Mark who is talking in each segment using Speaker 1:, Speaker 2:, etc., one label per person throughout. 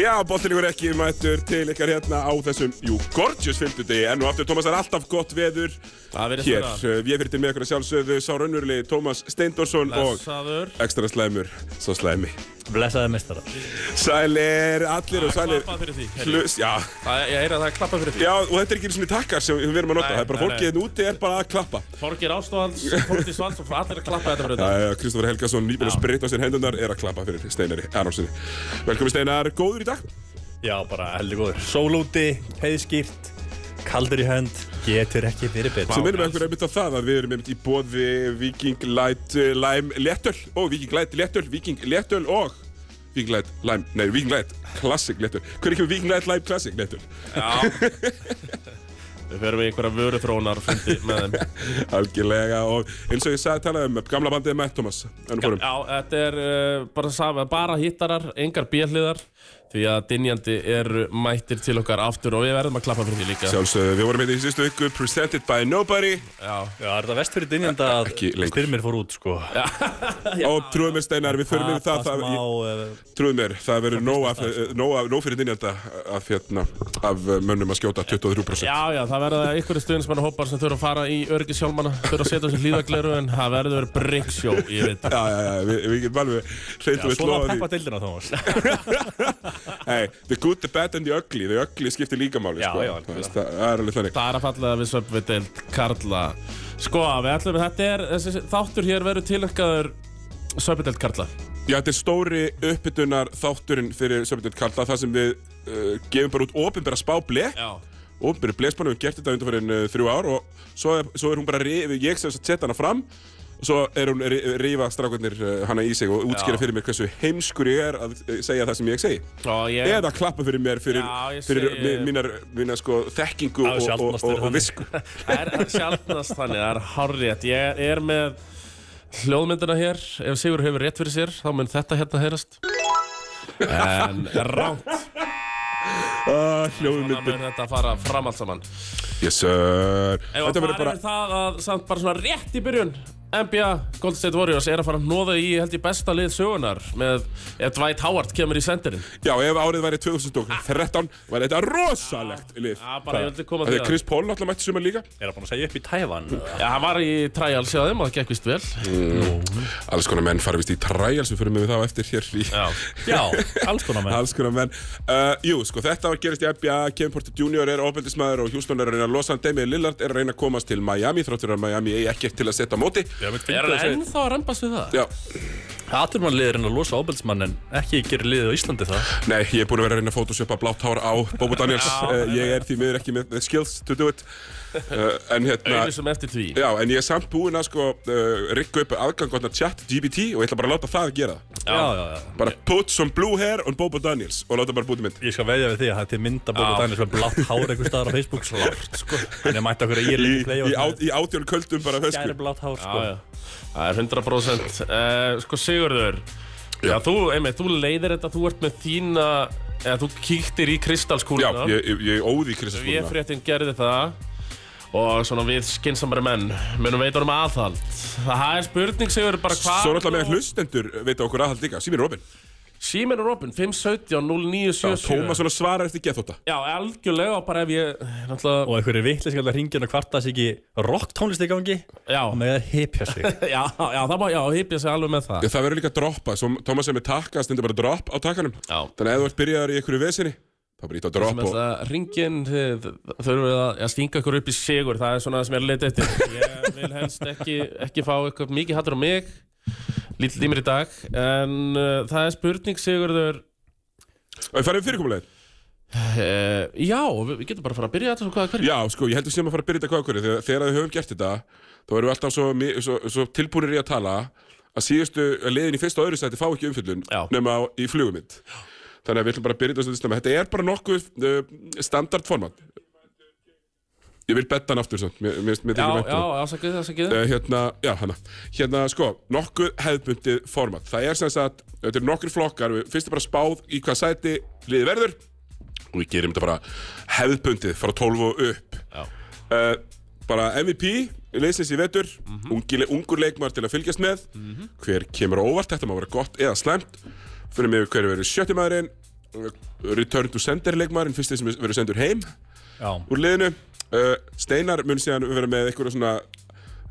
Speaker 1: Já, boltinlegur ekki mættur til ykkar hérna á þessum, jú, gorgeous fymtudegi En nú aftur, Tómas, það er alltaf gott veður
Speaker 2: Það verðist
Speaker 1: hér
Speaker 2: vera.
Speaker 1: Eh, Við erum fyrir með ykkur að sjálfsögðu Sá raunurli Tómas Steindorsson og
Speaker 2: Blessaður
Speaker 1: ekstra slæmur, svo slæmi
Speaker 3: Blessaði mestara
Speaker 1: Sælir, allir og sælir
Speaker 2: Klappa fyrir því Herri,
Speaker 1: Hlust, já,
Speaker 2: það, Ég heyra að það er klappa fyrir því
Speaker 1: já, og þetta er ekki einu svona takkar sem við erum að nota
Speaker 2: Nei,
Speaker 1: Það er bara
Speaker 2: nei,
Speaker 1: fólkið
Speaker 2: nei.
Speaker 1: hérna úti er bara að klappa
Speaker 2: Þorgir Ástóðals, Þorgir Svans og allir að klappa þetta fyrir
Speaker 1: Já,
Speaker 2: þetta
Speaker 1: já, Kristoffer Helgason, nýbúin að
Speaker 2: Já.
Speaker 1: sprita á sér hendunar, er að klappa fyrir Steinari Arnómsinni. Velkomin Steinar, góður í dag?
Speaker 3: Já, bara heldur góður Sól úti, heiðskýrt Kaldur í hönd Getur ekki fyrir betur
Speaker 1: Sem minnum við okkur einmitt á það að við erum einmitt í bóði Viking Light eh, Lime Léttöl og Viking Light Léttöl, Viking Léttöl og Viking Light Lime, nei, Viking Light Classic Léttöl. Hver ekki með Viking Light Lime Classic Léttöl?
Speaker 2: Já Við ferum í einhverja vöruþrónar fundi með þeim
Speaker 1: Algjörlega og eins og ég sagði talaði um gamla bandið Matt Thomas. En fórum.
Speaker 2: Já, þetta er uh, bara, sama, bara hittarar, engar bjöliðar Því að dynjandi eru mættir til okkar aftur og við verðum að klappa fyrir því líka
Speaker 1: Sjálfsögðu, við vorum hérna í síðustu viku, presented by nobody
Speaker 2: Já,
Speaker 3: Já, er þetta vest fyrir dynjanda að
Speaker 1: Ekki lengur.
Speaker 3: styrmir fór út, sko Já,
Speaker 1: og trúið mér Steinar, við förum yfir það, það,
Speaker 3: smá,
Speaker 1: ég-
Speaker 3: eh,
Speaker 1: Trúðu mér, það verður nóg, af, nóg, af, nóg fyrir dynjanda af, hérna, af mönnum að skjóta 23%.
Speaker 2: já, já, það verða einhverju stuðnismenn hópar sem þurfa að fara í öryggishjálmana þurfa að setja á sig hlýðagleru en það verður bryggsjó, ég veit
Speaker 1: Já, já, já, við við getum alveg hreintum við
Speaker 3: Svona að
Speaker 1: slóða
Speaker 3: peppa
Speaker 1: því.
Speaker 3: deildina, Thomas
Speaker 1: Hey, the good, the bad and the ugly, the ugly skiptir líka máli,
Speaker 3: Já,
Speaker 1: sko.
Speaker 3: já,
Speaker 1: það, veist, það er alveg þannig.
Speaker 2: Það er að falla við söpvið deild Karla Sko, við ætlum að þetta er þessi, þáttur hér verður tilökkaður söpvið deild Karla
Speaker 1: Já, þetta er stóri uppbytunar þátturinn fyrir Söpindund Karla, það sem við uh, gefum bara út ofinbæra spáble.
Speaker 2: Já
Speaker 1: Ofinbæri blesbánu, við hefum gert þetta undanfærin uh, þrjú ár og svo er, svo er hún bara, ri- ég sem þess að setja hana fram og svo er hún ri- rífa strákarnir uh, hana í sig og útskýra fyrir mér hversu heimskur ég er að uh, segja það sem ég segi.
Speaker 2: Og ég
Speaker 1: eða klappa fyrir mér fyrir,
Speaker 2: Já, ég
Speaker 1: fyrir
Speaker 2: segi-
Speaker 1: mi- mínar, mínar sko, þekkingu
Speaker 3: Já,
Speaker 1: og, og,
Speaker 3: sjaldnast
Speaker 1: og,
Speaker 3: er
Speaker 1: og
Speaker 3: þannig.
Speaker 1: visku
Speaker 2: Það er sjálfnast þannig, það er hárrétt Ég er með hljóðmyndina hér Ef Sigur hefur rétt fyrir sér, þá mun þetta hérna heyrast En rámt
Speaker 1: ah,
Speaker 2: Þannig
Speaker 1: hljóðmyndin
Speaker 2: mun þetta fara fram allt saman Ef
Speaker 1: yes sir
Speaker 2: að
Speaker 1: þetta
Speaker 2: fara
Speaker 1: verður bara
Speaker 2: yfir það að samt bara svona rétt í byrjun NBA Golden State Warriors er að fara að nóða í held ég besta lið sögunar með ef Dwight Howard kemur í sendirinn
Speaker 1: já ef árið væri 2013 væri þetta rosalegt lið
Speaker 2: Já, bara ég vildi koma
Speaker 1: Þetta
Speaker 2: til
Speaker 1: er
Speaker 2: það
Speaker 1: Chris Paul alltaf mætti sumar líka
Speaker 3: Er það búin að segja upp í Tævan?
Speaker 2: Já, hann var í trials hjá þeim og það gekk vist vel
Speaker 1: alls konar menn farið vist í trials við fyrir með það á eftir hér í
Speaker 2: Já,
Speaker 3: Já, alls konar með
Speaker 1: Alls konar menn uh, Jú, sko, þetta var gerist í NBA Kevin Porter Jr. er ofbeldismæður og Houston er að reyna að losa hann Damian Lillard er að reyna að komast til Miami þráttur að Miami eigi ekkert til að setja á móti
Speaker 3: Já, mér
Speaker 2: er það
Speaker 3: finnst það að
Speaker 2: ennþá að rembast við það?
Speaker 1: Já,
Speaker 3: Aturmannlið er henni að losa ábælsmann en ekki gerir liðið á Íslandi það
Speaker 1: Nei, ég er búin að vera að reyna að photoshopa blátt hár á Bobo Daniels uh, Ég er því miður ekki með the skills to do it uh, En hérna
Speaker 2: Auðvitað sem eftir því
Speaker 1: Já, en ég er samt búinn að sko uh, rigga upp aðgangotna chat GBT og ég ætla bara að láta það gera það
Speaker 3: Já, já, já
Speaker 1: Bara put some blue hair on Bobo Daniels og láta bara búti mynd
Speaker 3: Ég skal veðja við því að það er til myndabók og
Speaker 2: Já.
Speaker 3: dæmis með blátt hár einhver staðar á Facebook Slárt, sko En ég mætti okkur að ég er
Speaker 1: Í,
Speaker 3: líka play
Speaker 1: í, á, í átjón köldum bara hösku
Speaker 3: Gæri blátt hár, sko
Speaker 2: Já, já, það er 100% uh, Sko Sigurður Já, þú, einmitt, þú leiðir þetta, þú ert með þína eða þú kíktir í hérna.
Speaker 1: Já,
Speaker 2: kristalskúluna
Speaker 1: ég, ég, ég óði
Speaker 2: Við
Speaker 1: Kristaskúluna
Speaker 2: fréttin gerði það og svona við skinsamari menn munum veita honum aðhald Það er spurning Sigurður bara hvað
Speaker 1: Svo náttúrulega með hlustendur veita okkur aðhald líka Sýmir Robin
Speaker 2: Síminn og Robin, 517 0977
Speaker 1: Tómas svona svarar eftir gethóta
Speaker 2: Já, algjörlega og bara ef ég náttúrulega,
Speaker 3: Og einhverju vitlega skal það ringja hann að kvarta sig ekki rock tónlist í gangi
Speaker 2: já,
Speaker 3: Og með það hipja sig
Speaker 2: já, já, það má, já, hypja sig alveg með það
Speaker 1: Það verður líka droppa, svo Tómas er með takka, stendur bara drop á takkanum
Speaker 2: Já.
Speaker 1: Þannig að ef þú ert byrjaður í einhverju vesinni þá bara ít á
Speaker 2: sem
Speaker 1: drop og
Speaker 2: þess að ringin þurfum við að að stinga ykkur upp í sigur það er svona það sem ég er að leita eftir ég vil helst ekki, ekki fá eitthvað mikið hattur á mig lítið límir í dag en uh, það er spurning Sigurður
Speaker 1: Það farið við fyrirkomulegin?
Speaker 2: uh, já, við, við getum bara að fara að byrja þetta svo hvað hverju
Speaker 1: Já, sko, ég heldur sem að fara að byrja þetta hvað okkur þegar, þegar við höfum gert þetta þá erum við alltaf svo, mi- svo, svo tilbúinir í að tala að síðustu að leiðin í fyrsta og öðru sæti fá ekki umfyllun
Speaker 2: Já.
Speaker 1: nema á, í flugumind Þannig að við ætlum bara að byrja þetta svolítið snemma Þetta er bara nokkuð uh, standardformat Ég vil betta hann aftur svo Mér, mér, mér þykir
Speaker 2: já,
Speaker 1: vænt um
Speaker 2: já,
Speaker 1: hann.
Speaker 2: ásakið það, ásakið það
Speaker 1: Eh, hérna, já, hana hérna, sko, nokkuð hefðbundið format það er sem sagt, þetta eru nokkur flokkar við fyrst er bara spáð í hvað sæti liði verður og við gerum þetta bara hefðbundið frá 12 og upp
Speaker 2: Já.
Speaker 1: uh, bara MVP, leysins í vetur, mm ungur leikmar til að fylgjast með, hver kemur á óvart, þetta má vera gott eða slæmt, fyrir mig hver verður sjötti maðurinn, return to sender leikmarinn, fyrst sem verður sendur heim
Speaker 3: Já,
Speaker 1: úr liðinu, uh, Steinar mun síðan vera með einhverja svona,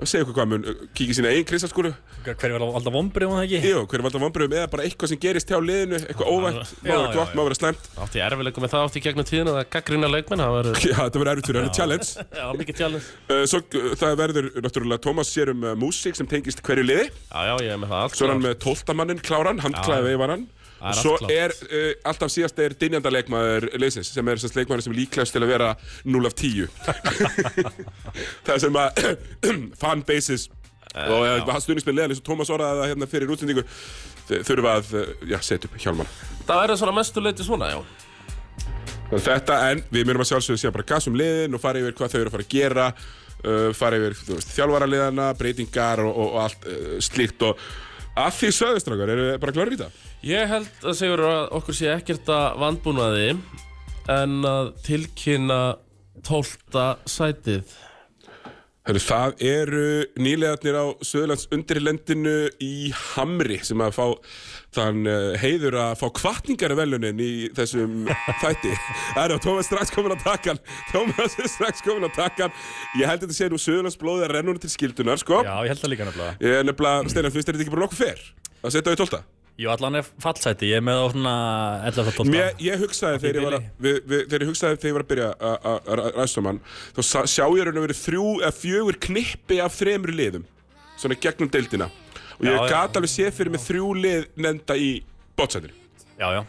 Speaker 1: segja okkur hvað mun, uh, kíkja í sína einn kristalskúlu,
Speaker 3: hver var alltaf vombrið hún það ekki?
Speaker 1: Jú, hver er valda vombriðum eða bara eitthvað sem gerist hjá liðinu, eitthvað óvænt, má
Speaker 3: Já,
Speaker 1: vera
Speaker 3: já,
Speaker 1: gott,
Speaker 3: já.
Speaker 1: má vera slæmt.
Speaker 2: Átti ég erfiðleikum með það átti í gegnum tíðina Það gaggrina leikmenn, það var
Speaker 1: Já, þetta verður erfitt fyrir hann, challenge.
Speaker 2: já, mikið tjálins
Speaker 1: Uh, svo uh, það verður, náttúrulega, Tómas sér um uh, músík sem tengist hverju liði.
Speaker 2: Já, já, ég er með það allt
Speaker 1: Svo er hann með tóltamannin, kláran, handklæði veifaran.
Speaker 2: Það er
Speaker 1: Svo
Speaker 2: allt klárt.
Speaker 1: er uh, alltaf síðast er dynjanda leikmaður liðsins, sem er sérst leikmaður sem er líklegast til að vera 0 af 10. það sem að fanbases
Speaker 2: Eh,
Speaker 1: og uh, stuðnismenn leðan eins og Tómas orðaði það hérna fyrir útsendingu þ- þurfa að, uh, já, setja upp hjálman.
Speaker 2: Það verður svona mestu leiti svona, já
Speaker 1: Þannig að Þetta en við myndum að sjálfsögðu síðan bara gas um liðin og fara yfir hvað þau eru að fara að gera uh, fara yfir þú veist, þjálfaraliðana, breytingar og, og, og allt uh, slíkt og að því söðustrákar, eru þið bara klárir í það?
Speaker 2: Ég held að segjur að okkur sé ekkert að vandbúnaði en að tilkynna tólta sætið
Speaker 1: Hörru, það eru nýlegarnir á Söðurlands undirlendinu í Hamri sem að fá þann uh, heiður að fá kvartningarvelunin í þessum þætti. Það eru að Tómas strax komin á takkan. Tómas er strax komin á takkan. Ég held að þetta sé nú Söðurlands blóðið að renna honum til skildunar, sko.
Speaker 3: Já, ég held það líka nefnilega.
Speaker 1: Ég er nefnilega, Steinar, finnst þér þetta ekki bara nokkuð fer að setja á í tólta?
Speaker 3: Jú, allan er fallsæti, ég er með á svona 11. 12.
Speaker 1: Mér, ég hugsaði þegar ég var að, við, við, þegar ég hugsaði þegar ég var að byrja að- að- að ræðsum hann, þá sa- sjá ég raun og verið þrjú eða fjögur knippi af þremur liðum, svona gegnum deildina. Og ég
Speaker 3: Já, já.
Speaker 1: gat alveg séð fyrir mig þrjú lið nenda í botsættir.
Speaker 3: Já, já.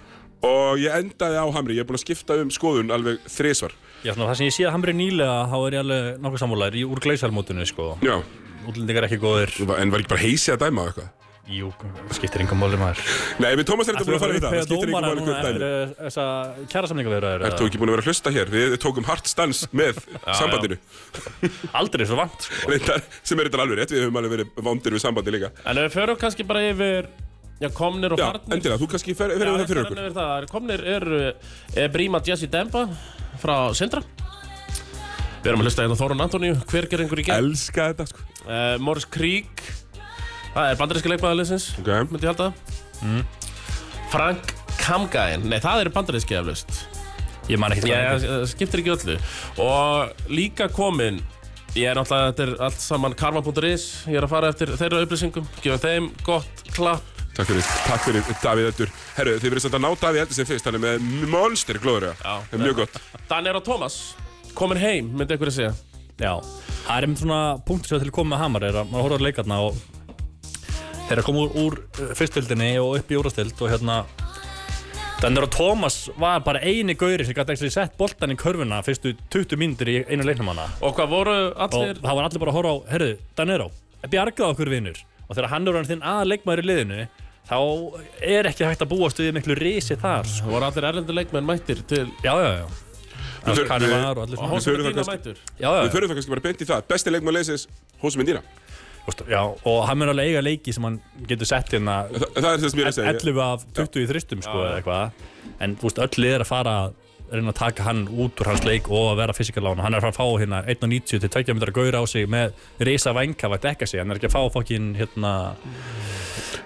Speaker 1: Og ég endaði á Hamri, ég er búin að skipta um skoðun alveg þrisvar.
Speaker 3: Já, svona, það sem ég sé að Hamri nýlega, þá er ég alveg nokkuð sammálaður í úr glæsalmótinu, sko.
Speaker 1: Já,
Speaker 3: Útlendingar ekki góðir.
Speaker 1: en var ekki bara heysið að dæma á eitthvað?
Speaker 3: Jú, skiptir engum máli maður.
Speaker 1: Nei, við Tómas er þetta búin að fara við það, það
Speaker 3: Þegar
Speaker 1: skiptir ekki
Speaker 3: dómara
Speaker 1: máli
Speaker 3: núna
Speaker 1: hvernig
Speaker 3: eftir
Speaker 1: dæmi.
Speaker 3: eh, þessa kjæra samninga
Speaker 1: Er þú ekki búin að vera að hlusta hér? Við tókum hart stans með sambandinu.
Speaker 3: Aldrei svo vant, sko.
Speaker 1: Reyndar, sem er þetta alveg rétt, við höfum alveg verið vondir við sambandi líka.
Speaker 2: En ef við förum kannski bara yfir já, komnir og
Speaker 1: Já,
Speaker 2: farnir
Speaker 1: endilega, þú kannski fer,
Speaker 2: Já,
Speaker 1: ferðu það
Speaker 2: ég
Speaker 1: fyrir
Speaker 2: fer
Speaker 1: okkur.
Speaker 2: enn yfir það. Komnir eru eh, Brima Jesse Demba frá Sindra Við erum að hlusta hérna á Þórun Antoníu, hver ger einhver í gegn?
Speaker 1: Elska þetta, sko.
Speaker 2: Uh, Morris Krieg, það er bandaríska leikmaðarleysins
Speaker 1: Ok,
Speaker 2: myndi ég halda mm. Frank Kamgæn Nei, það eru bandaríski eflaust
Speaker 3: Ég man ekki
Speaker 2: Ég ég- skiptir ekki öllu Og líka komin Ég er náttúrulega, þetta er allt saman karma.is Ég er að fara eftir þeirra upplýsingum Gefa þeim gott klapp
Speaker 1: takk fyrir, takk fyrir Davíð Eldur. Herru, þið verið samt að ná Davíð Eldur sem fyrst, hann er með monster glóður,
Speaker 2: Já.
Speaker 1: Það er mjög gott.
Speaker 2: Daniel og Thomas Komin heim, myndi einhverja segja
Speaker 3: Já, það er einmitt svona punktur sem er til að koma með Hamar er að maður horfður leikarna og þeir að koma úr, úr eh, fyrstöldinni og upp í úrastöld og hérna Þannig að Thomas var bara eini gauri sem gæti ekki sett boltan í körfuna fyrstu 20 mínútur í einu leiknum hana
Speaker 2: Og hvað voru
Speaker 3: og
Speaker 2: allir
Speaker 3: það var allir bara að horfa á, herru, Danero bjargaði okkur vinnur og þegar hann er hann þinn aðleikmaður í liðinu þá er ekki hægt að búa stuðið miklu risi þar sko.
Speaker 2: Voru allir erlendu leikmenn mættir til
Speaker 3: já, já, já
Speaker 1: Við þurfum-
Speaker 3: Kanni
Speaker 1: við-
Speaker 3: var og
Speaker 2: Og
Speaker 3: allir svona
Speaker 1: Við
Speaker 2: hósum
Speaker 1: förum
Speaker 2: að
Speaker 1: það
Speaker 2: dýna
Speaker 1: kannski-
Speaker 2: mættur
Speaker 3: já, já,
Speaker 1: Við
Speaker 3: já.
Speaker 1: förum það kannski bara beint í það. Besti leikmann leysins, Hósum Indína.
Speaker 3: Veist, já og hann er alveg að eiga leiki sem hann getur sett hérna
Speaker 1: Þa, það er það sem ég er að segja.
Speaker 3: 11 af 20 í þristum sko, eða eitthvað. en þú veist, öll er að fara að reyna að taka hann út úr hans leik og að vera fysikalána, hann er að fara að fá hérna 1.90 til 2 metra gaur á sig með reysa vænga að dekka sig, hann er ekki að fá fokkin hérna,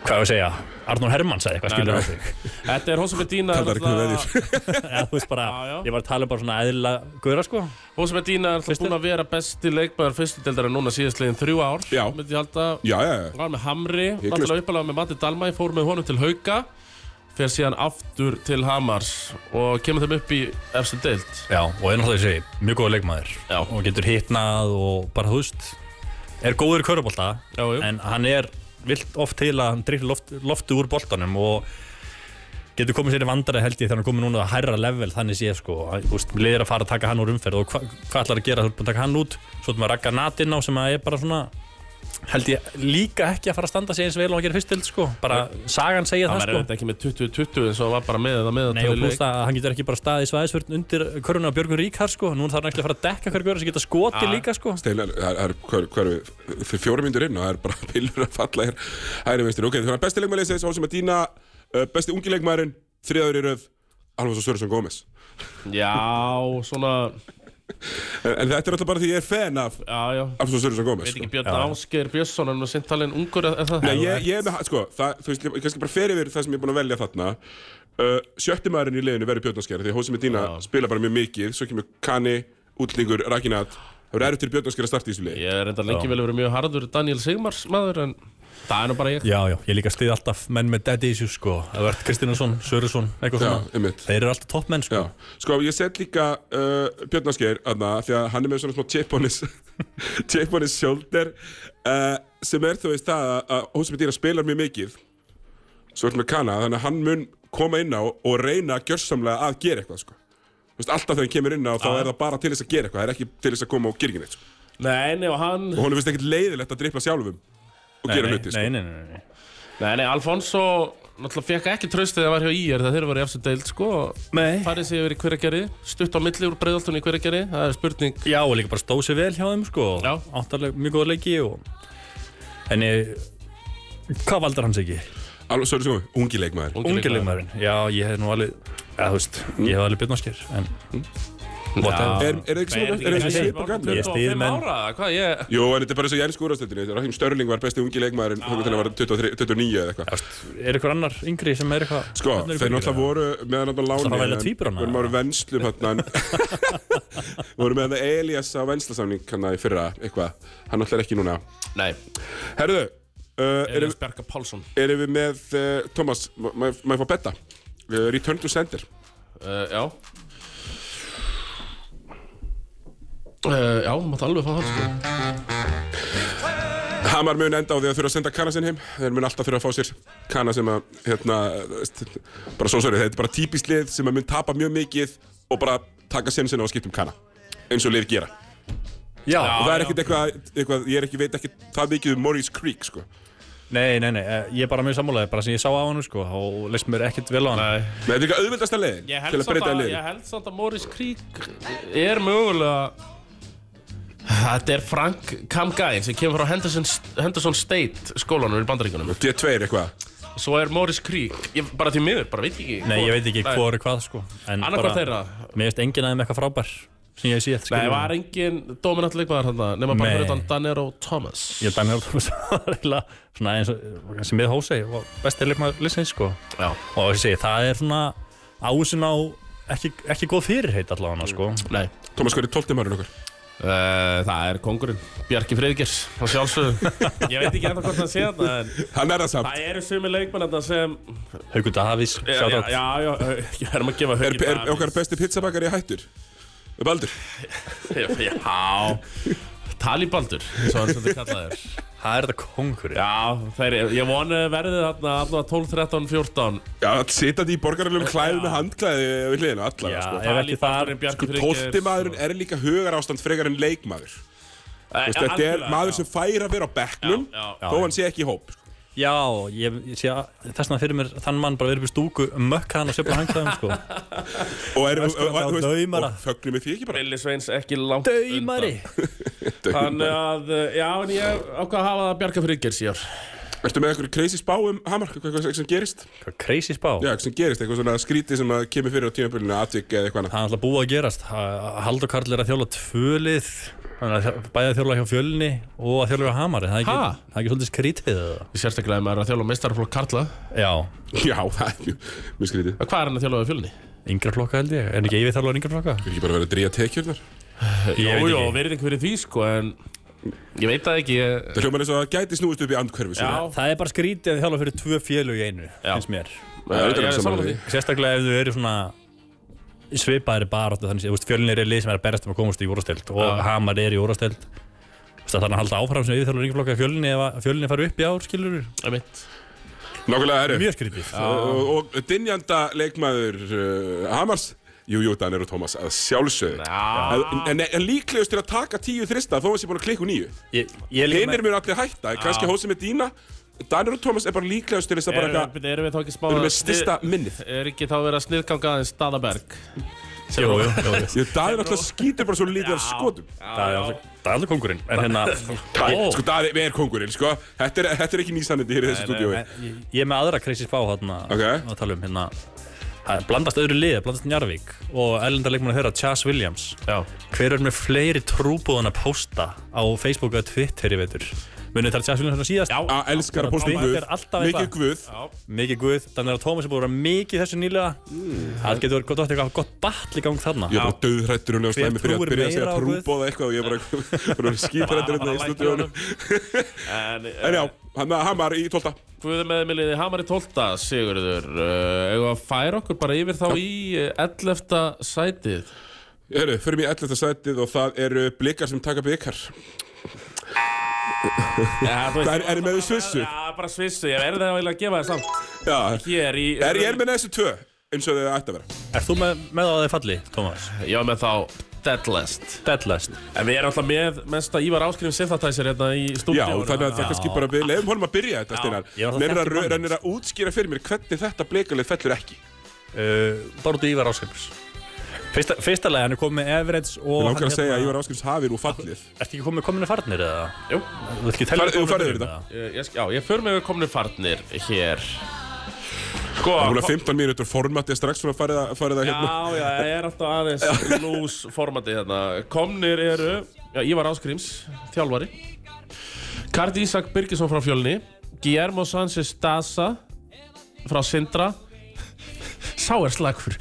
Speaker 3: hvað er að segja Arnór Hermann sagði eitthvað skilur á sig
Speaker 2: Þetta er hósum að dýna
Speaker 1: Kallar ekki með veður.
Speaker 3: eða þú veist bara,
Speaker 2: Já, já.
Speaker 3: ég var að tala um bara svona eðla gaura sko,
Speaker 2: Hósum að dýna er alltaf búin að vera besti leikmæður Fyrstudeldara núna síðastliðin þrjú ár
Speaker 1: Já.
Speaker 2: Myndi ég halda
Speaker 1: Já, já, já.
Speaker 2: Var með Hamri,
Speaker 1: Hygglust.
Speaker 2: náttúrulega uppalega með Matti Dalmæ, fór með honum til Hauka, fer síðan aftur til Hamars og kemur þeim upp í efstu deild.
Speaker 3: já, og er náttúrulega þessi mjög góða leikmaður
Speaker 2: Já.
Speaker 3: og getur hitnað og bara, þú veist er góður í körubólta
Speaker 2: Já, jú.
Speaker 3: en hann er vilt oft til að hann driftir loft, loftu úr boltanum og getur komið sér í vandara held ég þegar hann er komið núna að hærra level þannig sé sko, Hann- þú veist, liðir að fara að taka hann úr umferð og hva, hvað ætlar að gera, þú ert búin að taka hann út svo erum við að ragga natinn á sem að er bara svona held ég líka ekki að fara að standa sig eins vel og að gera fyrst til sko, bara sagan segja
Speaker 2: Það
Speaker 3: það,
Speaker 2: verður
Speaker 3: sko
Speaker 2: þetta ekki með 20-20 eins og hann var bara með það með
Speaker 3: Nei og pluss að hann getur ekki bara staðið í svæðisvörn undir köruna á Björgun Ríkar sko, núna þarf hann ekki að fara að dekka hver björn sem geta skotið
Speaker 2: Ah.
Speaker 3: líka sko
Speaker 1: Steinar, það er, hvað er- hvað er við, þau fjóra myndur inn og það er bara pillur að falla hér. Hæri veistir, ok, þannig að besti leikmann leysins, Hósum Indína, eh, besti ungi leikmærin, þriðaður í röð, Alfonso Sörjusson Gómez.
Speaker 2: Já, svona,
Speaker 1: En, en þetta er alltaf bara því ég er fan af
Speaker 2: Já, já,
Speaker 1: Arnson Sörjusson Gómez
Speaker 2: veit
Speaker 1: sko.
Speaker 2: ekki Björn Ásgeir Björnsson en síntalinn ungur er það
Speaker 1: Nei, ég, ég er með, sko, það, þú veist, ég kannski bara fer yfir það sem ég er búinn að velja þarna uh, Sjötti maðurinn í leiðinu verður Björnarskjæra Því að Hósi Medina
Speaker 2: Já.
Speaker 1: spila bara mjög mikið Svo kemur Kani, Útlingur, Rakinat Það verður erfitt fyrir Björnarskjæra að starta í þessu leið
Speaker 2: Ég er enda lengi vel að vera mjög harður Daniel Sigmars maður en það er nú bara ég
Speaker 3: Já, já, ég líka stið alltaf menn með daddy issues sko Það verður Kristínarsson, Sörusson, eitthvað
Speaker 1: Já,
Speaker 3: svona
Speaker 1: einmitt
Speaker 3: Þeir eru alltaf topp menn sko
Speaker 1: Já, sko ég set líka uh, Björnarskjær aðna því að hann er með svona smá chip on his chip on his shoulder uh, sem er þú veist það að- að Hósi Medina spilar mjög mikið svo ertu með Kana þannig að hann mun koma inn á og reyna gjörsamlega að gera eitthvað sko Þú veist, alltaf þegar hann kemur inn á þá er það bara til þess að gera eitthvað það er ekki til þess að koma og gera ekki neitt sko.
Speaker 2: Nei, nei, og hann
Speaker 1: og honum finnst ekkert leiðilegt að dripla sjálfum og
Speaker 3: Nei,
Speaker 1: gera
Speaker 3: nei,
Speaker 1: hluti sko.
Speaker 3: nei, nei, nei, nei.
Speaker 2: Nei, nei, Alfonso náttúrulega fekk ekki tröstið að var hjá IR þegar þeir voru í efstu deild sko
Speaker 3: Nei.
Speaker 2: Farið sig yfir í hverjargerði, stutt á milli úr breiðaltunni í hverjargerði Það er spurning
Speaker 3: Já, og líka bara stóð sér vel hjá þeim sko
Speaker 2: Já.
Speaker 3: Áttarlega mjög góða leiki og En ég Hvað valdar hans ekki?
Speaker 1: alveg svo er það sko ungi Mm. leikmaður
Speaker 2: Ungi
Speaker 3: Ungilegmaðurinn Já, ég hef nú alveg Já, þú veist Ég hef alveg byrnaskir En
Speaker 2: Já.
Speaker 1: Mm.
Speaker 3: What
Speaker 1: er, er það ekki
Speaker 2: Nei,
Speaker 1: svona
Speaker 2: er
Speaker 1: er það
Speaker 2: ekki
Speaker 1: ekki
Speaker 2: James
Speaker 1: svip og
Speaker 2: Bond
Speaker 1: gamlir
Speaker 2: 25
Speaker 3: Ég styð menn.
Speaker 2: ára, eða hvað ég
Speaker 1: Jú, en þetta er bara eins og Jens Gúrastöldinu Raheem Störling var besti ungi leikmaðurinn þannig til að vera 23 29 eða eitthvað
Speaker 3: Þú veist, Er ykkur annar yngri sem er eitthvað
Speaker 1: Sko,
Speaker 3: Hvernig eru
Speaker 1: þeir
Speaker 3: ykkur
Speaker 1: náttúrulega
Speaker 3: yngri?
Speaker 1: voru meðan að lána
Speaker 3: Það var velja tvíburana,
Speaker 1: Við vorum
Speaker 3: eða?
Speaker 1: á venslum hann Voru meðan að Elias á venslasamning hann í fyrra eitthvað Hann náttúrulega er ekki núna
Speaker 2: Nei,
Speaker 1: Herðu, uh, erum,
Speaker 2: Elias Berga Pálsson
Speaker 1: erum við með uh, Thomas, má má- má ég fá betta? Uh, return to sender
Speaker 2: uh, Já Uh, já, maður alveg fá það sko.
Speaker 1: Hamar mun enda á því að þurfa að senda Kana sinn heim Þeir mun alltaf þurfa að fá sér Kana sem að, hérna, veist, bara svo sorry Þetta er bara típist lið sem að mun tapa mjög mikið og bara taka sinn sinna og skipta um Kana eins og lið gera
Speaker 3: Já,
Speaker 1: og það er ekkert eitthvað, eitthvað, ég er ekki, veit ekki það mikið um Maurice Creek, sko
Speaker 3: Nei, nei, nei, eh, ég er bara mjög sammálaðið, bara sem ég sá á hann sko, og leist mér ekkert vel á hann
Speaker 2: Nei.
Speaker 1: Nei, þetta er líka auðveldasta leiðin til
Speaker 2: Ég
Speaker 1: að
Speaker 2: held, samt
Speaker 1: breyta
Speaker 2: að,
Speaker 1: að leiðin.
Speaker 2: ég held samt að Morris Creek er mögulega Þetta er Frank Kamgæn sem kemur frá Henderson, Henderson State skólanum í bandaríkunum
Speaker 1: D2 eitthvað.
Speaker 2: Svo er Morris Creek, ég, bara því miður, bara veit ekki
Speaker 3: Nei, ég veit ekki hvað er hvað sko En
Speaker 2: Annað
Speaker 3: bara-
Speaker 2: hvort þeirra.
Speaker 3: Mér finnst enginn aðeins eitthvað frábær sem ég sé
Speaker 2: Nei, var engin dominant leikmaður hérna nema bara
Speaker 3: Nei.
Speaker 2: fyrir utan Danero Thomas
Speaker 3: Ég held að mér var það eiginlega svona eins og sem við hósi og besti leikmaður liðsins sko
Speaker 2: Já
Speaker 3: og ég segi það er svona ásin á ekki, ekki góð fyrirheit allavega sko
Speaker 2: Nei,
Speaker 1: Tómas, hvað er 12. maðurinn okkar?
Speaker 2: uh, það er kongurinn, Bjarki Freyðgers, á sjálfsögðu Ég veit ekki ennþá hvort hann sé þetta en
Speaker 1: Hann er það samt.
Speaker 2: Það eru sumi leikmenn þetta sem
Speaker 3: Haukur Davís
Speaker 2: Já, já,
Speaker 3: sjátt
Speaker 2: já, já, ég erum að gefa
Speaker 1: Er,
Speaker 2: höggi
Speaker 1: er okkar besti pizzabakar í hættur? Baldur.
Speaker 2: Já, Talibaldur, svo hann sem þið kallaðir
Speaker 3: það er þetta kongur já.
Speaker 2: Já, þeir, ég vonu verðið þarna allavega 12, 13, 14
Speaker 1: Já, það sitandi í
Speaker 2: Eh,
Speaker 1: borgarlegum klæðum með handklæði við hliðinu, allavega,
Speaker 3: Já,
Speaker 1: sko.
Speaker 3: ef ekki það-
Speaker 2: Talibaldurinn, Bjarki
Speaker 1: Sko,
Speaker 2: Friðgeirs
Speaker 1: 12. maðurinn er líka hugar ástand frekar en leikmaður.
Speaker 2: Nei,
Speaker 1: Vist, þetta er
Speaker 2: algjörlega,
Speaker 1: maður
Speaker 2: já.
Speaker 1: sem fær að vera á bekknum,
Speaker 2: Já, já.
Speaker 1: þó hann sé ekki í hóp. sko.
Speaker 3: já, ég, ég sé að þessna fyrir mér þann mann bara verið upp í stúku mökka hann og söpla hangklæðum sko
Speaker 1: Og er, og,
Speaker 3: Öskrandi
Speaker 1: og,
Speaker 3: á
Speaker 1: þú veist,
Speaker 3: daumara.
Speaker 1: og fögnum við því ekki bara.
Speaker 2: Billy Sveins ekki langt
Speaker 3: Daumari
Speaker 2: undan Þannig að, eh, já, en ég ákvað að hafa það Bjarka Friðgeirs í ár
Speaker 1: Ertu með eitthvað crazy spá um Hamar, hvað, hvað, hvað sem gerist?
Speaker 3: Hvað crazy spá
Speaker 1: Já, hvað sem gerist, eitthvað svona skrítið sem að kemur fyrir á tímabölinu, atvik eða eitthvað annað.
Speaker 3: Það er alltaf búið að gerast Ha- Halldór Karl er að þjóla tvölið Þannig að bæði að þjóla hjá fjölni og að þjóla hjá hamari Það er ekki,
Speaker 2: Ha?
Speaker 3: það er ekki svolítið skrítið eða?
Speaker 2: Ég sérstaklega ef maður er að þjóla meistarflokk Karla Eh,
Speaker 3: Já,
Speaker 1: Já, það er mjög- mjög skrítið.
Speaker 2: Hvað er hann að þjóla við fjölni?
Speaker 3: yngra flokka held ég En ekki yfir þjóla yngra flokka
Speaker 1: Er ekki bara verið að dríja tekjurnar?
Speaker 3: Ég veit
Speaker 2: Jú, jú,
Speaker 3: ekki.
Speaker 2: verðing fyrir því, sko, en Ég veit það ekki, ég,
Speaker 1: Það hljómar eins og að það gæti snúist upp í andhverfi svona.
Speaker 2: já
Speaker 3: Það er bara skrítið að þjóla fyrir tvö fjölu í einu
Speaker 2: Já.
Speaker 3: finnst mér
Speaker 1: Það er
Speaker 2: ég
Speaker 1: auðvitað
Speaker 2: er
Speaker 1: saman
Speaker 2: sammála
Speaker 1: því.
Speaker 3: Sérstaklega ef þau eru svona svipaðir bara þannig að fjölni er lið sem er að berast um að komast í úrasteld og
Speaker 2: Já.
Speaker 3: hamar er í úrasteld Þannig að halda áfram sem yfirþjólar yngra flokka fjölni ef að fjölni fari upp í ár skilur
Speaker 2: Einmitt.
Speaker 1: Nákvæmlega herru.
Speaker 3: Mjög skrítið
Speaker 1: Og, og dynjanda leikmaður uh, Hamars, jú, jú, Danir og Tómas, að sjálfsögðu.
Speaker 2: Já.
Speaker 1: En, en, en líklegust til að taka tíu þrista þó að sé búin að klikku nýju.
Speaker 3: Ég, ég líka
Speaker 1: Hinnir mjög allir hætta, kannski hósi með dína. Danir og Tómas er bara líklegust til þess að bara
Speaker 2: Erum
Speaker 1: eitthvað,
Speaker 2: við- erum við þá ekki
Speaker 1: við erum
Speaker 2: spáða
Speaker 1: með stista minnið.
Speaker 2: Er ekki þá verið að sniðganga aðeins Staðaberg?
Speaker 3: Jú, jú, jú, jú.
Speaker 1: Ég, Danir alltaf skýtur bara svo lítið af skotum.
Speaker 3: Það er alveg- það er alveg kongurinn En hérna
Speaker 1: Dæ- Sko, Danir er kongurinn, sko. Þetta er, þetta er ekki nýsannindi hér í þessu stúdíói.
Speaker 3: Ég er með aðra crazy spá hérna
Speaker 1: Ok.
Speaker 3: að tala um hérna það blandast öðru lið, blandast Njarvík og erlendarleikmann að höra Chas Williams
Speaker 2: Já.
Speaker 3: hver er með fleiri trúbúðan að pósta á Facebook og Twitter í veitur munið þar Chas Williams hérna síðast
Speaker 2: Já.
Speaker 1: að elskar að posta
Speaker 3: Já,
Speaker 1: guð,
Speaker 3: þetta er alltaf
Speaker 1: mikið
Speaker 3: eitthvað.
Speaker 1: guð
Speaker 3: mikið guð, þannig að Thomas er búin að vera mikið í þessu nýlega það getur verið gott átt eitthvað gott batl í gang þarna
Speaker 1: Ég er bara döðrættur um
Speaker 3: Hver
Speaker 1: nefnstæmi fyrir að
Speaker 3: trúir
Speaker 1: byrja að segja
Speaker 3: meira á Guð?
Speaker 1: trúbóða eitthvað og ég er bara skítrættur hérna í stúdíónu.
Speaker 2: En,
Speaker 1: En
Speaker 2: en
Speaker 1: já, hann hann var í 12.
Speaker 2: Guði með Emiliði Hamar í 12. Sigurður uh, Eða að færa okkur bara yfir þá í eh, 11. sætið
Speaker 1: Hörru, förum í 11. sætið og það eru blikar sem taka blikar.
Speaker 2: ja, þú veist-
Speaker 1: Hvað, er- er ég með svissu?
Speaker 2: Já, bara svissu, ég verði það að gefa það samt
Speaker 1: Já,
Speaker 2: Hér í
Speaker 1: er ég er með næstu tvö eins og þau ætti að vera.
Speaker 3: Er þú með, með á þeir falli, Thomas?
Speaker 2: Já, með þá Deadlast
Speaker 3: Deadlast
Speaker 2: En við erum alltaf með mesta Ívar Áskrifin Sympathizer hérna í
Speaker 1: Já,
Speaker 2: stúdíónu
Speaker 1: þannig að það kannski bara við leiðum honum að byrja þetta, Steinar.
Speaker 3: ég var það
Speaker 1: Mér er
Speaker 3: þekkti
Speaker 1: að
Speaker 3: mann.
Speaker 1: rennir að útskýra fyrir mér hvernig þetta blikalið fellur ekki.
Speaker 3: uh, Bara út í Ívar Áskrims Fyrsta, fyrsta lagi, hann er komið með Everett og hérna,
Speaker 1: Ég langar að segja að Ívar Áskrims hafið úr fallið.
Speaker 3: Ertu ekki komið með kominu farnir eða?
Speaker 2: Jú,
Speaker 3: Þú vilt ekki
Speaker 1: Far-
Speaker 3: telja
Speaker 1: þú farið yfir þetta.
Speaker 2: ég, ég, já, ég för mig við komnir farnir hér Sko,
Speaker 1: Það er múlið 15 mínútur formatið strax svona farið að, farið að hérna.
Speaker 2: Já, já, ég er alltaf aðeins lús formatið hérna. Komnir eru já, Ívar Áskrims, þjálfari Kardi Ísak Birgisson frá Fjölni Guillermo Sanchez Daza frá Sindra Sá er slagfur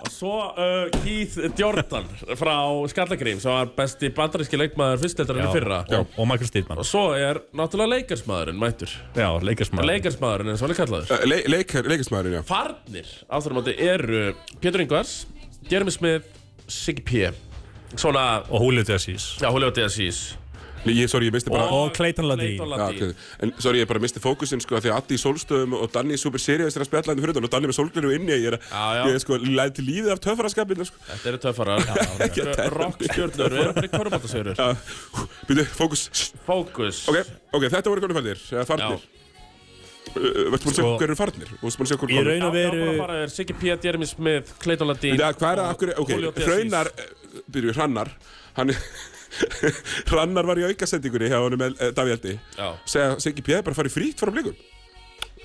Speaker 2: Og svo uh, Keith Jordan frá Skallagrím sem var besti bandaríski leikmaður fyrstleittarinn í fyrra
Speaker 3: Og, og Michael Steedman
Speaker 2: Og svo er náttúrulega leikarsmaðurinn mættur
Speaker 3: Já, leikarsmaður
Speaker 2: Leikarsmaðurinn eins og hann er kallaður
Speaker 1: Uh, leik- leikar- Leikismæðurinn, já.
Speaker 2: Farnir áþáramandi eru Pétur Ingvars, Jeremy Smith, Siggy P Svona,
Speaker 3: Og Julio Jessis
Speaker 2: já, Julio Deasís
Speaker 1: Ég, sorry, ég misti bara...
Speaker 3: Og Clayton Laddy
Speaker 2: Leiton
Speaker 1: Já,
Speaker 2: Landi
Speaker 1: ok. En sorry, ég bara misti fókusinn sko af því að Addi í sólstöðum og Danni í Super Series er að spjalla hérna fyrir utan og Danni með sólgleru inni ég er
Speaker 2: Já, já.
Speaker 1: að, ég er sko, læði til lífið af töfaraskapin sko.
Speaker 2: Þetta eru töffarar Þetta eru Rockstjörnur, við erum bara í korfbátasögur
Speaker 1: Já, býtu, fókus Sst,
Speaker 2: Fókus
Speaker 1: Ok, ok, þetta voru komin farnir, eða farnir Uh, Vartu búin að segja
Speaker 3: Sko-
Speaker 1: hver eru farnir? Og varstu búin að segja hver
Speaker 3: Í
Speaker 1: komin?
Speaker 3: raun og veru
Speaker 2: veru Siggy P, Jeremy Smith, Clayton Landi
Speaker 1: Já, hvað er það, af hverju,
Speaker 2: Julio
Speaker 1: ok,
Speaker 2: Deasís.
Speaker 1: Hraunar Býtu, Hrannar Hann Hrannar var í aukasendingunni hjá honum eh, Davíaldi
Speaker 2: Já.
Speaker 1: Segja, Siggi P. bara farið frítt frá blíkum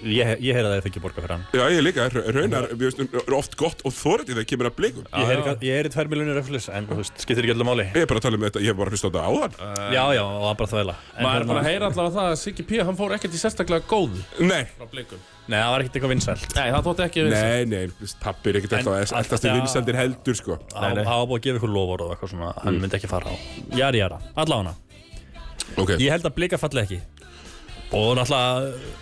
Speaker 3: Ég, ég heyra það ef ekki borga fyrir hann
Speaker 1: Já, ég líka, Hraunar, við veistum, er oft gott og þórið þegar kemur að blíkum
Speaker 3: Ég heyri, ekki- ég heyri tvær miljonir öflis En þú veist, skiptir ekki öllu máli
Speaker 1: Ég er bara að tala um þetta, ég hef bara hlust á þetta áðan
Speaker 3: Já, já, og það er bara þvæla En
Speaker 2: Maður er bara
Speaker 3: hérna-
Speaker 2: að heyra allavega það að Siggy P, hann fór ekkert í sérstaklega góð
Speaker 1: Nei,
Speaker 2: frá blikum
Speaker 3: Nei, það var ekkert eitthvað vinsælt
Speaker 2: Nei, það þótti ekki við
Speaker 1: nei, nei, tappir ekkert
Speaker 3: En-
Speaker 1: alltaf Alltaf til
Speaker 3: Já.
Speaker 1: vinsendir heldur, sko
Speaker 3: Það það var búið að gefa ykkur lofur og eitthvað svona Hann myndi ekki fara á Jari, jara, allána
Speaker 1: Ok,
Speaker 3: Ég held að blika falli ekki Og náttúrulega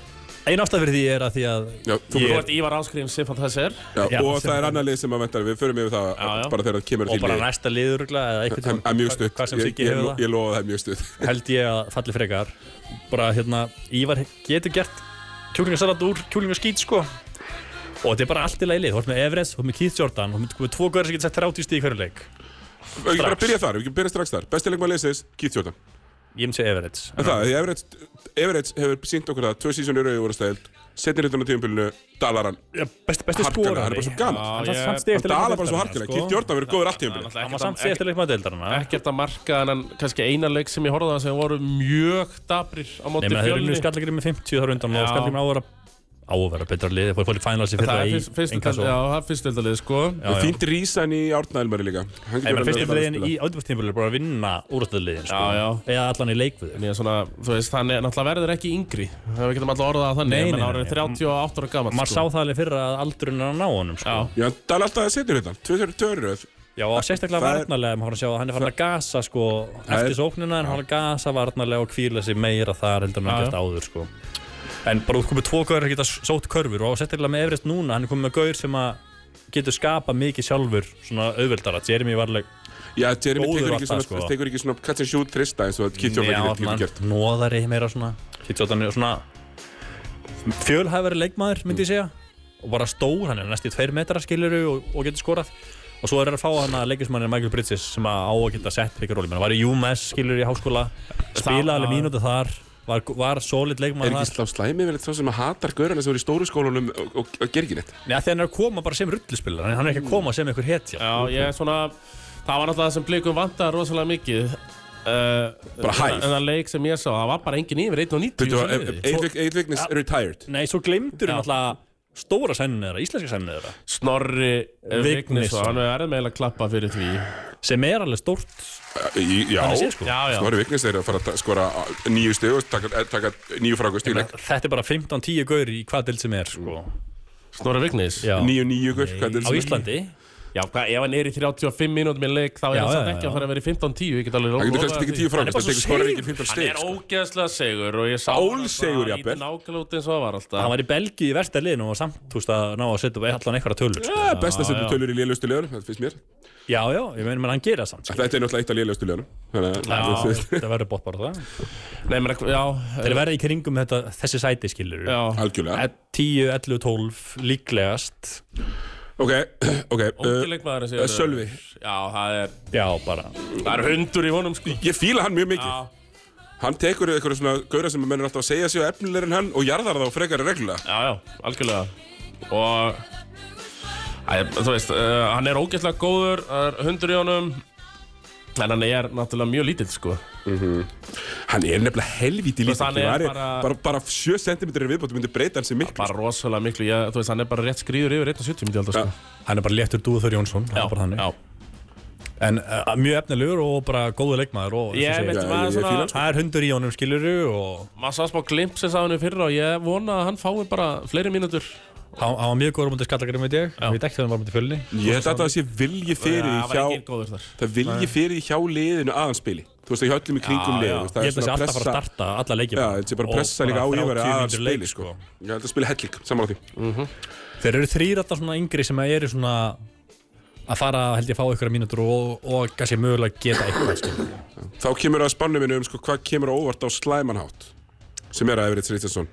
Speaker 3: Einn ástæð fyrir því er að því að
Speaker 1: já, þú
Speaker 2: Þú
Speaker 1: verður
Speaker 2: ert Ívar Áskrím, Sifan Þessir
Speaker 1: Já,
Speaker 3: Já,
Speaker 1: og
Speaker 3: sem-
Speaker 1: það er annað lið sem að venda við förum yfir það
Speaker 2: Já, já.
Speaker 1: bara þegar það kemur að
Speaker 3: Og
Speaker 1: því
Speaker 3: bara
Speaker 1: lið.
Speaker 3: næsta liður Eða einhvern
Speaker 1: Það
Speaker 3: tímann
Speaker 1: er mjög
Speaker 3: hva-
Speaker 1: stutt
Speaker 3: Hvað sem
Speaker 1: Ég-
Speaker 3: Siggi
Speaker 1: ég-
Speaker 3: hefur það
Speaker 1: Ég lofa það er mjög stutt
Speaker 3: Held ég að falli frekar Bara hérna Ívar getur gert Kjúlingasalat úr Kjúlingaskít sko Og þetta er bara allt í lagi lið Þú ert með Everest, þú ert með Keith Jordan Þú ert með tvo góðar sem getur sett 30 stíð í hverju leik
Speaker 1: Við getum bara að byrja þar, við getum byrja strax þar Bestilegum að leysins, Keith Jordan
Speaker 3: Ég myndi segja Everest
Speaker 1: En það, því Everett, Everett hefur sínt okkur það Tvö sísónu eru í úrstæld Setnir hittan á tíumpilinu, dalaran
Speaker 3: Besti, besti
Speaker 1: Harkalega,
Speaker 3: skorari
Speaker 1: hann er bara svo gamall.
Speaker 2: Já,
Speaker 3: Hann samt-
Speaker 2: ég-
Speaker 3: samt
Speaker 1: Hann
Speaker 3: stigasti leikmaður
Speaker 1: dalar bara svo
Speaker 3: deildarinnar,
Speaker 1: harkilega
Speaker 3: sko.
Speaker 1: Keith Jordan verið góður allt tíumpilinu
Speaker 3: Hann var samt síðast leikmaður deildarinna
Speaker 2: ekkert að marka en kannski eina leik sem ég horfði að sem voru mjög dabrir á
Speaker 3: Nei,
Speaker 2: móti
Speaker 3: menn þeir eru
Speaker 2: fjölni
Speaker 3: unnið skallagrim með 50 þar undan
Speaker 2: Já.
Speaker 3: og skallagrim á að vera á að vera betra liði, fór fólk fænalsi fyrir
Speaker 2: það
Speaker 3: það
Speaker 2: er
Speaker 3: í
Speaker 2: fyrst, fyrstu
Speaker 3: inkasso.
Speaker 2: deildalið, já, það er fyrstu deildalið sko
Speaker 3: já.
Speaker 1: Fínt rísan í Árnælmari líka Hann
Speaker 3: En
Speaker 1: getur
Speaker 3: menn
Speaker 1: alveg
Speaker 3: fyrstu
Speaker 1: bara að
Speaker 3: liðin
Speaker 1: spila.
Speaker 3: í átöfustímpulur er bara að vinna úrstæðliðin sko.
Speaker 2: Já, já.
Speaker 3: eða allan í leik við þau.
Speaker 2: En ég er svona, þú veist, hann er náttúrulega verður ekki yngri Það við getum alltaf orðað að þannig
Speaker 3: Nei,
Speaker 2: en
Speaker 3: nei,
Speaker 2: hann
Speaker 3: nei,
Speaker 2: er
Speaker 3: nei.
Speaker 2: 38 ára gammal
Speaker 3: sko. Maður sá það alveg fyrir að aldurinn er að ná honum sko.
Speaker 2: sko. Já,
Speaker 1: Já, hann dala alltaf að setja hérna Tvö törröð
Speaker 3: já, og sérstaklega
Speaker 1: Það er-
Speaker 3: varnarlega, maður horfði að sjá að hann er farin að gasa sko,
Speaker 1: Það er-
Speaker 3: eftir sóknina, en hann er að gasa varnarlega og kvíla sig meira þar heldur en hann
Speaker 2: Já,
Speaker 3: gert áður sko. En bara út komið tvo gaur að geta sótt körfur og sérstaklega með Everest núna, hann er komið með gaur sem að getur skapa mikið sjálfur svona auðveldara, Jeremy varleg
Speaker 1: Já, Jeremy
Speaker 3: Góður
Speaker 1: tekur
Speaker 3: var
Speaker 1: ekki
Speaker 3: það,
Speaker 1: svona,
Speaker 3: sko.
Speaker 1: tekur ekki svona catch and shoot trista eins og Keith Jordan getur- getur gert
Speaker 3: nóðari meira svona Kitjóttan er svona fjölhæfari leikmaður myndi ég segja og bara stór, hann er næst í tveir metra skiluru og, og getur skorað og svo er hann að fá hann að leikismannin Michael Bridges sem að á að geta sett fyrir rólum hann var í UMS skiluru í háskóla spilaði alveg mínútu þar var, var solid
Speaker 1: Er
Speaker 3: leikmaður
Speaker 1: ekki
Speaker 3: þar
Speaker 1: slá slæmi verið þá sem að hatar gaurana sem voru í stóru skólunum og, og, og ger ekki neitt?
Speaker 3: Nei, af því hann er að koma bara sem rullispillar hann er ekki að koma sem einhver hetja
Speaker 2: já, ég er svona Það var náttúrulega það sem blikum vantar rosalega mikið uh,
Speaker 1: Bara eh, hæð.
Speaker 2: En það leik sem ég sá, það var bara engin yfir 1 og 90
Speaker 1: Veitu, Egil Vignis retired.
Speaker 3: Nei, svo glemdur hann alltaf stóra sænunni þeirra, íslenska sænunni þeirra
Speaker 2: Snorri
Speaker 3: Vignisson.
Speaker 2: Vignisson Hann er erð með að klappa fyrir því
Speaker 3: sem er alveg stórt
Speaker 1: Í- Já,
Speaker 3: Þannig séð, sko.
Speaker 2: Já, já
Speaker 1: Snorri Vignes er að fara að ta- skora nýju stegu og taka, eh, taka nýju frákvist í leik
Speaker 3: þetta er bara 15-10 gaur í hvað dild sem er sko.
Speaker 2: Snorri Vignis
Speaker 3: Já.
Speaker 1: Nýju nýju gull, hvað er
Speaker 3: á Íslandi
Speaker 2: Já, hvað, ef hann er í 35 mínútum í leik þá er
Speaker 3: Já,
Speaker 2: hann samt
Speaker 3: já,
Speaker 2: ekki
Speaker 3: já.
Speaker 2: að fara að vera í 15-10 Ég get alveg
Speaker 1: Það getur
Speaker 2: lofað
Speaker 1: kannski tekið
Speaker 2: því.
Speaker 1: tíu
Speaker 3: Hann er
Speaker 1: frákvist en
Speaker 3: bara svo
Speaker 1: tekur skorar ekki 15
Speaker 3: seigur.
Speaker 2: Hann
Speaker 1: steg
Speaker 2: er
Speaker 1: sko.
Speaker 2: ógeðslega segur og ég sá
Speaker 1: Ólsegur, jafnvel.
Speaker 2: Nákvæmlega út eins og hann var alltaf
Speaker 3: hann var í Belgíu í versta liðinu og samt þú veist að ná að setja upp allan einhverja tölur sko.
Speaker 1: Eh, Best að setja tölur í lélustu leðunum, þetta finnst mér
Speaker 3: já, já, ég meina menn hann gera það samt sko.
Speaker 1: Þetta er náttúrulega eitt af lélustu leðunum Þannig að þú
Speaker 3: Já,
Speaker 1: veist,
Speaker 3: þetta verður bótt bara það
Speaker 2: Nei, menn, já
Speaker 3: þeir verða í kringum þetta, þessi sæti E, skilur
Speaker 2: Já
Speaker 3: 10,
Speaker 1: algjörlega
Speaker 3: 11, 12 líklegast
Speaker 1: Ok, ok uh,
Speaker 2: Ógileg maður að segja
Speaker 1: eh, Sölvi.
Speaker 2: Já, það er
Speaker 3: já, bara
Speaker 2: Það er hundur í honum sko
Speaker 1: Ég fíla hann mjög mikið
Speaker 2: Já,
Speaker 1: Hann tekur eitthvað svona gauðra sem mennur alltaf að segja sig og efnilegur en hann og jarðar þá frekar reglulega
Speaker 2: já, já, algjörlega Og Æ, Þú veist, uh, hann er ógeðslega góður Það er hundur í honum En hann er náttúrulega mjög lítill sko
Speaker 1: Hann er nefnilega helvíti
Speaker 2: veist,
Speaker 1: lítið
Speaker 2: hann
Speaker 1: Hann
Speaker 2: er
Speaker 1: er
Speaker 2: bara-
Speaker 1: bara, bara 7 cm viðbót myndi breyta hann sem miklu
Speaker 2: Bara rosalega miklu ég, Þú veist, hann er bara rétt skrýður yfir 1.70 myndi ég held að sko
Speaker 3: hann er bara léttur Dúður Jónsson já, bara þannig.
Speaker 2: já
Speaker 3: en uh, mjög efnilegur og bara góður leikmaður og, eins
Speaker 2: Ég
Speaker 3: og segir,
Speaker 2: veit
Speaker 1: Já,
Speaker 2: maður
Speaker 1: ég
Speaker 2: svona
Speaker 1: fíla hann,
Speaker 3: það er hundur í honum skiluru og
Speaker 2: Maður sá smá glimpsis af henni fyrra Og ég vona að hann fái bara fleiri mínútur
Speaker 3: hann hann var mjög góður mútið skallagrim veit ég, ég veit ekki þegar hann var mútið fjölni
Speaker 1: Ég held að það sé vilji fyrir því
Speaker 2: Það var ekki
Speaker 1: hjá
Speaker 2: góður þar
Speaker 1: Það vilji fyrir því hjá liðinu að hann spili Þú veist það hjá öllum í kringum
Speaker 2: Já,
Speaker 1: liðinu
Speaker 2: já.
Speaker 1: þú veist,
Speaker 3: ég
Speaker 1: Það er svona pressa
Speaker 3: held að það sé alltaf að fara að starta alla leikir
Speaker 1: Já, þetta sé bara
Speaker 3: Og
Speaker 1: pressa líka á yfir að
Speaker 3: 30
Speaker 1: hann
Speaker 3: mínútur
Speaker 1: spili
Speaker 3: leik,
Speaker 1: sko. Ég held að spila helling, samanlega því
Speaker 3: Þeir eru þrýr alltaf svona yngri sem eru svona að fara held ég að fá einhverja mínútur og, og kannski mögulega geta eitthvað skilur.
Speaker 1: Þá kemur að spannu minu um sko, hvað kemur á óvart á slæmanhátt sem er að Everett Richardson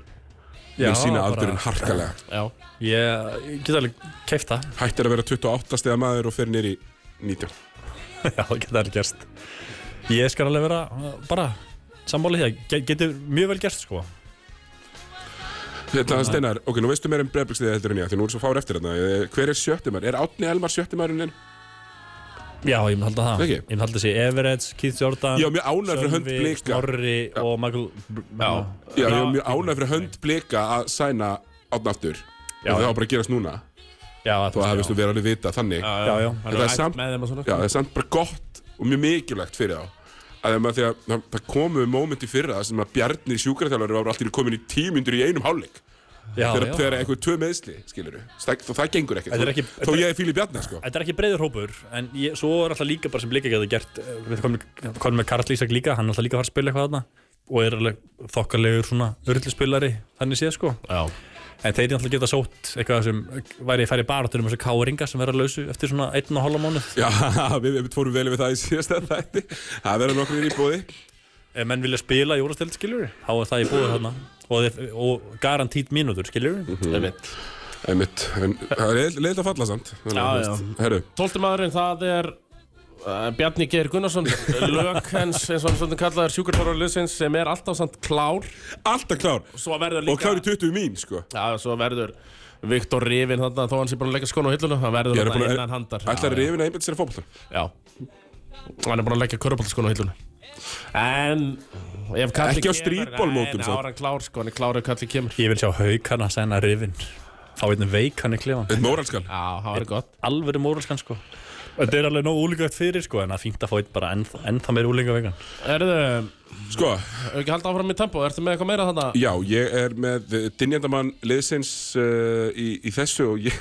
Speaker 3: Já,
Speaker 1: mun sína
Speaker 3: bara-
Speaker 1: aldurinn harkalega
Speaker 2: Já
Speaker 3: Ég, ég get alveg keift það
Speaker 1: Hættir að vera 28 stegar maður og fer nýr í 19
Speaker 3: Já, það geta alveg gerst Ég skal alveg vera uh, bara sammála því það getur mjög vel gerst sko
Speaker 1: Þetta steinar, ok, nú veistu meira um Breiðbyggsliðið heldur en ég því nú er svo fár eftir þetta Hver er sjöttumar? Er Átni Elmar sjöttumarinn en?
Speaker 3: Já, ég mun halda það
Speaker 1: Ekki?
Speaker 3: Ég mun halda þessi Everett, Keith Jordan
Speaker 1: Ég var mjög ánægður fyrir hönd blika
Speaker 3: Snorri og Michael
Speaker 2: Já.
Speaker 1: Já, ég var mjög ánægður fyrir hönd blika að sæna Átni aftur Og
Speaker 3: Já.
Speaker 1: það var bara að gerast núna
Speaker 3: Já,
Speaker 1: Þú hafðist þú verið alveg vita þannig Já,
Speaker 3: Já, já.
Speaker 2: Hann
Speaker 1: Það er
Speaker 2: er ætt
Speaker 1: samt-
Speaker 2: með þeim og svona
Speaker 1: það er samt bara gott og mjög mikilvægt fyrir þá að þegar maður, þegar það- það komu moment í fyrra sem að Bjarni sjúkraþjálfari var alltaf komin í tímyndur í einum hálfleik
Speaker 3: já,
Speaker 1: þegar,
Speaker 3: já.
Speaker 1: þegar eitthvað tvö meðsli, skilur við þó það gengur ekkert,
Speaker 3: Þetta er
Speaker 1: þó-
Speaker 3: ekki-
Speaker 1: þó ég er fíli Bjarni sko.
Speaker 3: Þetta er ekki breiður hópur, en ég, svo er alltaf líka bara sem blika getur gert, eh, við komum kom með Karl Ísak líka, hann er alltaf líka að fara að spila eitthvað þarna og er alveg þokkarlegur svona örluspilari, þannig séð sko
Speaker 2: Já
Speaker 3: en þeir alltaf geta sótt eitthvað sem væri færi barátur um þessu káringa sem verða lausu eftir svona einn og hálfa mánuð
Speaker 1: já, við, við fórum vel við það í síðasta þætti það verða nokkur í bóði
Speaker 3: ef menn vilja spila í úrastelt skiljur þá er það í búið þarna og, þeir, og garantít mínútur skiljur
Speaker 2: Mm. Einmitt.
Speaker 1: Einmitt, en það er leiðilegt að falla samt þannig,
Speaker 2: Já,
Speaker 1: að,
Speaker 2: já.
Speaker 1: þú veist, herru,
Speaker 2: Tólti maðurinn, það er uh, Bjarni Geir Gunnarsson Lök hens, eins og hann stundum kallaður sjúkurfárar Lusins sem er alltaf samt klár
Speaker 1: alltaf klár
Speaker 2: Svo verður
Speaker 1: og
Speaker 2: líka
Speaker 1: klár í 20 mín sko
Speaker 2: Já, svo verður Viktor Rivin þarna þó hann sé búin að leggja skonu á hilluna hann verður
Speaker 1: Ég er
Speaker 2: þarna
Speaker 1: búin að-
Speaker 2: innan handar
Speaker 1: ætlar
Speaker 2: Já,
Speaker 1: reyfin að einbæta sér að fótbolta
Speaker 2: Já, já. Hann er búin að leggja körubóltaskonu á hilluna En ef Kalli
Speaker 1: Ekki á
Speaker 2: kemur-
Speaker 1: streetballmótum,
Speaker 2: Nei, Nei,
Speaker 1: samt.
Speaker 2: þá er hann klár sko, hann er klár ef Kalli kemur
Speaker 3: ég vil sjá haukana sæna rifin fá einn veikan í klefan
Speaker 1: Þetta er móralskal
Speaker 2: Já, það var gott
Speaker 3: alveg moralskan sko þetta er alveg nóg úlíkvægt fyrir sko en það er fínt að fá einn bara ennþá, ennþá meir úlíka veikan
Speaker 2: Erðu, hefur
Speaker 1: Sko,
Speaker 2: ekki haldið áfram í tempo, ertu með eitthvað meira þarna?
Speaker 1: já, ég er með eh, dynjandamann liðsins uh, í, í þessu og ég,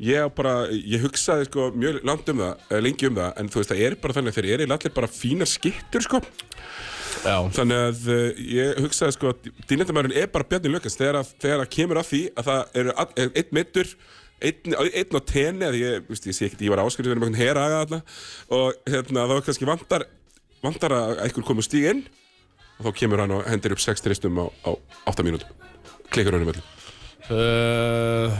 Speaker 1: ég á bara, ég hugsaði sko mjög langt um það, eh, lengi um það en þú veist, það er bara þannig að þeir eru allir bara fínar skittur sko,
Speaker 2: Já,
Speaker 1: þannig að uh, ég hugsaði sko að dynjandamannurinn er bara Bjarni Lökans þegar, að- þegar að kemur að því að það eru all- er einn meittur Einn, einn á tenni, að ég, veist, ég sé ekkert, ég var áskurðið með einhvern heraga þarna og hérna, þá kannski vantar, vantar að einhver komu stíg inn og þá kemur hann og hendir upp 6 tristum á, á 8 mínútum klikkar hann um öllum
Speaker 2: Uh,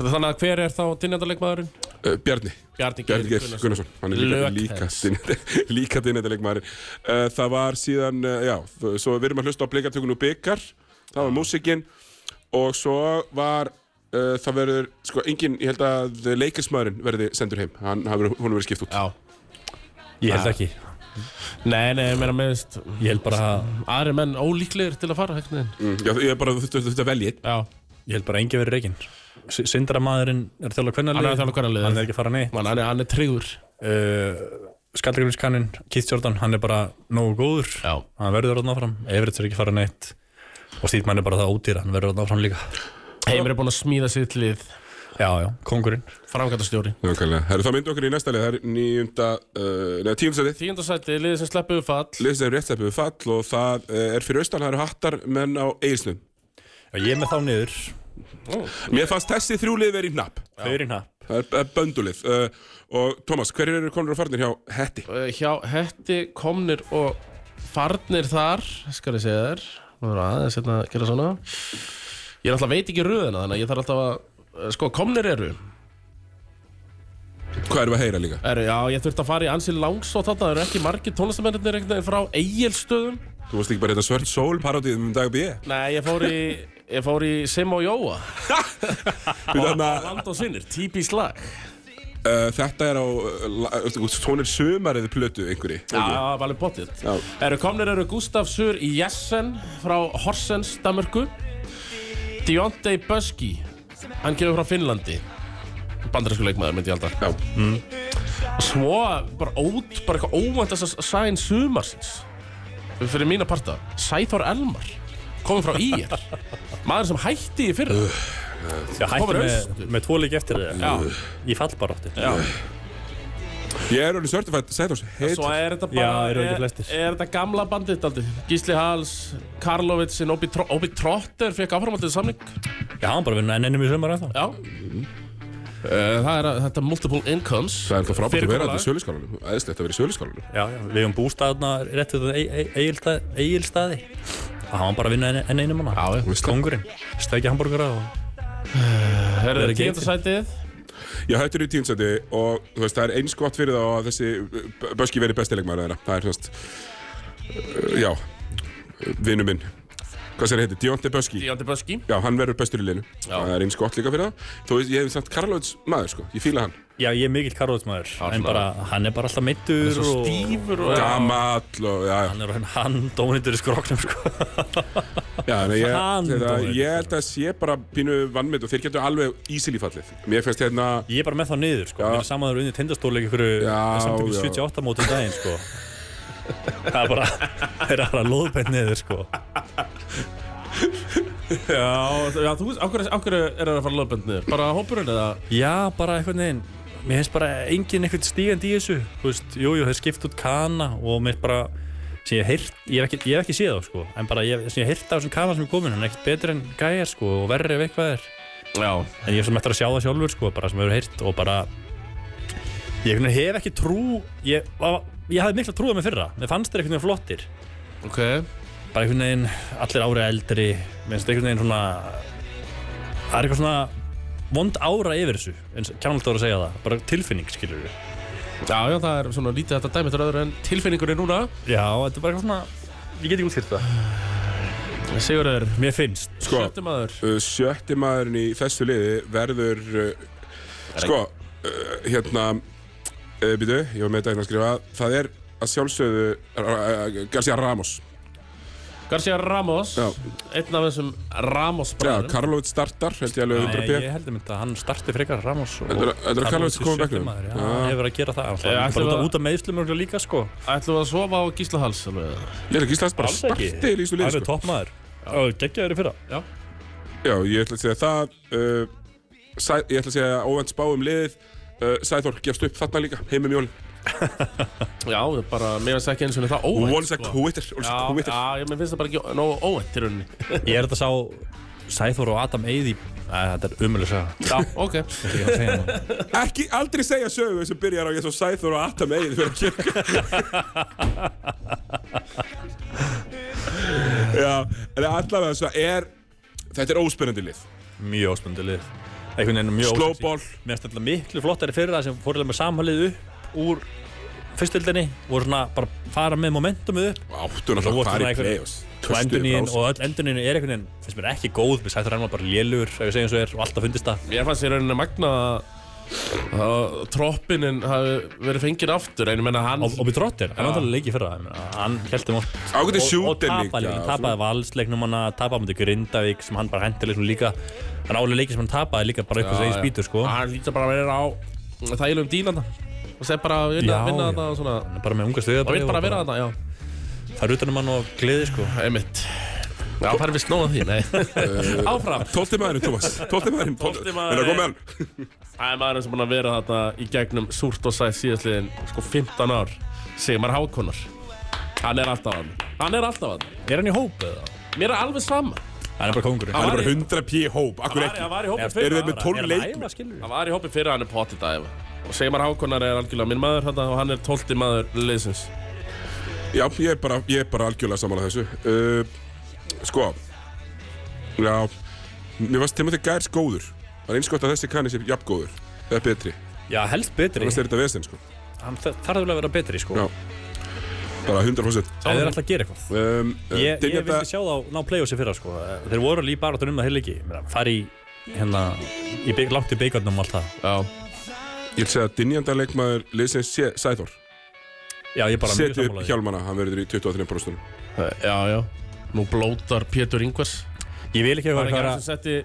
Speaker 2: þannig að hver er þá dynjandarleikmaðurinn?
Speaker 1: uh, Bjarni,
Speaker 2: Bjarni Geir sko.
Speaker 1: Bjarni Geir
Speaker 2: Gunnarsson.
Speaker 1: Gunnarsson hann er líka, líka,
Speaker 2: Lökheads.
Speaker 1: dynjandi- líka dynendalegmaður uh, það var síðan, uh, já f- svo við erum að hlusta á blikartökun og byggar það var músikinn og svo var uh, það verður, sko, engin, ég held að leikarsmaðurinn verði sendur heim, hann hafði hún verið skipt út
Speaker 2: Já
Speaker 3: ég
Speaker 2: Ah.
Speaker 3: held ekki,
Speaker 2: Nei, nei, ég meina meðist
Speaker 3: ég held bara að
Speaker 2: aðri menn ólíklegir til að fara hegnin.
Speaker 1: mm, já, ég er bara, þú þurfti að velja einn
Speaker 2: Já,
Speaker 3: Ég held bara að engin verið reygin Sindra maðurinn er þjóðlega hvernig
Speaker 2: Hann er að þjálfa kvennalið.
Speaker 3: Hann er ekki að fara neitt
Speaker 2: Man, hann, er, hann er tryggur
Speaker 3: uh, Skallgrímskannin, Keith Jordan Hann er bara nógu góður
Speaker 2: Já.
Speaker 3: Hann verður þarna áfram, Everett er ekki að fara neitt Og Stíðmann er bara það ódýra Hann verður þarna áfram líka
Speaker 2: Heimir er búin að smíða sitt lið
Speaker 3: Já, já, kongurinn
Speaker 2: Framkvæmtastjóri
Speaker 1: Nákvæmlega. Herru, það myndi okkur í næsta lið, það er nýjunda, uh, neða tíundasætið.
Speaker 2: Tíundasæti, liðið sem sleppuðu fall
Speaker 1: Liðsins er rétt við fall og það uh, er fyrir austan, það eru hattar menn á eigisnum.
Speaker 3: Já, Ég er með þá niður,
Speaker 1: Mér fannst þessi þrjú lið verið í hnapp.
Speaker 3: þau eru í hnapp
Speaker 1: Það er- það er böndulið. Uh, og Tómas, hverjir eru konur og farnir hjá Hetti?
Speaker 2: Uh, Hjá Hetti, Komnir og Farnir þar Skal ég segja þér Nú er aðeins hérna að gera svona Ég er alltaf veit ekki röðina þannig að ég þarf alltaf að uh, Sko, Komnir eru
Speaker 1: Hvað erum við að heyra líka?
Speaker 2: Eru, já, ég þurfti að fara í ansi langsótt þarna, það eru ekki margir tónlistamennir einhvern veginn frá eigilstöðum.
Speaker 1: Þú varst ekki bara hérna svört sól parodið um dag B.
Speaker 2: Nei, ég fór í, ég fór í Sim og Jóa,
Speaker 1: Við þarna,
Speaker 2: land og sinnir, típís lag.
Speaker 1: Hérna, uh, þetta er á, uh, la- uh, tónir sumarið plötu einhverji.
Speaker 2: Já, það var alveg bóttið.
Speaker 1: Já.
Speaker 2: Eru komnir eru Gustaf Sur Jessen frá Horsens, Danmörku. Deontay Buski, hann kemur frá Finnlandi. Bandarísku leikmaður myndi ég alltaf.
Speaker 1: Já,
Speaker 2: Svo bara ót, bara eitthvað óvænt þess að sæn sumarsins. Fyrir mína parta, Sæþór Elmar, komið frá IR. Maður sem hætti í fyrra.
Speaker 3: Já, hætti
Speaker 2: Komur
Speaker 3: með,
Speaker 2: austur.
Speaker 3: með tvo leik eftir
Speaker 2: Já.
Speaker 3: það Í fallbaróttin
Speaker 2: Já.
Speaker 1: ég er orðin sörtifætt, Sæþórs, heit.
Speaker 2: Svo er þetta
Speaker 3: Já,
Speaker 2: bara
Speaker 3: eru ekki
Speaker 2: er,
Speaker 3: flestir.
Speaker 2: er þetta gamla bandið aldrei? Gísli Hals, Karlovitsin, Obi, Tro, Obi Trotter fekk áframaldið samning
Speaker 3: Já, hann bara vinna ennum í sumar ennþá
Speaker 2: Já Eh, Það er að- þetta multiple incomes
Speaker 1: Það er það frábært að vera
Speaker 2: Fyrirkomulag.
Speaker 1: þetta í söluskálanum. Æðislegt að vera í söluskálanum.
Speaker 3: Já, já, við hefum bústaðna rétt við eigilstaði Það hafa hann bara að vinna enn en einum manna
Speaker 2: Já, já.
Speaker 3: Kongurinn, stækja hambúrgara og...
Speaker 2: Það
Speaker 3: Það
Speaker 2: er
Speaker 3: er ekki
Speaker 2: tíundasætið
Speaker 1: Já, þetta eru í tíundsæti og þú veist, það er eins gott fyrir þá að þessi uh, Böski verið bestilegmaður þeirra. Það er svona, uh, já, vinnu minn. Hvað sér heiti? Dionte Böski.
Speaker 2: Díandi Böski
Speaker 1: Já, hann verður bestur í liðinu.
Speaker 2: Já.
Speaker 1: Það er eins gott líka fyrir það. Þú veist, ég hef samt Karlovits maður, sko. Ég fíla hann.
Speaker 3: Já, ég er mikill karlóðsmaður
Speaker 2: Já,
Speaker 3: En
Speaker 2: svona-
Speaker 3: bara, hann er bara alltaf meittur
Speaker 2: Svo
Speaker 3: og...
Speaker 2: stífur og
Speaker 1: Gamall og, já, já.
Speaker 3: Hann er hann, hann dónitur í skróknum sko.
Speaker 1: Já, en ég,
Speaker 3: Hann,
Speaker 1: þetta,
Speaker 3: Dóri.
Speaker 1: ég held að sé bara pínu vannmynd og þeir getur alveg ísil í fallið. Mér finnst hérna,
Speaker 3: Ég er bara með þá niður sko.
Speaker 1: Já.
Speaker 3: Mér er samaður unni tindastóleik ykkur
Speaker 1: Já,
Speaker 3: samtökum
Speaker 1: já.
Speaker 3: 78 mótið daginn sko. Það er bara Það er bara lóðbætt niður sko.
Speaker 2: Já, já þú veist, ákveður ákveð er það að fara lögböndnir Bara hópurinn eða
Speaker 3: Já, bara einhvern veginn Mér finnst bara enginn einhvern stígandi í þessu Þú veist, jú, jú, þeir skipt út kana og mér finnst bara sem ég hef heyrt, ég hef ekki, ég hef ekki séð þá sko en bara ég, sem ég hef heyrt af þessum kana sem er komin hann er ekkert betur en gæjar sko og verri ef eitthvað er
Speaker 2: Já
Speaker 3: en ég er sem eftir að sjá það sjálfur sko bara sem hefur heyrt og bara ég einhvern veginn hef ekki trú ég, var- ég hafði mikla trúið með fyrra mér fannst þeir einhvern veginn flottir
Speaker 2: Ok
Speaker 3: bara einhvern veginn allir ári eldri mér finnst einhvern veginn svona það er eitthvað svona vond ára yfir þessu eins og Kjarnald var að segja það bara tilfinning skilur við
Speaker 2: Já, já, það er svona lítið þetta dæmi til öðru en tilfinningur er núna
Speaker 3: já, þetta er bara eitthvað svona ég get ekki útskýrt það
Speaker 2: Sigurður,
Speaker 3: mér finnst
Speaker 1: sko,
Speaker 2: sjöttu maður
Speaker 1: uh, sjötti maðurinn í þessu liði verður uh, sko, uh, hérna uh, býtu, ég var með þetta einn að skrifa það er að sjálfsögðu uh, uh, Garcia Ramos
Speaker 2: Garcia Ramos
Speaker 1: Já.
Speaker 2: Einn af þessum Ramos
Speaker 1: Já,
Speaker 2: bræðurum
Speaker 1: Karlovit startar, held ég alveg 100
Speaker 3: Nei,
Speaker 1: p
Speaker 3: ég heldur mynd að hann starti frekar Ramos og
Speaker 1: Heldur- heldur að Karlovits
Speaker 3: Karlovits
Speaker 1: komi á
Speaker 3: er
Speaker 1: bekknum?
Speaker 3: sjötti maður,
Speaker 1: Já.
Speaker 3: já, hann hefur verið að gera það
Speaker 2: Ég,
Speaker 3: ja,
Speaker 2: ætli
Speaker 3: bara út
Speaker 2: það-
Speaker 3: af- út af meðslum örugglega líka sko
Speaker 2: Ætlum við að sofa á Gísla Hals alveg eða?
Speaker 1: Ég er ekki íslensk bara startið í þessu
Speaker 3: hann
Speaker 1: liði
Speaker 3: er
Speaker 1: sko.
Speaker 3: toppmaður og geggjaður í fyrra
Speaker 2: Já
Speaker 1: Já, ég ætla að segja það uh, sæ, ég ætla að segja óvænt spá um liðið uh, Sæþór gefst upp þarna líka, heim með mjólin
Speaker 2: Já, það er bara, mér finnst það ekki eins og það óvænt sko.
Speaker 1: Once a quitter, once a
Speaker 2: Já,
Speaker 1: quitter
Speaker 2: já, ég- mér finnst það bara ekki nógu óvænt til rauninni
Speaker 3: ég er þetta sá Sæþór og Adam Eyði þetta er umölu saga
Speaker 2: Já, ok
Speaker 3: Ég er að segja það.
Speaker 1: Ekki aldrei segja sögu sem byrjar á ég svo Sæþór og Atam Eyð fyrir að kyrka Já, en allavega svo er Þetta er óspennandi lið
Speaker 3: mjög óspennandi lið einhvern veginn mjög
Speaker 1: Slow
Speaker 3: ósexy.
Speaker 1: ball.
Speaker 3: mér finnst alltaf miklu flottari fyrir það sem fór með samhalið upp úr fyrstöldinni voru svona bara fara með momentumið upp
Speaker 1: Áttu
Speaker 3: Svo
Speaker 1: náttúrulega
Speaker 3: voru
Speaker 1: að
Speaker 3: svona
Speaker 1: fara í
Speaker 3: einhver-
Speaker 1: play-offs
Speaker 3: og
Speaker 1: Köstuðu frá
Speaker 3: endunín
Speaker 1: sér.
Speaker 3: og öll endunín er einhvern veginn finnst mér ekki góð, mér sættur hann bara lélugur ef ég segja eins og er og alltaf fundist það
Speaker 2: Ég fannst í rauninni magna að og troppinin hafi verið fengið aftur en ég menna hann
Speaker 3: Obi Trotter, hann var alveg leikið fyrra ég meina, hann held um allt
Speaker 1: Ágætið
Speaker 3: Og- og
Speaker 1: sjúten
Speaker 3: tapaði líka, hann tapaði valsleiknum hann tapaði mútið Grindavík sem hann bara hendi leiknum líka hann álega leikið sem hann tapaði líka bara upp á
Speaker 2: Já,
Speaker 3: segið
Speaker 2: já.
Speaker 3: spýtur sko hann
Speaker 2: hann lítur bara að vera á þægilegum dílanda og sem bara að vinna,
Speaker 3: Já,
Speaker 2: vinna
Speaker 3: já.
Speaker 2: þetta og svona
Speaker 3: er bara með unga
Speaker 2: og vil
Speaker 3: stöðabæði
Speaker 2: bara vera þetta, já,
Speaker 3: það er utanum hann og gleði sko
Speaker 2: einmitt Já, það er vist nóg að því, nei Áfram
Speaker 1: Tólti maðurinn, Thomas. Tólti maðurinn.
Speaker 2: Tólfti
Speaker 1: Tólti
Speaker 2: maðurinn.
Speaker 1: maðurinn. Kom með hann.
Speaker 2: Það er maðurinn sem búin að vera þarna í gegnum súrt og sæð síðastliðin sko 15 ár Sigmar Hákonar Hann er alltaf hann Hann er alltaf hann
Speaker 3: er hann í hóp eða?
Speaker 2: Mér er alveg sama
Speaker 3: hann er bara kongurinn
Speaker 1: Hann
Speaker 2: Var
Speaker 1: er bara
Speaker 2: í-
Speaker 1: 100 p hóp. Akkur ekki.
Speaker 2: var í
Speaker 3: Eða,
Speaker 2: hópi
Speaker 1: Eru þeir með
Speaker 3: bara-
Speaker 1: 12
Speaker 3: er hann
Speaker 1: leikmenn?
Speaker 3: að æfa, skilurðu?
Speaker 2: Hann var í hópi fyrir hann er potið dæfa Og Sigmar Hákonar er algjörlega minn maður þetta og hann er 12. maður leysins
Speaker 1: Já, ég er bara, ég er bara algjörlega samanlega þessu. Uh, sko, já, mér varst Timothy Gærs góður. Það er eins gott að þessi kanni sé jafn góður. Eða betri.
Speaker 3: já helst betri
Speaker 1: Annars er þetta vesinn, sko.
Speaker 3: hann þ- þarf alveg að vera betri sko
Speaker 1: Já.
Speaker 3: ef
Speaker 1: Bara 100%.
Speaker 3: þeir er alltaf að gera eitthvað
Speaker 1: Um, uh,
Speaker 3: Ég, ég
Speaker 1: Dynja
Speaker 3: vildi sjá þá ná play-offsi fyrra sko Þeir voru líf bara um það heil ekki Fari í, hérna, í, bygg- langt í byggarnum og allt það
Speaker 2: Já
Speaker 1: Ég vil segja að dynjanda leikmaður liðsins sé Sæþór.
Speaker 3: Já, ég er bara mjög
Speaker 1: Setu upp
Speaker 3: sammála því.
Speaker 1: hjálmana, hann verður í 23%.
Speaker 2: Eh, Já, já Nú blótar Pétur Ingvars
Speaker 3: Ég vil ekki
Speaker 2: Það er
Speaker 3: eitthvað
Speaker 2: ekki
Speaker 3: vera
Speaker 2: hann sem setti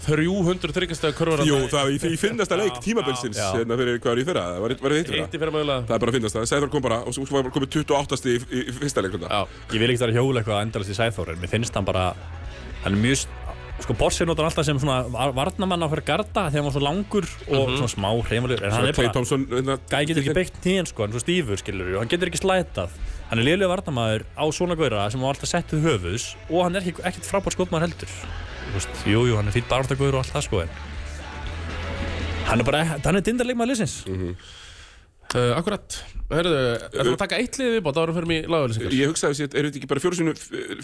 Speaker 2: 300 þryggjastega kurvar
Speaker 1: Jú, það er í finnasta leik tímabilsins
Speaker 3: já.
Speaker 1: hérna fyrir hvað er í fyrra, það var, var í hitt fyrra.
Speaker 2: Eitt í fyrir mögulega
Speaker 1: Það er bara að finnast það. Sæþór kom bara og svo var bara komið 28. í, í, í fyrsta hérna. leiklunda.
Speaker 2: Já,
Speaker 3: Ég vil ekki vera að hjóla eitthvað endalist í Sæþór En mér finnst hann bara Hann er mjög Sko, Borsi notar hann alltaf sem svona var- varnarmann á hverja garda Þegar hann var svo langur og
Speaker 1: Mhm.
Speaker 3: svona smá hreymalegur En hann er
Speaker 1: Clay
Speaker 3: bara
Speaker 1: Thompson, hérna,
Speaker 3: Gæði getur ekki beitt nýjan sko, hann er svo stífur skilur við, og hann getur ekki slætað Hann er liðlega varnamaður á svona góra sem hann alltaf sett við höfuðs og hann er ekki, ekkert frábært skotmaður heldur Þú veist, Jú, jú, hann er fýtt barndagóður og allt það sko en Hann er bara, hann er dindarleikmaður liðsins
Speaker 2: Mhm. uh, akkurat Hörðu, ætlum við að taka eitt lið viðbót ára fyrir mig lagauðlýsingar
Speaker 1: Ég hugsaði sér, eru þetta ekki bara fjóru sinni,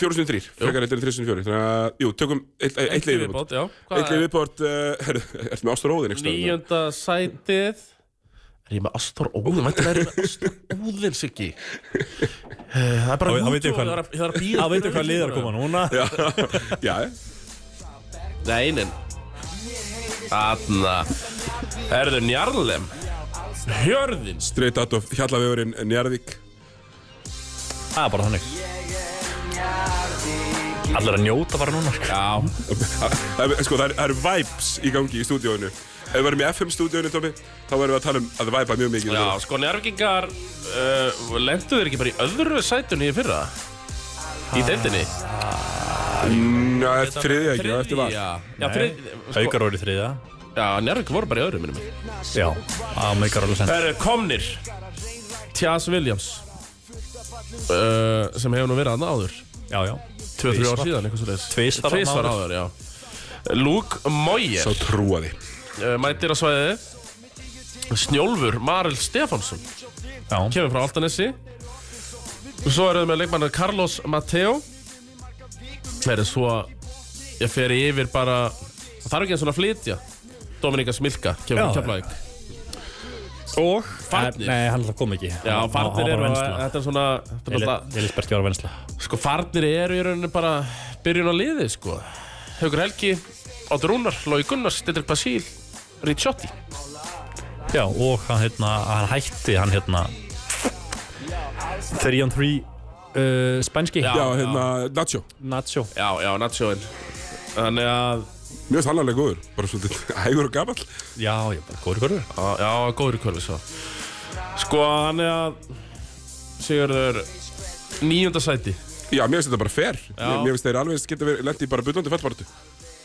Speaker 1: fjóru sinni þrýr? Frekar eitthvað þrýr sinni fjóri. Þannig að, jú, tökum eitt, eitt leið viðbót.
Speaker 2: já
Speaker 1: Eitt leið viðbót, uh, er, ertu með ástur óðin, ekki stöðum?
Speaker 2: Nýjönda sætið Er ég með Astor Óðin? Mæntilega er ég með Astor Óðin, Siggi Eh, Það er bara
Speaker 3: Þá- þá veit ég
Speaker 2: YouTube, það
Speaker 3: hvað-
Speaker 2: er að- það er að býða
Speaker 3: Það veitum hvað liðar koma núna
Speaker 1: Já,
Speaker 2: Nei, nein Þarna Herðu, Njarlem Hjörðin
Speaker 1: straight out of Hjallafjörðin, Njarðvík.
Speaker 3: Það er bara þannig Allir að njóta bara núna sko.
Speaker 2: Já,
Speaker 1: Það er- Sko, það eru- það eru vibes í gangi í stúdíóinu. Ef við verðum í FM stúdíóinu, Tómi, þá verðum við að tala um að vipa mjög mikið.
Speaker 2: já sko, Njarvíkingar uh, Lendu þeir ekki bara í öðru sætunni í fyrra? Í deildinni?
Speaker 1: Næ, þriðja ekki, á eftir var.
Speaker 2: Já, já,
Speaker 3: Nei.
Speaker 2: fyrir,
Speaker 3: Haukar voru í þriða
Speaker 2: já Njarvík voru bara í öðru, minnum mig
Speaker 3: Já, það meikar alveg sens
Speaker 2: Það eru komnir Tjas Williams uh, sem hefur nú verið hann áður
Speaker 3: Já, já
Speaker 2: 2-3 ár síðan, eitthvað svo leiðis
Speaker 3: Tvisvar þarna
Speaker 2: Tvisvar
Speaker 3: áður.
Speaker 2: áður, já Luke Moyer
Speaker 1: Sá trúaði.
Speaker 2: uh, mætir á svæðið Snjólfur Marel Stefánsson
Speaker 3: Já,
Speaker 2: kemur frá Altanesi og svo eruðu með leikmannar Carlos Mateo það eru svo ég fer yfir bara það þarf ekki einn svona að flytja Dominika Smilka kemur
Speaker 3: Já,
Speaker 2: frá Keflavík og Farnir
Speaker 3: Nei, hann alltaf kom ekki
Speaker 2: Já,
Speaker 3: Hann- hann-
Speaker 2: farnir
Speaker 3: hann
Speaker 2: eru
Speaker 3: var
Speaker 2: og
Speaker 3: vensla.
Speaker 2: þetta er e- svona þetta er bara,
Speaker 3: Elisberg var vensla
Speaker 2: Sko, farnir eru í rauninni bara byrjun á liði, sko Haukur Helgi, Áttur Rúnar, Lói Gunnars, Didrik Basíl, Ricciotti
Speaker 3: Já, og hann, hérna, hann hætti hann hérna 3 on 3 uh, spænski
Speaker 1: Já, hérna, Nacho.
Speaker 3: Nacho
Speaker 2: Já, já, Natsjóin Þannig að,
Speaker 1: Mér finnst hann alveg góður, bara svolítið hægur og gamall.
Speaker 3: Já, já, bara góður góður
Speaker 2: á, já, góður í kvölu, svo Sko, þannig að Sigurður Níunda sæti
Speaker 1: Já, mér finnst þetta bara fair. Mér, mér finnst þeir alveg geta verið, lendi bara butlandi fellbartu.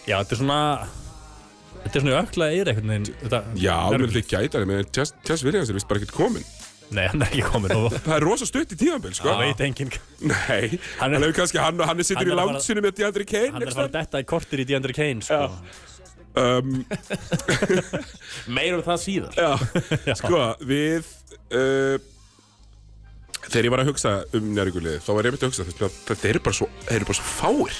Speaker 3: Já, þetta er svona Þetta er svona ökla eir einhvern veginn þetta,
Speaker 1: Já, mér
Speaker 3: nörgl-
Speaker 1: finnst þeir gæta, menn Tess Tess Williams er vist bara ekkert kominn.
Speaker 3: Nei, hann er ekki komin og
Speaker 1: Það er rosa stutt í tíðanbel, sko.
Speaker 3: það veit enginn
Speaker 1: Nei,
Speaker 3: Hann
Speaker 1: hann
Speaker 3: er-
Speaker 1: hefur kannski, hann, hann er sittur í
Speaker 3: Hann er að fara-
Speaker 1: látsinu með Deandre Kane,
Speaker 3: Hann er að
Speaker 1: next
Speaker 3: fara að
Speaker 1: time.
Speaker 3: detta í kortir í Deandre Kane sko.
Speaker 1: Um,
Speaker 2: Meir um það síðar
Speaker 1: já, sko, við, uh, þegar ég var að hugsa um njárvíkulið, þá var ég myndið að hugsa, þess að þetta eru bara svo, þeir eru bara svo fáir.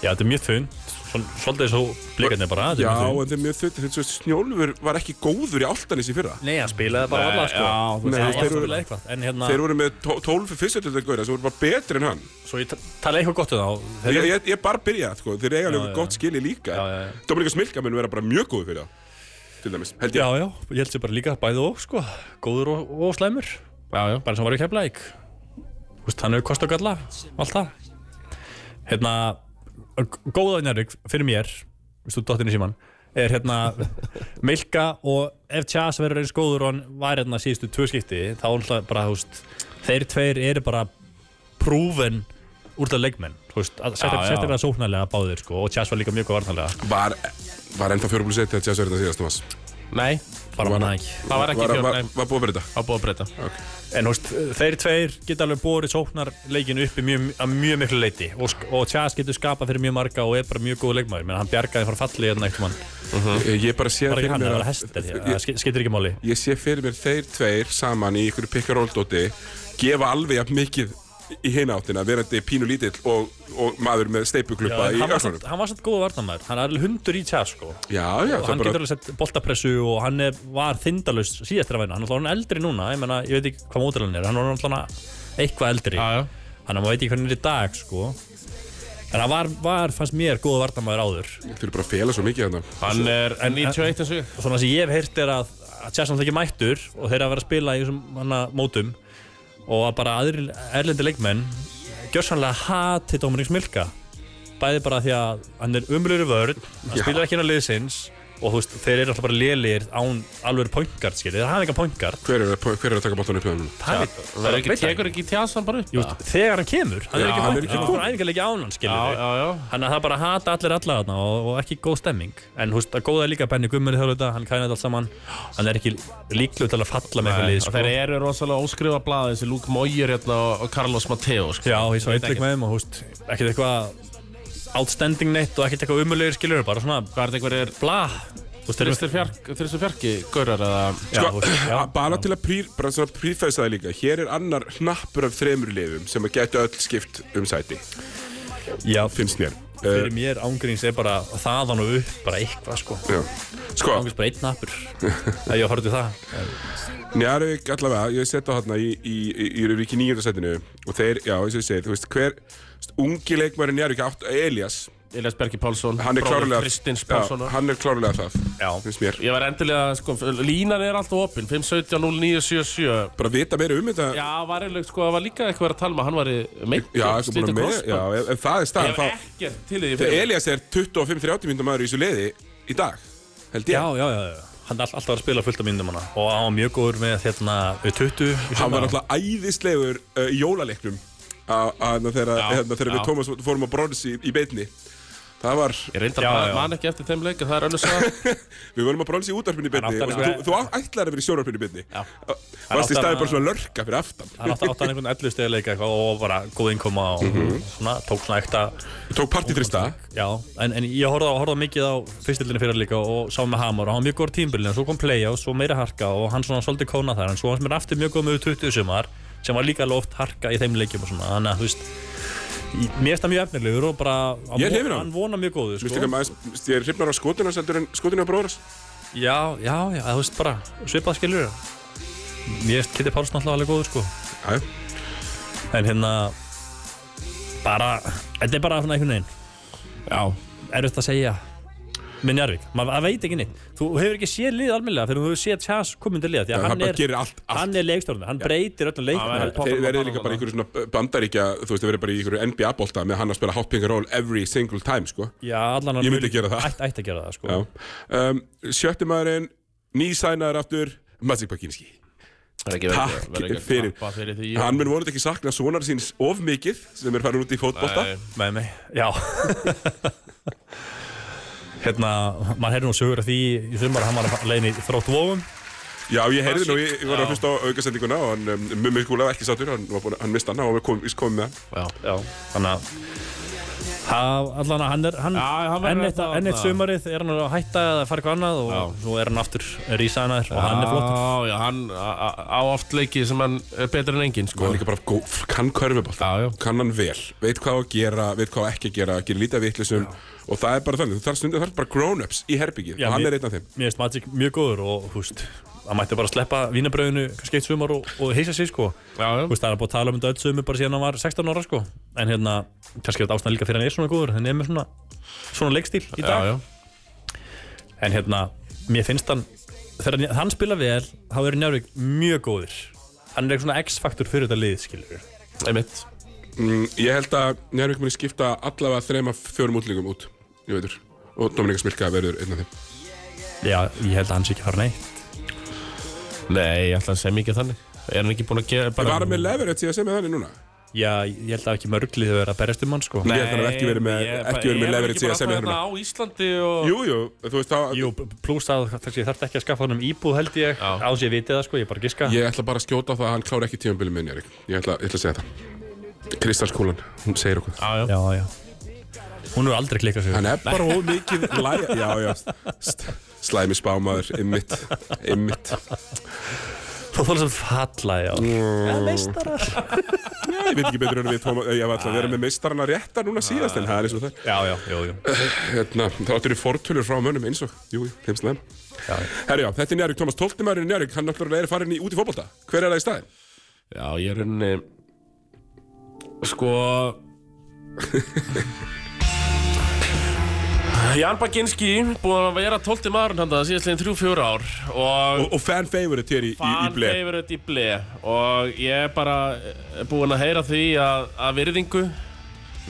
Speaker 3: Já, þetta er mjög þunn Svolítið eins og blikarnir bara þetta er
Speaker 1: Já,
Speaker 3: mjög þunn.
Speaker 1: en þeir mjög þautt, þeir svo snjólfur var ekki góður í áltanis í fyrra.
Speaker 3: Nei, hann spilaði bara alla sko
Speaker 2: Já, þú
Speaker 1: Nei,
Speaker 3: Hann
Speaker 1: þeir
Speaker 3: spilaði
Speaker 1: voru,
Speaker 3: eitthvað En hérna,
Speaker 1: þeir voru með tó- 12 fyrstöldulegauðir, þessu voru bara betri en hann.
Speaker 3: svo ég ta- tala eitthvað gott um þá Þeir
Speaker 1: Ég, ég, ég bara byrja, sko, þeir eiga alveg
Speaker 3: já.
Speaker 1: gott skili líka.
Speaker 3: Já, já, já.
Speaker 1: Dominika Smilka mun vera bara mjög góður fyrir það. til dæmis, held
Speaker 3: Já,
Speaker 1: ég
Speaker 3: já, ég held sér bara líka bæði og sko, góður og, og slæmur
Speaker 2: Já, já,
Speaker 3: bara sem var í keflæk Húst, hann hefur kost og galla, allt það Hérna góðaðin Erik, fyrir mér viðstu, dottinn í síman, er hérna Milka og ef Tjas verður eins góður og hann var hérna síðustu tvö skipti þá er hann bara, húst þeir tveir eru bara prúven úrlega leikmenn, húst
Speaker 2: Já, já.
Speaker 3: sérstaklega sóknarlega báðir sko og Tjas var líka mjög góð varnarlega,
Speaker 1: Var, var ennþá fjórum pluss 1 þegar Jazz var þetta síðast, Thomas
Speaker 2: nei,
Speaker 3: bara manna ekki
Speaker 2: það var ekki
Speaker 1: var,
Speaker 2: fjór,
Speaker 1: var,
Speaker 2: nei,
Speaker 1: var búið að breyta
Speaker 2: það var búið að breyta
Speaker 3: En húst, þeir tveir geta alveg borið sóknarleikinu upp í mjög, að mjög miklu leiti og, sk- og Tjas getur skapað fyrir mjög marga og er bara mjög góð leikmaður menn hann bjargaði frá falli hérna einhvern mann
Speaker 1: Eh, Ég ég bara sé
Speaker 3: bara ekki hann, það
Speaker 1: mér
Speaker 3: var hestir hér, það sk- skiptir ekki máli
Speaker 1: Ég sé fyrir mér þeir tveir saman í ykkur pikkaróldóti gefa alveg jafn mikið í hina áttina verandi pínu lítill og, og maður með
Speaker 3: Já,
Speaker 1: steipuklubba
Speaker 3: en
Speaker 1: í
Speaker 3: hann, var
Speaker 1: öllunum
Speaker 3: samt, hann var samt góð varnamæður, hann er alveg hundur í Tjas sko og
Speaker 1: Já, já, það
Speaker 3: hann
Speaker 1: bara
Speaker 3: getur alveg sett boltapressu og hann er, var þindalust síðastir af hennu, hann er alltaf eldri núna ég, menna, ég veit ekki hvað mótil hann er, hann var alltaf eitthvað eldri
Speaker 2: Já, já,
Speaker 3: hann maður veit ekki hvernig hann er í dag sko en hann var, var fannst mér góð varnamæður áður
Speaker 1: Þú eru bara að fela svo mikið hérna
Speaker 2: hann er 91 eins og ég
Speaker 3: og svona sem ég hef heyrt er að að Chelsea náttúrulega ekki mættur og þeir að vera að spila í þessum hana mótum og að bara aðrir erlendi leikmenn gjörsanlega hati Dominik Smilka bæði bara því að hann er umlöru vörn hann
Speaker 1: Já.
Speaker 3: spilar ekki inn á liðsins og þú veist, þeir eru alltaf bara lélir án alveg pointgard skilja, þeir hafa engan pointgard
Speaker 1: Hver er, hver er að taka bóttan upp hjá hann?
Speaker 3: það er
Speaker 2: Það er ekki,
Speaker 3: veit það
Speaker 2: tekur ekki tjásan bara upp
Speaker 3: Jú, veist, þegar hann kemur, hann
Speaker 1: Já,
Speaker 3: er ekki
Speaker 1: hann er
Speaker 3: pointgard
Speaker 1: ekki
Speaker 3: hann er æfingarleiki án hann
Speaker 2: Já,
Speaker 3: skilja
Speaker 2: já, já
Speaker 3: Þannig að það bara hata allir alla þarna og, og ekki góð stemming En húst, að góða er líka Benny Gummur í þjóðluta, hann kænaði allt saman Hann er ekki líklu til að falla með
Speaker 2: Nei,
Speaker 3: eitthvað lið
Speaker 2: og
Speaker 3: sko.
Speaker 2: Þeir eru rosalega óskrifa blaði þessi Luke Moyer hérna og og Carlos Mateo sko.
Speaker 3: Já, ég svo eitthvað með þeim og húst, ekkert eitthvað outstanding neitt og ekkert eitthvað umulegir skilur Bara svona,
Speaker 2: Hvað er þetta einhver er
Speaker 3: bla Þú veist, þeir eru-
Speaker 2: Þristur fjark, þristur fjarki, gaurar eða
Speaker 3: Já,
Speaker 1: Sko,
Speaker 3: þú veist, já,
Speaker 1: bara til að prír, bara svona prífæsa það líka Hér er annar hnappur af þremur liðum sem að gætu öll skipt um sæti
Speaker 3: já, Eh,
Speaker 1: finnst mér uh,
Speaker 3: fyrir mér ángríns er bara þaðan og upp, bara eitthvað sko
Speaker 1: já. Sko,
Speaker 3: Ángríns bara einn nappur Það ég horfði það
Speaker 1: Njarðvík allavega, ég setja þarna í, í, í, í Rúríki nýjöndarsætinu og þeir, já, eins og ég segi, þú veist, hver st, ungi leikmæri Njarðvík, átt Elias
Speaker 2: Elias Bergi Pálsson
Speaker 1: hann er
Speaker 2: bróðir
Speaker 1: klárlega
Speaker 2: Kristins
Speaker 1: já,
Speaker 2: Pálssonar
Speaker 1: hann er klárlega það,
Speaker 3: Já.
Speaker 1: finnst mér
Speaker 2: Ég var endilega, sko, línan er alltaf opinn 517-0977
Speaker 1: bara vita meira um þetta
Speaker 2: Já, var eiginlega, sko, það var líka eitthvað verið að tala um að hann var meittur,
Speaker 1: já, sko, búin að með, já ef, ef það er
Speaker 2: Ég
Speaker 1: staðan
Speaker 2: hef
Speaker 1: þá,
Speaker 2: ekkert til því
Speaker 1: þegar Elias er 25-30 minnum maður í þessu liði í dag held
Speaker 3: Já,
Speaker 1: ég,
Speaker 3: já, já, já Hann er all- alltaf að spila fullt af myndum hana og hann var mjög góður með hérna, 20
Speaker 1: hann var alltaf æðislegur uh, í jólaleiknum að- að- þegar
Speaker 2: Já,
Speaker 1: hérna, þegar
Speaker 2: já.
Speaker 1: við Tómas fórum á brons í, í beinni það var,
Speaker 2: Ég reyndar
Speaker 3: Já,
Speaker 2: að
Speaker 3: já.
Speaker 2: man ekki eftir þeim leik en það er önnur saga
Speaker 1: við vorum að brons í útarpinu í beinni
Speaker 3: átti
Speaker 1: og
Speaker 3: að-
Speaker 1: þú, þú ætlaði að vera í sjónarpinu í beinni Uh,
Speaker 2: Já.
Speaker 1: varst í
Speaker 3: átti
Speaker 1: staði
Speaker 3: að-
Speaker 1: bara svona lörka fyrir aftan
Speaker 3: hann átti átti hann einhvern 11 stegi leika eitthvað og bara góð innkoma og svona, tók svona ekta
Speaker 1: tók partitrista
Speaker 2: Sko.
Speaker 3: já, en, en ég horfði, á- horfði á mikið á fyrstildinni fyrir líka og sá með Hamar og hann var mjög góður tímbilin, svo kom playa og svo meira harka og hann svona svolítið kóna þar, en svo hans mér aftur mjög góð með 20 sumar sem var líka loft harka í þeim leikjum og svona, þannig að þú veist í- mér finnst það mjög efnilegur og bara
Speaker 1: Ég er hrifinn af honum.
Speaker 3: hann vona mjög góðu
Speaker 1: Vistu ekki
Speaker 3: sko.
Speaker 1: að maður, ég er hrifnar á skotunars heldur en skotinu á bróðars
Speaker 3: já, já, já, þú veist bara svipað skilur mér finnst Kitty Pálsson alltaf alveg góður sko.
Speaker 1: Já,
Speaker 3: en hérna bara, þetta er bara svona einhvern veginn
Speaker 2: Já,
Speaker 3: erfitt að segja með Njarvík, maður það veit ekki neitt þú hefur ekki séð lið almennilega fyrir þú hefur séð Tjás komið til liða því að
Speaker 1: hann
Speaker 3: hann
Speaker 1: bara
Speaker 3: er,
Speaker 1: gerir allt, allt
Speaker 3: hann er leikstjórnir, hann breytir öllum
Speaker 2: Já,
Speaker 3: leikstjórnir
Speaker 2: já.
Speaker 1: Þeir verður líka bara í einhverju svona uh, bandaríkja, þú veist, þeir verður bara í einhverju NBA-bolta með hann að spila hot pink and roll every single time, sko.
Speaker 3: já, allan hann
Speaker 1: Ég myndi gera það.
Speaker 3: ætti ætti að gera það sko.
Speaker 1: Já. Um, sjötti maðurinn, nýsænaður aftur, Magic Baginski.
Speaker 2: það er ekki
Speaker 1: Takk
Speaker 2: verið- verið ekki að
Speaker 1: fyrir.
Speaker 2: klappa fyrir því
Speaker 1: Hann mun vonandi ekki sakna sonar síns of mikið sem er farin út í fótbolta.
Speaker 2: Nei.
Speaker 3: með mig, já hérna, maður heyrði nú sögur af því í þumar að hann var að leiðin í þrótt vóum
Speaker 1: Já, ég heyrði nú, ég,
Speaker 2: Magic,
Speaker 1: ég var
Speaker 2: já.
Speaker 1: að hlusta á aukasendinguna og hann um, mummi skúla var ekki sattur, hann, var búinn að- hann mista hann, hann var komið kom með hann.
Speaker 2: Já,
Speaker 3: já, þannig að Það, allan að hann er, hann,
Speaker 2: Já, hann verður
Speaker 3: enn eitt-
Speaker 2: þetta-
Speaker 3: enn eitt sumarið er hann að hætta eða fara eitthvað annað og
Speaker 2: Já.
Speaker 3: svo er hann aftur rísaðanaður og hann er flott.
Speaker 2: Já, já, hann á á oft leiki sem hann er betur en
Speaker 1: Og
Speaker 2: engin, sko
Speaker 1: hann líka bara gó, kann körfubolta,
Speaker 2: Já, já.
Speaker 1: kann hann vel, veit hvað á að gera, veit hvað á ekki að gera, gerir lítið af vitlisum og það er bara þannig, þú þarf stundum, þarf bara grown-ups í herbyggið
Speaker 3: Já,
Speaker 1: og hann
Speaker 3: mér-
Speaker 1: er einn af þeim.
Speaker 3: Mér finnst Magic mjög góður og húst hann mætti bara sleppa vínabröðinu kannski eitt sumar og, og heisa sig sko
Speaker 2: Já, já,
Speaker 3: húst það er búið að tala um þetta öll sumar bara síðan hann var 16 ára sko en hérna kannski er þetta ástæðan líka fyrir hann er svona góður hann er með svona svona leikstíl í
Speaker 2: já,
Speaker 3: dag
Speaker 2: já
Speaker 3: en hérna mér finnst hann þegar hann- hann spila vel, þá eru Njárvík mjög góðir hann er eitthvað svona x-faktur fyrir þetta lið, skilur
Speaker 2: einmitt
Speaker 1: Mm, ég held að Njárvík muni skipta allavega þrema fjórum útlingum út, ég veitur. Og Dominika Smilka verður einn af þeim.
Speaker 3: já, ég held að hann sé ekki að fara neitt
Speaker 2: Nei, ég ætla að segja mikið þannig Er hann ekki búin að gera
Speaker 1: Ég
Speaker 2: bara
Speaker 1: var með Leverett síðan sem er þannig núna.
Speaker 3: já, ég held að ekki mörglið að vera að berjast um hann, sko
Speaker 1: Ég ætla að ekki verið með- ekki verið með leverage í að semja
Speaker 2: hérna á Íslandi og
Speaker 1: Jú, jú, þú veist það...
Speaker 3: Jú, pluss að þessi, ég þarf ekki að skaffa honum íbúð held ég
Speaker 2: Já.
Speaker 3: á þess ég viti það sko, ég er bara að giska
Speaker 1: Ég ætla bara að skjóta á það að hann klára ekki tímanbili með Njárvík. Ég ætla, ég ætla að segja það. Kristalskúlan, hún segir okkur.
Speaker 2: Já, já.
Speaker 3: já, já Hún hefur aldrei klikkað sig
Speaker 1: Hann er bara of mikið læg... Já, já, st- slæmi spámaður, ymmit, ymmit.
Speaker 3: Þú þólar sem falla, já
Speaker 1: Mm.
Speaker 3: Það meistarar
Speaker 1: Ég veit ekki betur en við tóma... Ég var alltaf að vera með meistarana réttar núna síðast, en það er eins og það. er.
Speaker 3: Já, já, jú, jú
Speaker 1: Hérna, þá áttur við fortölur frá mönnum eins og... Jú, jú, heimslega.
Speaker 3: Já,
Speaker 1: Herjá, þetta er Njárvík, Tómas Tóltimæri Njárvík, hann náttúrulega er farin í út í fótbolta. Hver er það í staðin?
Speaker 2: já, ég er henni Sko Jan Baginski búin að vera 12. maðurinn hann það síðastlegin 3-4 ár og
Speaker 1: Og, og fan favorite hér í, í, í
Speaker 2: Fan
Speaker 1: ble.
Speaker 2: favorite í ble og ég er bara eh, búinn að heyra því að, að virðingu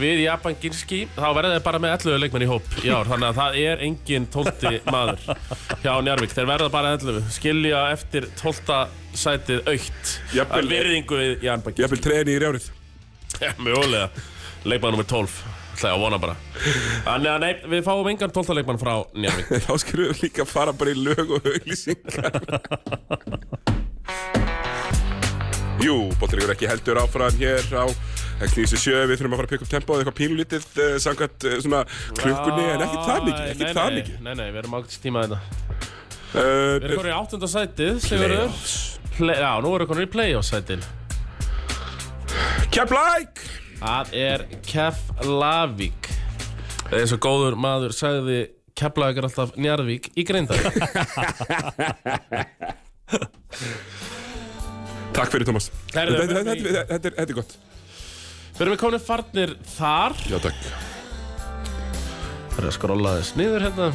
Speaker 2: við Japan Ginski þá verða þeir bara með 11 leikmenn í hóp í ár þannig að það er engin 12 maður hjá Njarvík, þeir verða bara 11 skilja eftir 12 sætið aukt
Speaker 1: Jafnvel-
Speaker 2: að virðingu við Japan
Speaker 1: Ég vil treyni í rjárið.
Speaker 2: Ginski mjögulega, leikmann nummer 12 Það er að vona bara Þannig að nei, við fáum engan 12 leikmann frá Njarvík
Speaker 1: Þá skurðum við líka fara bara í lög og auglýsingar. Jú, Bóttrikur ekki heldur áfram hér á Knýsi 7, við þurfum að fara að pika upp tempóið eitthvað pínulítið uh, samkvæmt uh, svona klukkunni, en ekki það mikið, ekki
Speaker 2: Ah, Nei,
Speaker 1: það
Speaker 2: nei,
Speaker 1: mikið.
Speaker 2: Nei, nei, við erum ákveðst tíma hérna. þetta Við
Speaker 1: Uh,
Speaker 2: erum konur í áttunda sætið, Sigurður. Play, já, nú erum við konur í playoff sætið.
Speaker 1: Keflæk!
Speaker 2: Það er Keflavík. Eins og góður maður sagði Keflavík er alltaf Njarðvík í Grindavík.
Speaker 1: Takk fyrir, Tómas.
Speaker 2: Herðu,
Speaker 1: Þetta- Þetta
Speaker 2: förum í-
Speaker 1: þetta- þetta- þetta er þetta er gott.
Speaker 2: Við erum komin farnir þar.
Speaker 1: Já, takk.
Speaker 2: Það er að skrolla þess niður hérna.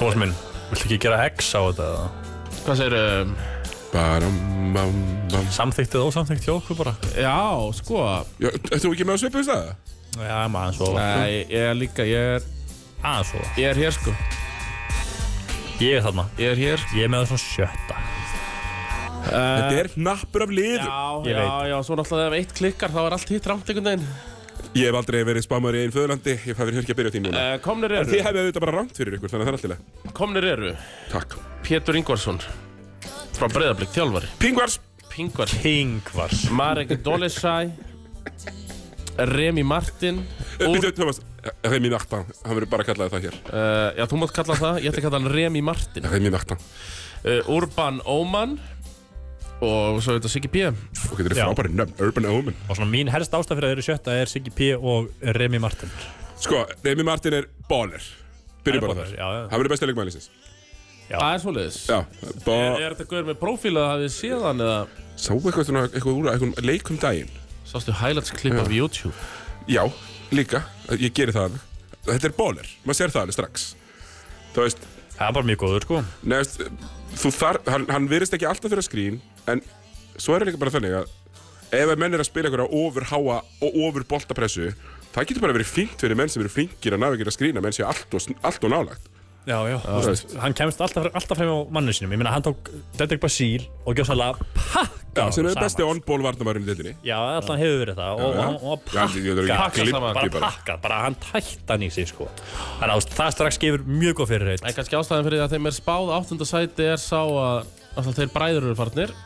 Speaker 3: Tómas minn, viltu ekki gera X á þetta? eða?
Speaker 2: Hvað segir um,
Speaker 1: Baram, bam, bam.
Speaker 3: Samþykkt eða ósamþykkt hjá okkur bara
Speaker 2: Já, sko.
Speaker 1: Já, ert þú ekki með að svipa í
Speaker 2: Eh.
Speaker 1: staða?
Speaker 3: Já, maður svo
Speaker 2: Nei, ég er líka, ég er,
Speaker 3: Aðeins svo
Speaker 2: ég er hér sko.
Speaker 3: Ég er þarna
Speaker 2: Ég er hér.
Speaker 3: Ég er með það svona sjötta
Speaker 1: Þetta er hnappur af liðum.
Speaker 2: Já,
Speaker 3: Ég
Speaker 2: já,
Speaker 3: veit.
Speaker 2: já, svo náttúrulega ef eitt klikkar þá er allt hitt ramt einhvern veginn.
Speaker 1: Ég hef aldrei verið spámaður í einu föðurlandi, ég hef verið ekki að byrja á því núna.
Speaker 2: Uh, komnir
Speaker 1: Þið
Speaker 2: eru,
Speaker 1: hefðu auðvitað bara rámt fyrir ykkur, þannig að það er alltaf leið.
Speaker 2: komnir eru.
Speaker 1: Takk.
Speaker 2: Pétur Ingvarsson frá Breiðablík, þjálfari.
Speaker 1: Pingvars!
Speaker 2: Pingvar
Speaker 3: Pingvars
Speaker 2: Marek Dolesaj Remi Martin Úr,
Speaker 1: Býtu, eh, Thomas, Eh, Remi Martin, hann verður bara að kalla það hér. Eh,
Speaker 2: uh, Já, þú mátt kalla það, ég ætla að kalla hann Remi Martin uh,
Speaker 1: Remi Martin.
Speaker 2: Urban Oman Og svo þetta Siggi P
Speaker 1: Og þetta eru
Speaker 3: Já.
Speaker 1: frábæri nöfn, Urban Omen.
Speaker 3: Og svona mín helst ástæð fyrir að þeir eru sjötta er Siggi P. og Remi Martin
Speaker 1: Sko, Remi Martin er baller. Byrjum bara
Speaker 3: baller,
Speaker 1: þar.
Speaker 3: já, já.
Speaker 1: Hann verður besti leikmælisins.
Speaker 2: Það er svoleiðis
Speaker 1: Já,
Speaker 2: Er,
Speaker 1: bara...
Speaker 2: er þetta guður með prófíla að við séðan eða
Speaker 1: Sáu eitthvað svona, eitthvað úr, eitthvað leikum daginn?
Speaker 2: Sástu highlights klipp af YouTube
Speaker 1: Já, líka. Eh, Ég geri það alveg. Þetta er baller. Maður sér það alveg strax. Þú veist,
Speaker 3: Það er bara mjög góður sko
Speaker 1: Neðast, þú þar, hann, hann virðist ekki alltaf fyrir að skrín en svo er það líka bara þannig að ef að menn er að spila ykkur á ofur háa og ofur boltapressu það getur bara verið fínt fyrir menn sem eru flinkir að ná ekki að skrína menn séu allt og, allt og nálagt
Speaker 3: Já, já Þú veist, Hann kemst alltaf, alltaf frem á manni sinum Ég meina, hann tók Dedrick Basíl og gjöf sannlega pakka
Speaker 1: sem
Speaker 3: honum
Speaker 1: er besti
Speaker 3: saman.
Speaker 1: on-ball varnamærin í deildinni
Speaker 3: Já, alltaf hann hefur verið það og, og, og
Speaker 1: Já, ég- ég- ég-
Speaker 3: pakka
Speaker 1: ég- ég-
Speaker 2: saman.
Speaker 1: ég-
Speaker 3: bara
Speaker 1: bara.
Speaker 3: pakkað, bara hann tætt hann í sig sko Þannig að það strax gefur mjög góð fyrirheit
Speaker 2: En kannski ástæðan fyrir því að þeim er spáð áttunda sæti er sá að alltaf þeir bræður eru farnir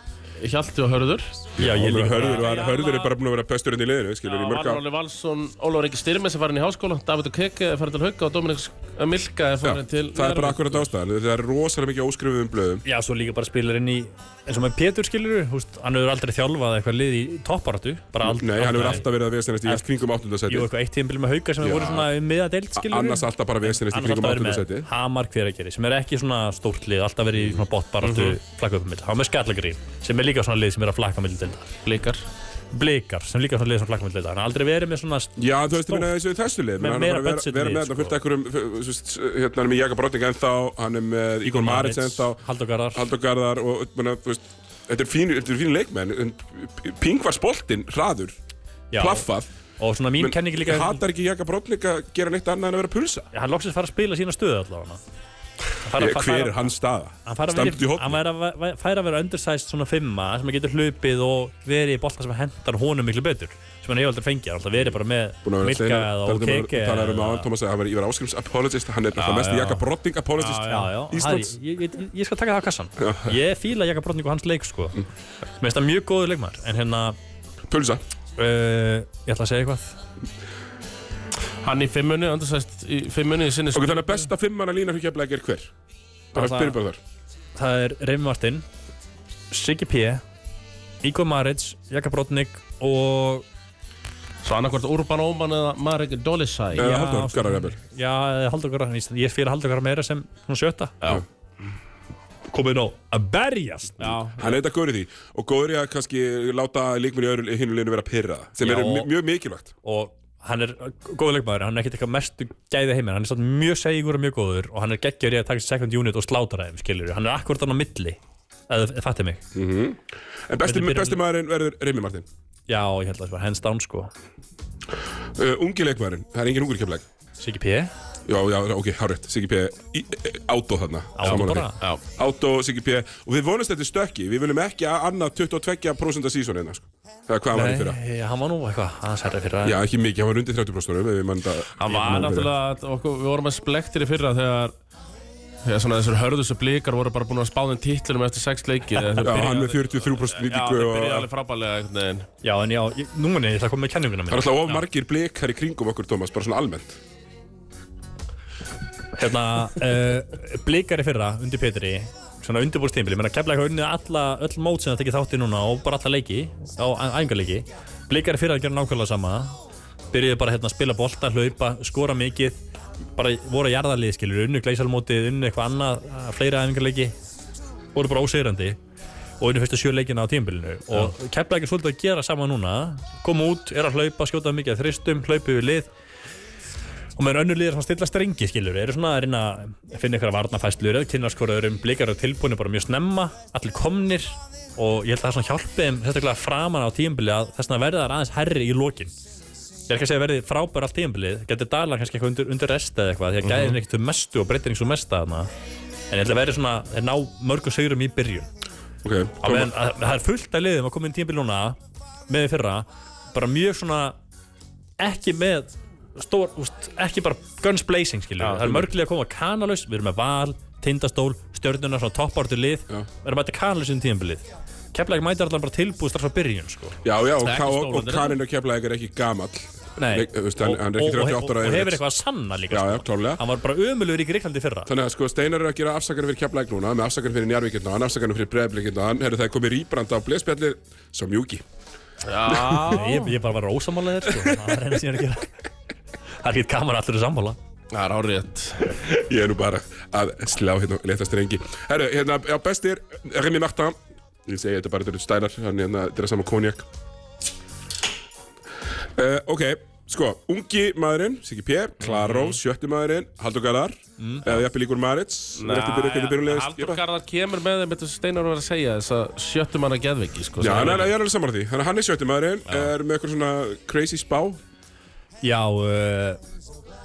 Speaker 2: Hjalti og Hörður
Speaker 3: Já,
Speaker 1: Ólafur
Speaker 3: ég líka
Speaker 1: Hörður, var, hörður er bara búin að vera besturinn í liðinu skilur í mörg á
Speaker 2: Valur Óli Valsson, Ólafur Ingi Styrmes er farin í háskóla David og Keke er farin til Hauka og Dominik Milka er
Speaker 1: Já,
Speaker 2: farin til
Speaker 1: það er bara akkurat ástæðan það er rosalega mikið óskrifuðum blöðum
Speaker 3: Já, svo líka bara spilar inn í eins og með Pétur skilur húst, hann hefur aldrei þjálfað eitthvað lið í topparáttu bara aldrei
Speaker 1: Nei, hann hefur alltaf verið að vestinast í allt kringum
Speaker 3: Jú,
Speaker 1: áttundasæti
Speaker 3: eitthvað eitt tímpil með hauka sem
Speaker 1: Já.
Speaker 3: hefur voru svona miða deilt skilur
Speaker 1: annars alltaf bara vestinast í
Speaker 3: Annars
Speaker 1: kringum
Speaker 3: alltaf verið með
Speaker 1: áttundasæti
Speaker 3: Hamar Hveragerði sem er ekki svona stórt lið alltaf verið í
Speaker 1: Mhm.
Speaker 3: svona botbaráttu mm -hmm. flakka upp um mill hann er með Skallagrín sem er líka svona lið sem er að flakka mill til
Speaker 2: Blikar
Speaker 3: blikar sem líka svona liðið sem flakkamöld leita hann har aldrei verið með svona
Speaker 1: Já, þú veist, ég meina eins og í þessu lið
Speaker 3: Með
Speaker 1: menn hann
Speaker 3: meira
Speaker 1: er bara að
Speaker 3: budget
Speaker 1: vera, vera
Speaker 3: lið,
Speaker 1: með þetta
Speaker 3: sko.
Speaker 1: fullt ekkurum hérna hann er með Jaka Brotting ennþá hann er með Ígor Marits ennþá
Speaker 3: Haldogarðar
Speaker 1: Haldur Garðar og menna, þú veist Þetta er fínu, þetta er fínu leikmenn en Ping var spoltinn, hraður, plaffað
Speaker 3: og svona mín
Speaker 1: menn
Speaker 3: kenning líka
Speaker 1: Hatar ekki Jaka Brotning að gera neitt annað en að vera að pulsa
Speaker 3: hann loksist fara að spila sína stöðu allavega Hann fær að-
Speaker 1: Ég- Hver er hans staða?
Speaker 3: hann fær að
Speaker 1: Standið í
Speaker 3: vera,
Speaker 1: hótt
Speaker 3: hann fær að, vera- fær að vera undersized svona fimma sem að getur hlupið og verið í bolta sem hendar honum miklu betur sem hann hefur aldrei fengið, hann er alltaf verið bara
Speaker 1: Búin
Speaker 3: með
Speaker 1: að vera
Speaker 3: milka eða og keke
Speaker 1: Það er um
Speaker 3: eða-
Speaker 1: áðan, Thomas, að hann verið Ívar Áskrims apologist Hann er náttúrulega
Speaker 3: Já,
Speaker 1: mest
Speaker 3: já.
Speaker 1: Jaka Brotning apologist
Speaker 3: Já, já, Harry,
Speaker 1: Íslands
Speaker 3: ég, ég, ég skal taka það á kassan Ég fíla Jaka Brotning og hans leik sko Mér finnst það mjög góður leikmar En hérna,
Speaker 1: Pulsa
Speaker 3: uh, ég ætla að segja eitthvað
Speaker 2: Hann í fimmunni, andarsæst í fimmunni í sinni
Speaker 1: Ok, þannig að besta fimmanna lína fyrir keflæk er hver? Bara
Speaker 2: Það-
Speaker 1: byrjum bara þar
Speaker 3: Það er Reimi Martin Siggi P Ígo Maric, Jaka Brotning Og
Speaker 2: Svo annarkvort Urban Oman eða Marek Dolisæ
Speaker 1: Eða
Speaker 3: Já,
Speaker 1: Eh, Halldór Garðar jafnvel.
Speaker 3: Já, haldur okkar hann Ég fíla haldur okkar meira sem svona sjötta
Speaker 2: Já.
Speaker 3: Komið nóg að berjast
Speaker 2: Já,
Speaker 1: Hann er þetta góður í því og góður í að kannski láta leikmenn í öðru hinu liðinu vera pyrra sem
Speaker 3: Já,
Speaker 1: er
Speaker 3: og-
Speaker 1: mi- mjög mikilvægt
Speaker 3: og hann er góð leikmaður, hann er ekkert eitthvað mestu gæði heiminn, hann er svona mjög segur og mjög góður og hann er geggjör í að taka second unit og slátra þeim, skilur, hann er akkurat hann á milli eða þið fattið mig
Speaker 1: En besti,
Speaker 3: Hvernig byrjar-
Speaker 1: besti maðurinn verður Reimi Martin
Speaker 3: já, ég held að það var hands down sko
Speaker 1: uh, Ungi leikmaðurinn, það er engin ungur keflæk
Speaker 3: Siggi P,
Speaker 1: Já, já, ok, hárétt, Siggi P í- e- Átó þarna
Speaker 3: áður bara
Speaker 2: já
Speaker 1: Átó, Siggi P og við vonumst þetta er stökki við viljum ekki að annað 22% af sísónu hérna sko. eða hvað var hann fyrir
Speaker 3: Nei, hann var nú eitthvað aðeins herra fyrir
Speaker 1: Já, ekki mikið, hann var undir 30% árum, ef ég man þetta-
Speaker 2: Hann
Speaker 1: ég
Speaker 2: var
Speaker 1: man þetta.
Speaker 2: náttúrulega, okkur, við vorum að splektir í fyrra þegar Þegar svona þessir hörðustu blikar voru bara búin að spá þeim titlunum eftir sex leiki þegar þeir
Speaker 1: Já,
Speaker 2: byrja-
Speaker 1: hann með 43%
Speaker 2: Já, þeir
Speaker 1: líkingu
Speaker 2: byrjaði
Speaker 1: og
Speaker 2: alveg frábælega einhvern veginn
Speaker 3: já, en já, ég- nú muni, ég ætla að koma með kenninguna
Speaker 1: Það er
Speaker 3: mín
Speaker 1: alltaf of margir blikar í kringum okkur, Thomas, bara svona almennt
Speaker 3: hérna, uh, blikari fyrra undir Petri svona undirbúrstímbili, menn að kemla eitthvað unnið alla, öll mót sem það tekið þátt í núna og bara alla leiki, á æfingarleiki blikari fyrra að gera nákvæmlega sama byrjuðu bara hérna að spila bolta, hlaupa skora mikið, bara voru að jarðarlið skilur, unnu gleisalmótið, unnu eitthvað annað eh, fleiri æfingarleiki voru bara ósegrandi og unnu fyrstu sjö leikina á tímbilinu og kemla eitthvað svolítið að gera sama núna koma út, er að hlaupa, skjóta mikið að þristum hlaupu við lið og meðan önnur liðir svona stilla strengi skilur eru svona að reyna að finna ykkur að varna fæstlur eða kynna skora öðrum blikar og tilbúinu bara mjög snemma allir komnir og ég held að það svona hjálpi þeim sérstaklega framan á tímbili að þess vegna verða þar aðeins herri í lokin ég er ekki að segja að verði frábær allt tímbilið getur dalar kannski eitthvað undir, undir rest eða eitthvað því að gæðin ekkert um mestu og breytir eins og mesta þarna en ég held að verði svona þeir ná mörgum sigurum í byrjun
Speaker 1: Ok,
Speaker 3: á meðan að- að það er fullt af liðum að koma inn tímbil núna með því fyrra bara mjög svona ekki með stór, úst, ekki bara guns blazing skilur
Speaker 1: Já,
Speaker 3: það er mörglið að koma kanalaus, við erum með val tindastól, stjörnuna, svona toppártur lið
Speaker 1: Já.
Speaker 3: við erum að mæta kanalaus um tímbilið Keflæk mætir allan bara tilbúið strax á byrjun sko.
Speaker 1: Já, já, og,
Speaker 2: Ekki
Speaker 1: Ka-
Speaker 2: stór
Speaker 1: og, og
Speaker 2: vandræði.
Speaker 1: Karin og Keflæk er ekki gamall
Speaker 3: Nei,
Speaker 1: Leik- þú veist, hann- hann er ekki
Speaker 3: og, og,
Speaker 1: 38
Speaker 3: og,
Speaker 1: ára
Speaker 3: og
Speaker 1: yfir.
Speaker 3: hefur eitthvað að sanna líka
Speaker 1: Já,
Speaker 3: sko.
Speaker 1: já, klárlega.
Speaker 3: hann var bara ömulur í Greiklandi í fyrra
Speaker 1: Þannig að sko Steinar er að gera afsakanir fyrir Keflæk núna með afsakanir fyrir Njarvíkirna og hann afsakanir fyrir Breiðblikirna hann herri það er komið rýbranda á blespjallir svo mjúki
Speaker 2: Já,
Speaker 3: ég, ég bara var ósamála þér sko. það er henni síðan að gera það er ekki gaman að allir er sammála
Speaker 2: það er árið
Speaker 1: Ég er nú bara að slá hérna leta strengi Herru, hérna, já, bestir Remi Martin Ég segi þetta bara, þetta er Steinar hann hérna, þetta er saman konjak uh, Ok, sko, ungi maðurinn Siggi P,
Speaker 3: Mhm.
Speaker 1: Klaró, sjötti maðurinn Haldur Garðar, eða jafnvel Ígur Marits
Speaker 2: Haldur Garðar kemur með þeim þetta Steinar var að segja þess að sjöttum hann að geðviki sko,
Speaker 1: Já,
Speaker 2: sem-
Speaker 1: hann er, ég er alveg saman á því. Þannig að hann er sjöttumæðurinn, er með eitthvað svona crazy spá.
Speaker 3: Já, uh,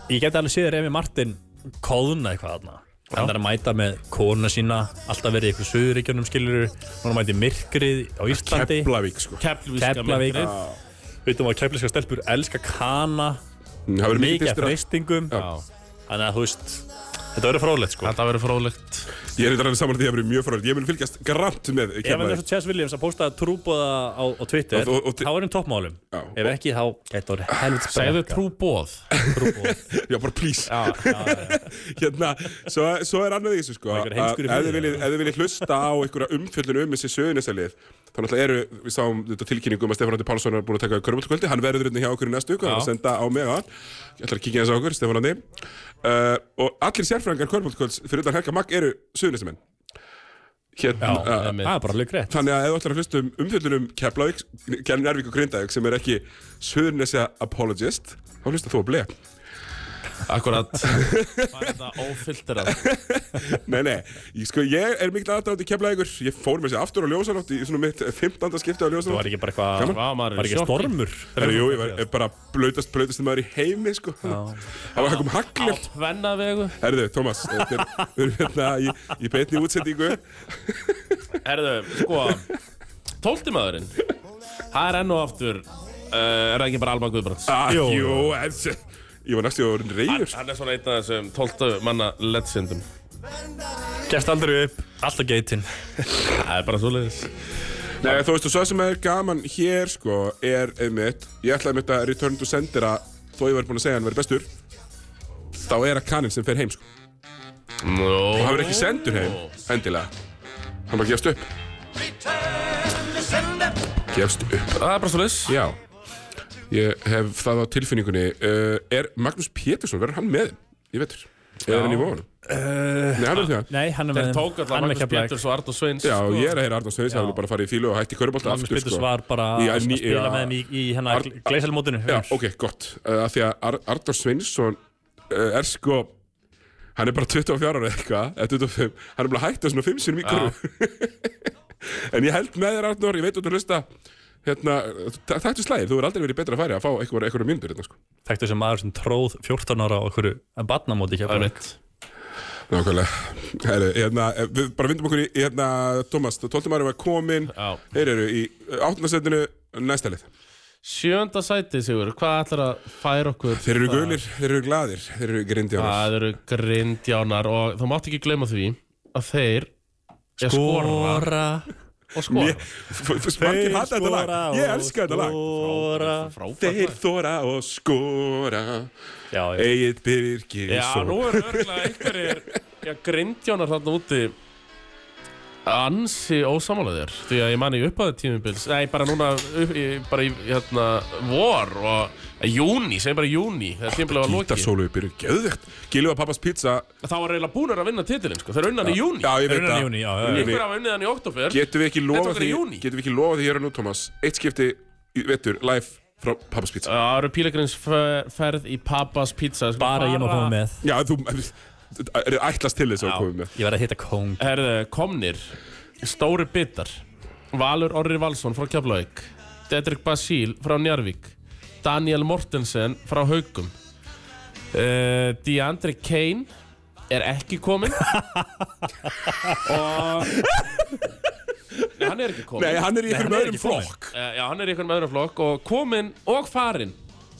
Speaker 3: ég geti alveg séð Remi Martin kóðuna eitthvað þarna Hann er að mæta með kona sína, alltaf verið í ykkur suðuríkjunum skilur Hún er að mæta í myrkrið á Íslandi
Speaker 1: Keflavík, sko.
Speaker 2: Keflavíska
Speaker 3: Keflavík
Speaker 2: myrkrið.
Speaker 3: Veitum að kefliska stelpur elska kana
Speaker 1: Mm, Það verður mikið
Speaker 3: Mikið af
Speaker 1: distra.
Speaker 3: freystingum
Speaker 1: Já.
Speaker 3: Þannig að þú veist, þetta verður fróðlegt sko
Speaker 2: Þetta verður fróðlegt
Speaker 1: Ég er eitthvað saman á því að það verður mjög frálægt. Ég vil fylgjast grant með
Speaker 3: Ef hann er
Speaker 1: Keflavík.
Speaker 3: svo Chess Williams að posta trúbóða á, á Twitter,
Speaker 1: Og- og- og-
Speaker 3: þá er hann toppmálum
Speaker 1: Já.
Speaker 3: Ef ekki, þá gæti orðið helvits
Speaker 2: Segðu trúbóð
Speaker 3: trúbóða
Speaker 1: Já, bara please. Hérna, svo, svo er annað í þessu, sko.
Speaker 3: einhver heimskur
Speaker 1: að
Speaker 3: í
Speaker 1: Ef þið
Speaker 3: fyrir.
Speaker 1: viljið- ef þið viljið hlusta á einhverja umfjöllun um þessi söðunistalið, þá náttúrulega eru, við sáum þetta tilkynningu um að Stefán Andi Pálsson er búin að taka körmultkvöldi. Hann verður hérna hjá okkur í næstu viku, hann er að senda á mig á hann. Ég ætla að kíkja þess á okkur, Stefán Andi. Uh, og allir sérfræðingar körmultkvölds fyrir utan Helga Magg eru söðunistamenn. Hérna,
Speaker 2: Já, einmitt.
Speaker 3: Það er bara alveg greitt
Speaker 1: Þannig að ef þú ætlar að hlusta um umfjöllunum Keflavík, Keflavík og Grindavík sem er ekki Suðurnesja apologist þá hlusta þú að blei
Speaker 2: Akkurat Fæða það ófilterað
Speaker 1: Nei, nei, ég, sko, ég er mikill aðdátt í Keflavíkur ég fór með sér aftur á ljósanátt í svona mitt 15. skipti á
Speaker 3: Það
Speaker 1: ljósanátt
Speaker 3: var ekki bara eitthvað
Speaker 2: Vá, maður er
Speaker 3: Var
Speaker 2: í
Speaker 3: ekki
Speaker 2: sjokki.
Speaker 3: stormur
Speaker 1: Herra, jú, ég var ég bara blautast, blautast maður í heimi, sko. Það var hægum
Speaker 2: Á
Speaker 1: haglir.
Speaker 2: tvenna vegu
Speaker 1: Herðu, Tómas, þetta er- við erum hérna í, í beinni útsendingu.
Speaker 2: Herðu, sko Tólti maðurinn Það er enn og aftur uh, Er það ekki bara Alma Guðbrands
Speaker 1: Ah,
Speaker 3: Jú.
Speaker 1: jú, en, s- ég var næstu orðin reyður.
Speaker 2: Hann er svona einn af þessum tólta manna legendum
Speaker 3: Gæst aldrei upp Alltaf geitin
Speaker 2: Það er bara svoleiðis
Speaker 1: Nei, þú veist, og svo sem er gaman hér, sko, er einmitt, ég ætlaði einmitt að Return to Sendera, þó ég var búinn að segja hann verið bestur, þá er það kaninn sem fer heim, sko.
Speaker 2: Nó
Speaker 1: Og hann verið ekki sendur heim, endilega. Hann bara gefst upp. Gefst upp.
Speaker 2: Það er bara svoleiðis
Speaker 1: Já, ég hef það á tilfinningunni. Uh, er Magnús Pétursson, verður hann með? þeim? Ég veitur. Eða er hann í vóðanum? Nei, hann er því að.
Speaker 3: Eh, Nei, hann er
Speaker 2: Þeir
Speaker 3: með
Speaker 2: tók allar
Speaker 3: hann er
Speaker 2: Magnús
Speaker 3: Keflavík.
Speaker 2: Péturs og Arnur Sveins sko.
Speaker 1: Já, ég er að heyra Arnór Sveins, það er nú bara að fara í fílu og hætti körubólta
Speaker 3: Magnús
Speaker 1: aftur,
Speaker 3: Péturs var bara
Speaker 1: Sko, Í,
Speaker 3: að
Speaker 1: ný-
Speaker 3: spila
Speaker 1: já.
Speaker 3: með þeim í, í hennar
Speaker 1: Ar-
Speaker 3: gleiselmótinu
Speaker 1: Já, ok, gott. Uh, af því að Ar Arnór Sveinsson uh, er sko, hann er bara 24 ára eitthvað, eða 25, hann er bara hættið svona 5 sinum í körfu. en ég held með þér Arnór, ég veit að þú hlusta, hérna, ta- taktu slæðið, þú er aldrei verið betra að færi að fá eitthvað, eitthvað myndur hérna, sko.
Speaker 3: Þekktu þessi maður sem tróð 14 ára á okkur barnamóti
Speaker 2: Það er
Speaker 3: Keflavík
Speaker 2: mitt
Speaker 1: Nákvæmlega. Herru, hérna, við bara vindum okkur í, hérna, Tómas, 12. maður var komin,
Speaker 2: Já.
Speaker 1: þeir eru í áttundarsendinu næsta lið.
Speaker 2: Sjönda sæti, Sigur Hvað ætlar að færa okkur
Speaker 1: Þeir eru gulir, þeir eru gladir, þeir eru grindjánar.
Speaker 2: Það eru grindjánar og þú mátt ekki gleyma því að þeir skora, skora
Speaker 3: Skora
Speaker 2: og skora
Speaker 1: Ég- f- f- Margir hata þetta lag, ég elska þetta lag.
Speaker 3: Skora
Speaker 1: Þeir
Speaker 2: Frábært
Speaker 1: þóra og skora,
Speaker 3: Já, ég
Speaker 1: eigið byrgir
Speaker 2: Já, nú er örgulega einhverjir Já, grindjánar þarna úti ansi ósamála þér því að ég man í uppaðu tímubils nei, bara núna, upp, í, bara í hérna, vor og júni segjum bara júni, þegar tímubilu var lokið
Speaker 1: Gítarsólu byrjur gjöðvegt. Gilva pappas pizza,
Speaker 2: þá var reyla búnir að vinna titilinn, sko, þeir unna hann í júni
Speaker 1: já ég
Speaker 3: Þeir
Speaker 1: veit
Speaker 3: eru
Speaker 1: það.
Speaker 3: hann í júní, já, já, já.
Speaker 2: einhver hafa unnið hann í oktober
Speaker 1: Getum við ekki
Speaker 2: Þetta
Speaker 1: lofa
Speaker 2: var
Speaker 1: því,
Speaker 2: í júní.
Speaker 1: getum við ekki lofa því hér og nú, Tómas, eitt skipti, í vetur, live frá pappas pizza.
Speaker 2: Það eru pílegrins ferð í Pappas pizza sko,
Speaker 3: bara ég má koma með
Speaker 1: Já, þú er ætlast til þess að við komum með
Speaker 3: Ég verði að hitta kong
Speaker 2: Herðu, komnir Stóri bitar Valur Orri Valsson frá Keflavík Dedrick Basíl frá Njarvík Daniel Mortensen frá Haugum uh, Deandre Kane er ekki kominn og Nei, hann er ekki kominn
Speaker 1: Nei, hann er í
Speaker 3: hann
Speaker 1: einhverjum
Speaker 3: er
Speaker 1: öðrum
Speaker 3: ekki kominn.
Speaker 1: flokk
Speaker 2: Eh, Já, hann er í einhvern meðurum flokk og kominn og farinn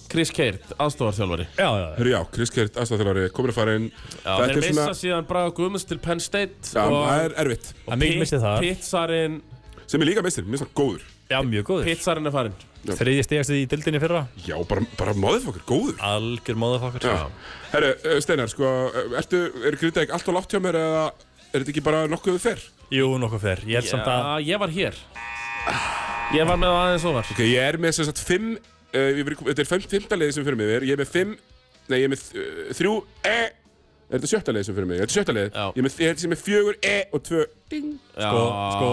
Speaker 2: Chris Keirt, aðstofarþjálfari
Speaker 3: Já, já, já
Speaker 1: Hörru, já, Chris Kert, aðstæðarþjálfari, komin að fara inn
Speaker 2: Já,
Speaker 1: Þetta
Speaker 2: þeir
Speaker 1: er
Speaker 2: missa
Speaker 1: svona,
Speaker 2: síðan Braga Guðmunds til Penn State
Speaker 1: já,
Speaker 2: og
Speaker 1: það er erfitt
Speaker 3: Það er mikið missið þar
Speaker 2: Pizzarinn
Speaker 1: Sem er líka meistir, minnst hann góður
Speaker 3: Já, mjög góður
Speaker 2: Pizzarinn er farinn
Speaker 3: Þriðji stigast í dildinni fyrra
Speaker 1: Já, bara, bara móðifokkar, góður
Speaker 3: Algjör móðafokkar
Speaker 1: Já, herru, eh, Steinar, sko, eh, ertu, er Grindavík allt og látt hjá mér eða er þetta ekki bara nokkuð fer?
Speaker 3: Jú, nokkuð fyrr Ég held samt að
Speaker 2: Já, ég var hér Ég var með aðeins ofar
Speaker 1: Ok, ég er með sem sagt fimm, uh, við, þetta er fem, fimmta leiði sem fyrir mig er, ég er með fimm, nei, ég er með uh, þrjú, e, er þetta sjötta leiði sem fyrir mig, er þetta sjötta leiði?
Speaker 2: Já.
Speaker 1: Ég er með, ég held sem er fjögur, e og tvö, ding.
Speaker 3: sko, sko,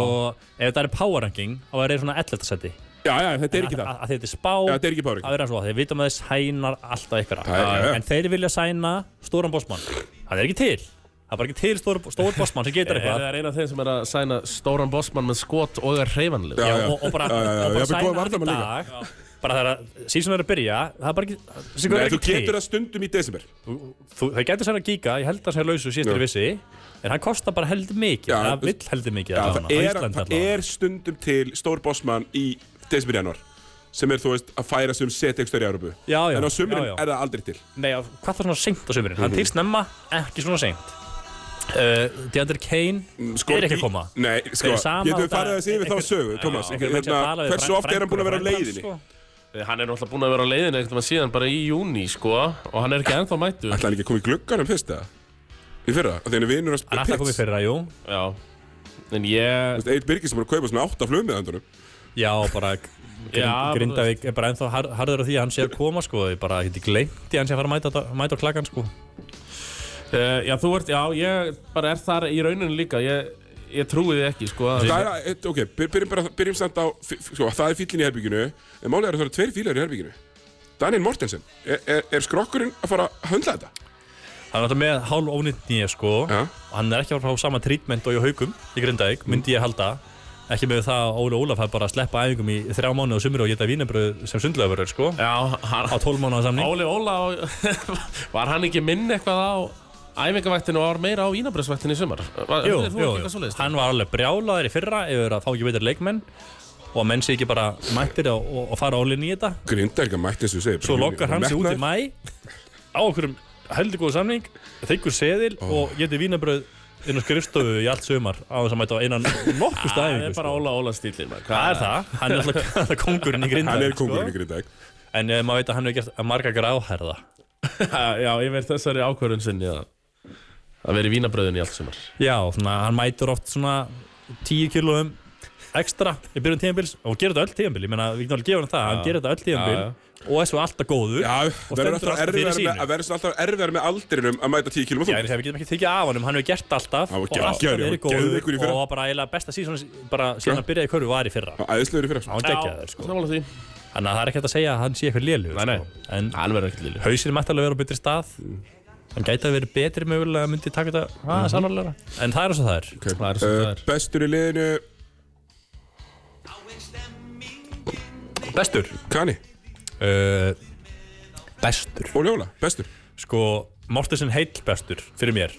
Speaker 3: ef þetta er power ranking þá er það svona 11. seti
Speaker 1: Já, já, þetta er ekki það.
Speaker 3: að að þetta er spá
Speaker 1: Já, þetta er ekki páring.
Speaker 3: það er eins og það, þeir vitum að þeir sænar alltaf ykkur
Speaker 1: Það er- já, já.
Speaker 3: en þeir vilja sæna stóran bossmann það er ekki til það er bara ekki til stór, stór bossmann sem
Speaker 2: Er
Speaker 3: getur eitthvað
Speaker 2: það eina af þeim sem er að sæna stóran bossmann með skot og er hreyfanleg
Speaker 1: Já,
Speaker 3: Já,
Speaker 1: já.
Speaker 3: og, og bara,
Speaker 1: Já, já, já.
Speaker 3: og bara
Speaker 1: Jafnvel góðan
Speaker 3: sæna hann í
Speaker 1: varnarmann líka.
Speaker 3: dag bara þegar að síðan er að byrja það er bara ekki, það
Speaker 1: Nei,
Speaker 3: er
Speaker 1: þú
Speaker 3: ekki
Speaker 1: getur
Speaker 3: til
Speaker 1: það stundum í desember.
Speaker 3: Þú- þeir getur sæna að gíka, ég held að það er lausu síðast
Speaker 1: Já.
Speaker 3: er vissi en hann kostar bara heldur mikið
Speaker 1: Já,
Speaker 3: já,
Speaker 1: þú-
Speaker 3: það vill heldur mikið
Speaker 1: Já,
Speaker 3: allavega,
Speaker 1: það,
Speaker 3: á
Speaker 1: er,
Speaker 3: Íslandi
Speaker 1: það
Speaker 3: allavega.
Speaker 1: er stundum til stór bossmann í desember januar sem er, þú veist, að færa sig um setekstur í Európu.
Speaker 3: Já, já,
Speaker 1: En á sumrin
Speaker 3: já, já.
Speaker 1: er það aldrei til.
Speaker 3: Nei, já, hvað það svona seint á sömurinn?
Speaker 1: Mhm.
Speaker 3: Hann til snemma, ekki svona seint. Uh, Deandre Kane er ekki að koma.
Speaker 1: Nei, sko,
Speaker 3: Þeir eru sama
Speaker 1: getum við
Speaker 3: út að-
Speaker 1: farið þessi yfir þá
Speaker 3: einhver-
Speaker 1: sögu, Thomas.
Speaker 3: Já, ok, menn sem
Speaker 1: Hérna,
Speaker 3: tala við
Speaker 1: hversu
Speaker 3: Frank- sko.
Speaker 1: oft er hann búin að vera á
Speaker 3: Frankur og
Speaker 1: leiðinni?
Speaker 3: Frankland,
Speaker 2: Eh, Hann er náttúrulega búin að vera á leiðinu einhvern veginn síðan bara í júni sko og hann er ekki ennþá mættu
Speaker 1: Ætlaði hann ekki að koma í glugganum fyrst eða? Í fyrra, af því hann er vinur að
Speaker 3: Hann ætlaði að koma í fyrra, jú.
Speaker 2: Já En ég
Speaker 1: Eitt Birgis sem er að kaupa svona átta flugum með handunum.
Speaker 3: Já, bara
Speaker 2: Já,
Speaker 3: grind, Grindavík er bara ennþá har- harður á því að hann sé að koma, sko. Ég bara geti gleymt í hann sé að fara að mæta, þetta- mæta á klakan, sko.
Speaker 2: eh, Uh, já, þú ert, já, ég bara er þar í rauninni líka. Ég, ég trúi því ekki sko að-
Speaker 1: Það er, að- eitt- ok, byr- byrjum bara, byrjum samt á, fí- sko, það er fíllinn í herbygginu, en málið er að það eru tveir fílar í herbygginu. Daniel Mortensen, er, er, er skrokkurinn að fara að höndla þetta?
Speaker 3: Hann er alltaf með hálf ónýtt nýja sko
Speaker 1: Já. Mm.
Speaker 3: og hann er ekki að fara á sama trítment og í haugum í Grindavík, myndi ég halda ekki með það að Óli Ólaf hafði bara að sleppa æfingum í þrjá mánu og sumur og geta vínabröð sem sundlöfurur sko
Speaker 2: já, hann,
Speaker 3: á 12 mánu að samning
Speaker 2: Óli Óla var hann ekki minn eitthvað á æfingavættinu og var meira á vínabröðsvættinu í sumar var,
Speaker 3: Jú,
Speaker 2: heyrðir þú ekki
Speaker 3: jú, jú.
Speaker 2: eitthvað svoleiðist?
Speaker 3: hann var alveg brjálaður í fyrra yfir að fá ekki betri leikmenn og að menn sé ekki bara mættir og, og, og fara ólinni í þetta
Speaker 1: Grinda er ekki að mætti eins og þú segir. bara
Speaker 3: svo
Speaker 1: hún-
Speaker 3: lokar hann sig út í
Speaker 1: metnaður.
Speaker 3: mæ á okkur heldur góð samning þykkur seðil og getur vínabröð inn á skrifstofu í allt sumar á þess að mæta á einan nokkuð
Speaker 2: það
Speaker 3: stæðingu
Speaker 2: er bara Óla Óla stílin
Speaker 3: Það er það, hann er alltaf kongurinn í grinda
Speaker 1: Hann er kongurinn í Grinda,
Speaker 3: En eh, maður veit að hann hefur gert marga gráherða
Speaker 2: já, ég veit þessari ákvörðun sinni að að vera í vínabröðinu í allt sumar
Speaker 3: Já, þannig að hann mætur oft svona 10 kilóum ekstra í byrjun tíðanbils og gerir þetta öll tíðanbils, ég meina við getum alveg gefa hann það hann gerir þetta öll
Speaker 2: Já,
Speaker 3: tíðanbils og er svo alltaf góður
Speaker 1: Já,
Speaker 3: og
Speaker 1: verður
Speaker 3: stendur
Speaker 1: alltaf
Speaker 3: alltaf
Speaker 1: erfiðar
Speaker 3: fyrir
Speaker 1: með,
Speaker 3: sínu
Speaker 1: að verður svona alltaf erfiðar með aldrinum að mæta 10 km
Speaker 3: Já, en
Speaker 1: þungt.
Speaker 3: þegar við getum ekki tekið af honum, hann hefur gert alltaf
Speaker 1: Hann var
Speaker 3: og alltaf
Speaker 1: geggjaður,
Speaker 3: verið
Speaker 1: hann var
Speaker 3: góður
Speaker 1: geðveikur í fyrra.
Speaker 3: og var bara eiginlega besta síðan bara
Speaker 1: Já.
Speaker 3: síðan að byrjaði í körfu var í fyrra
Speaker 1: Það er æðislegur í fyrra. sko.
Speaker 3: hann geggjaður sko
Speaker 2: Sammála því
Speaker 3: þannig að það er ekki hægt að segja að hann sé eitthvað lélugur
Speaker 2: Nei, nei.
Speaker 3: sko. en
Speaker 2: Hann verður ekkert liðlu
Speaker 3: hausinn mætti alveg vera á betri stað hann gæti að vera betri mögulega myndi taka þetta
Speaker 2: Ah, Mhm.
Speaker 3: aðeins mm en það er eins og það er
Speaker 1: Ok.
Speaker 2: Það er svona
Speaker 1: Eh,
Speaker 2: það er.
Speaker 1: Bestur í liðinu,
Speaker 3: bestur
Speaker 1: Kani,
Speaker 3: uh, bestur
Speaker 1: Óli Óla, bestur.
Speaker 3: sko Mortensen heill bestur fyrir mér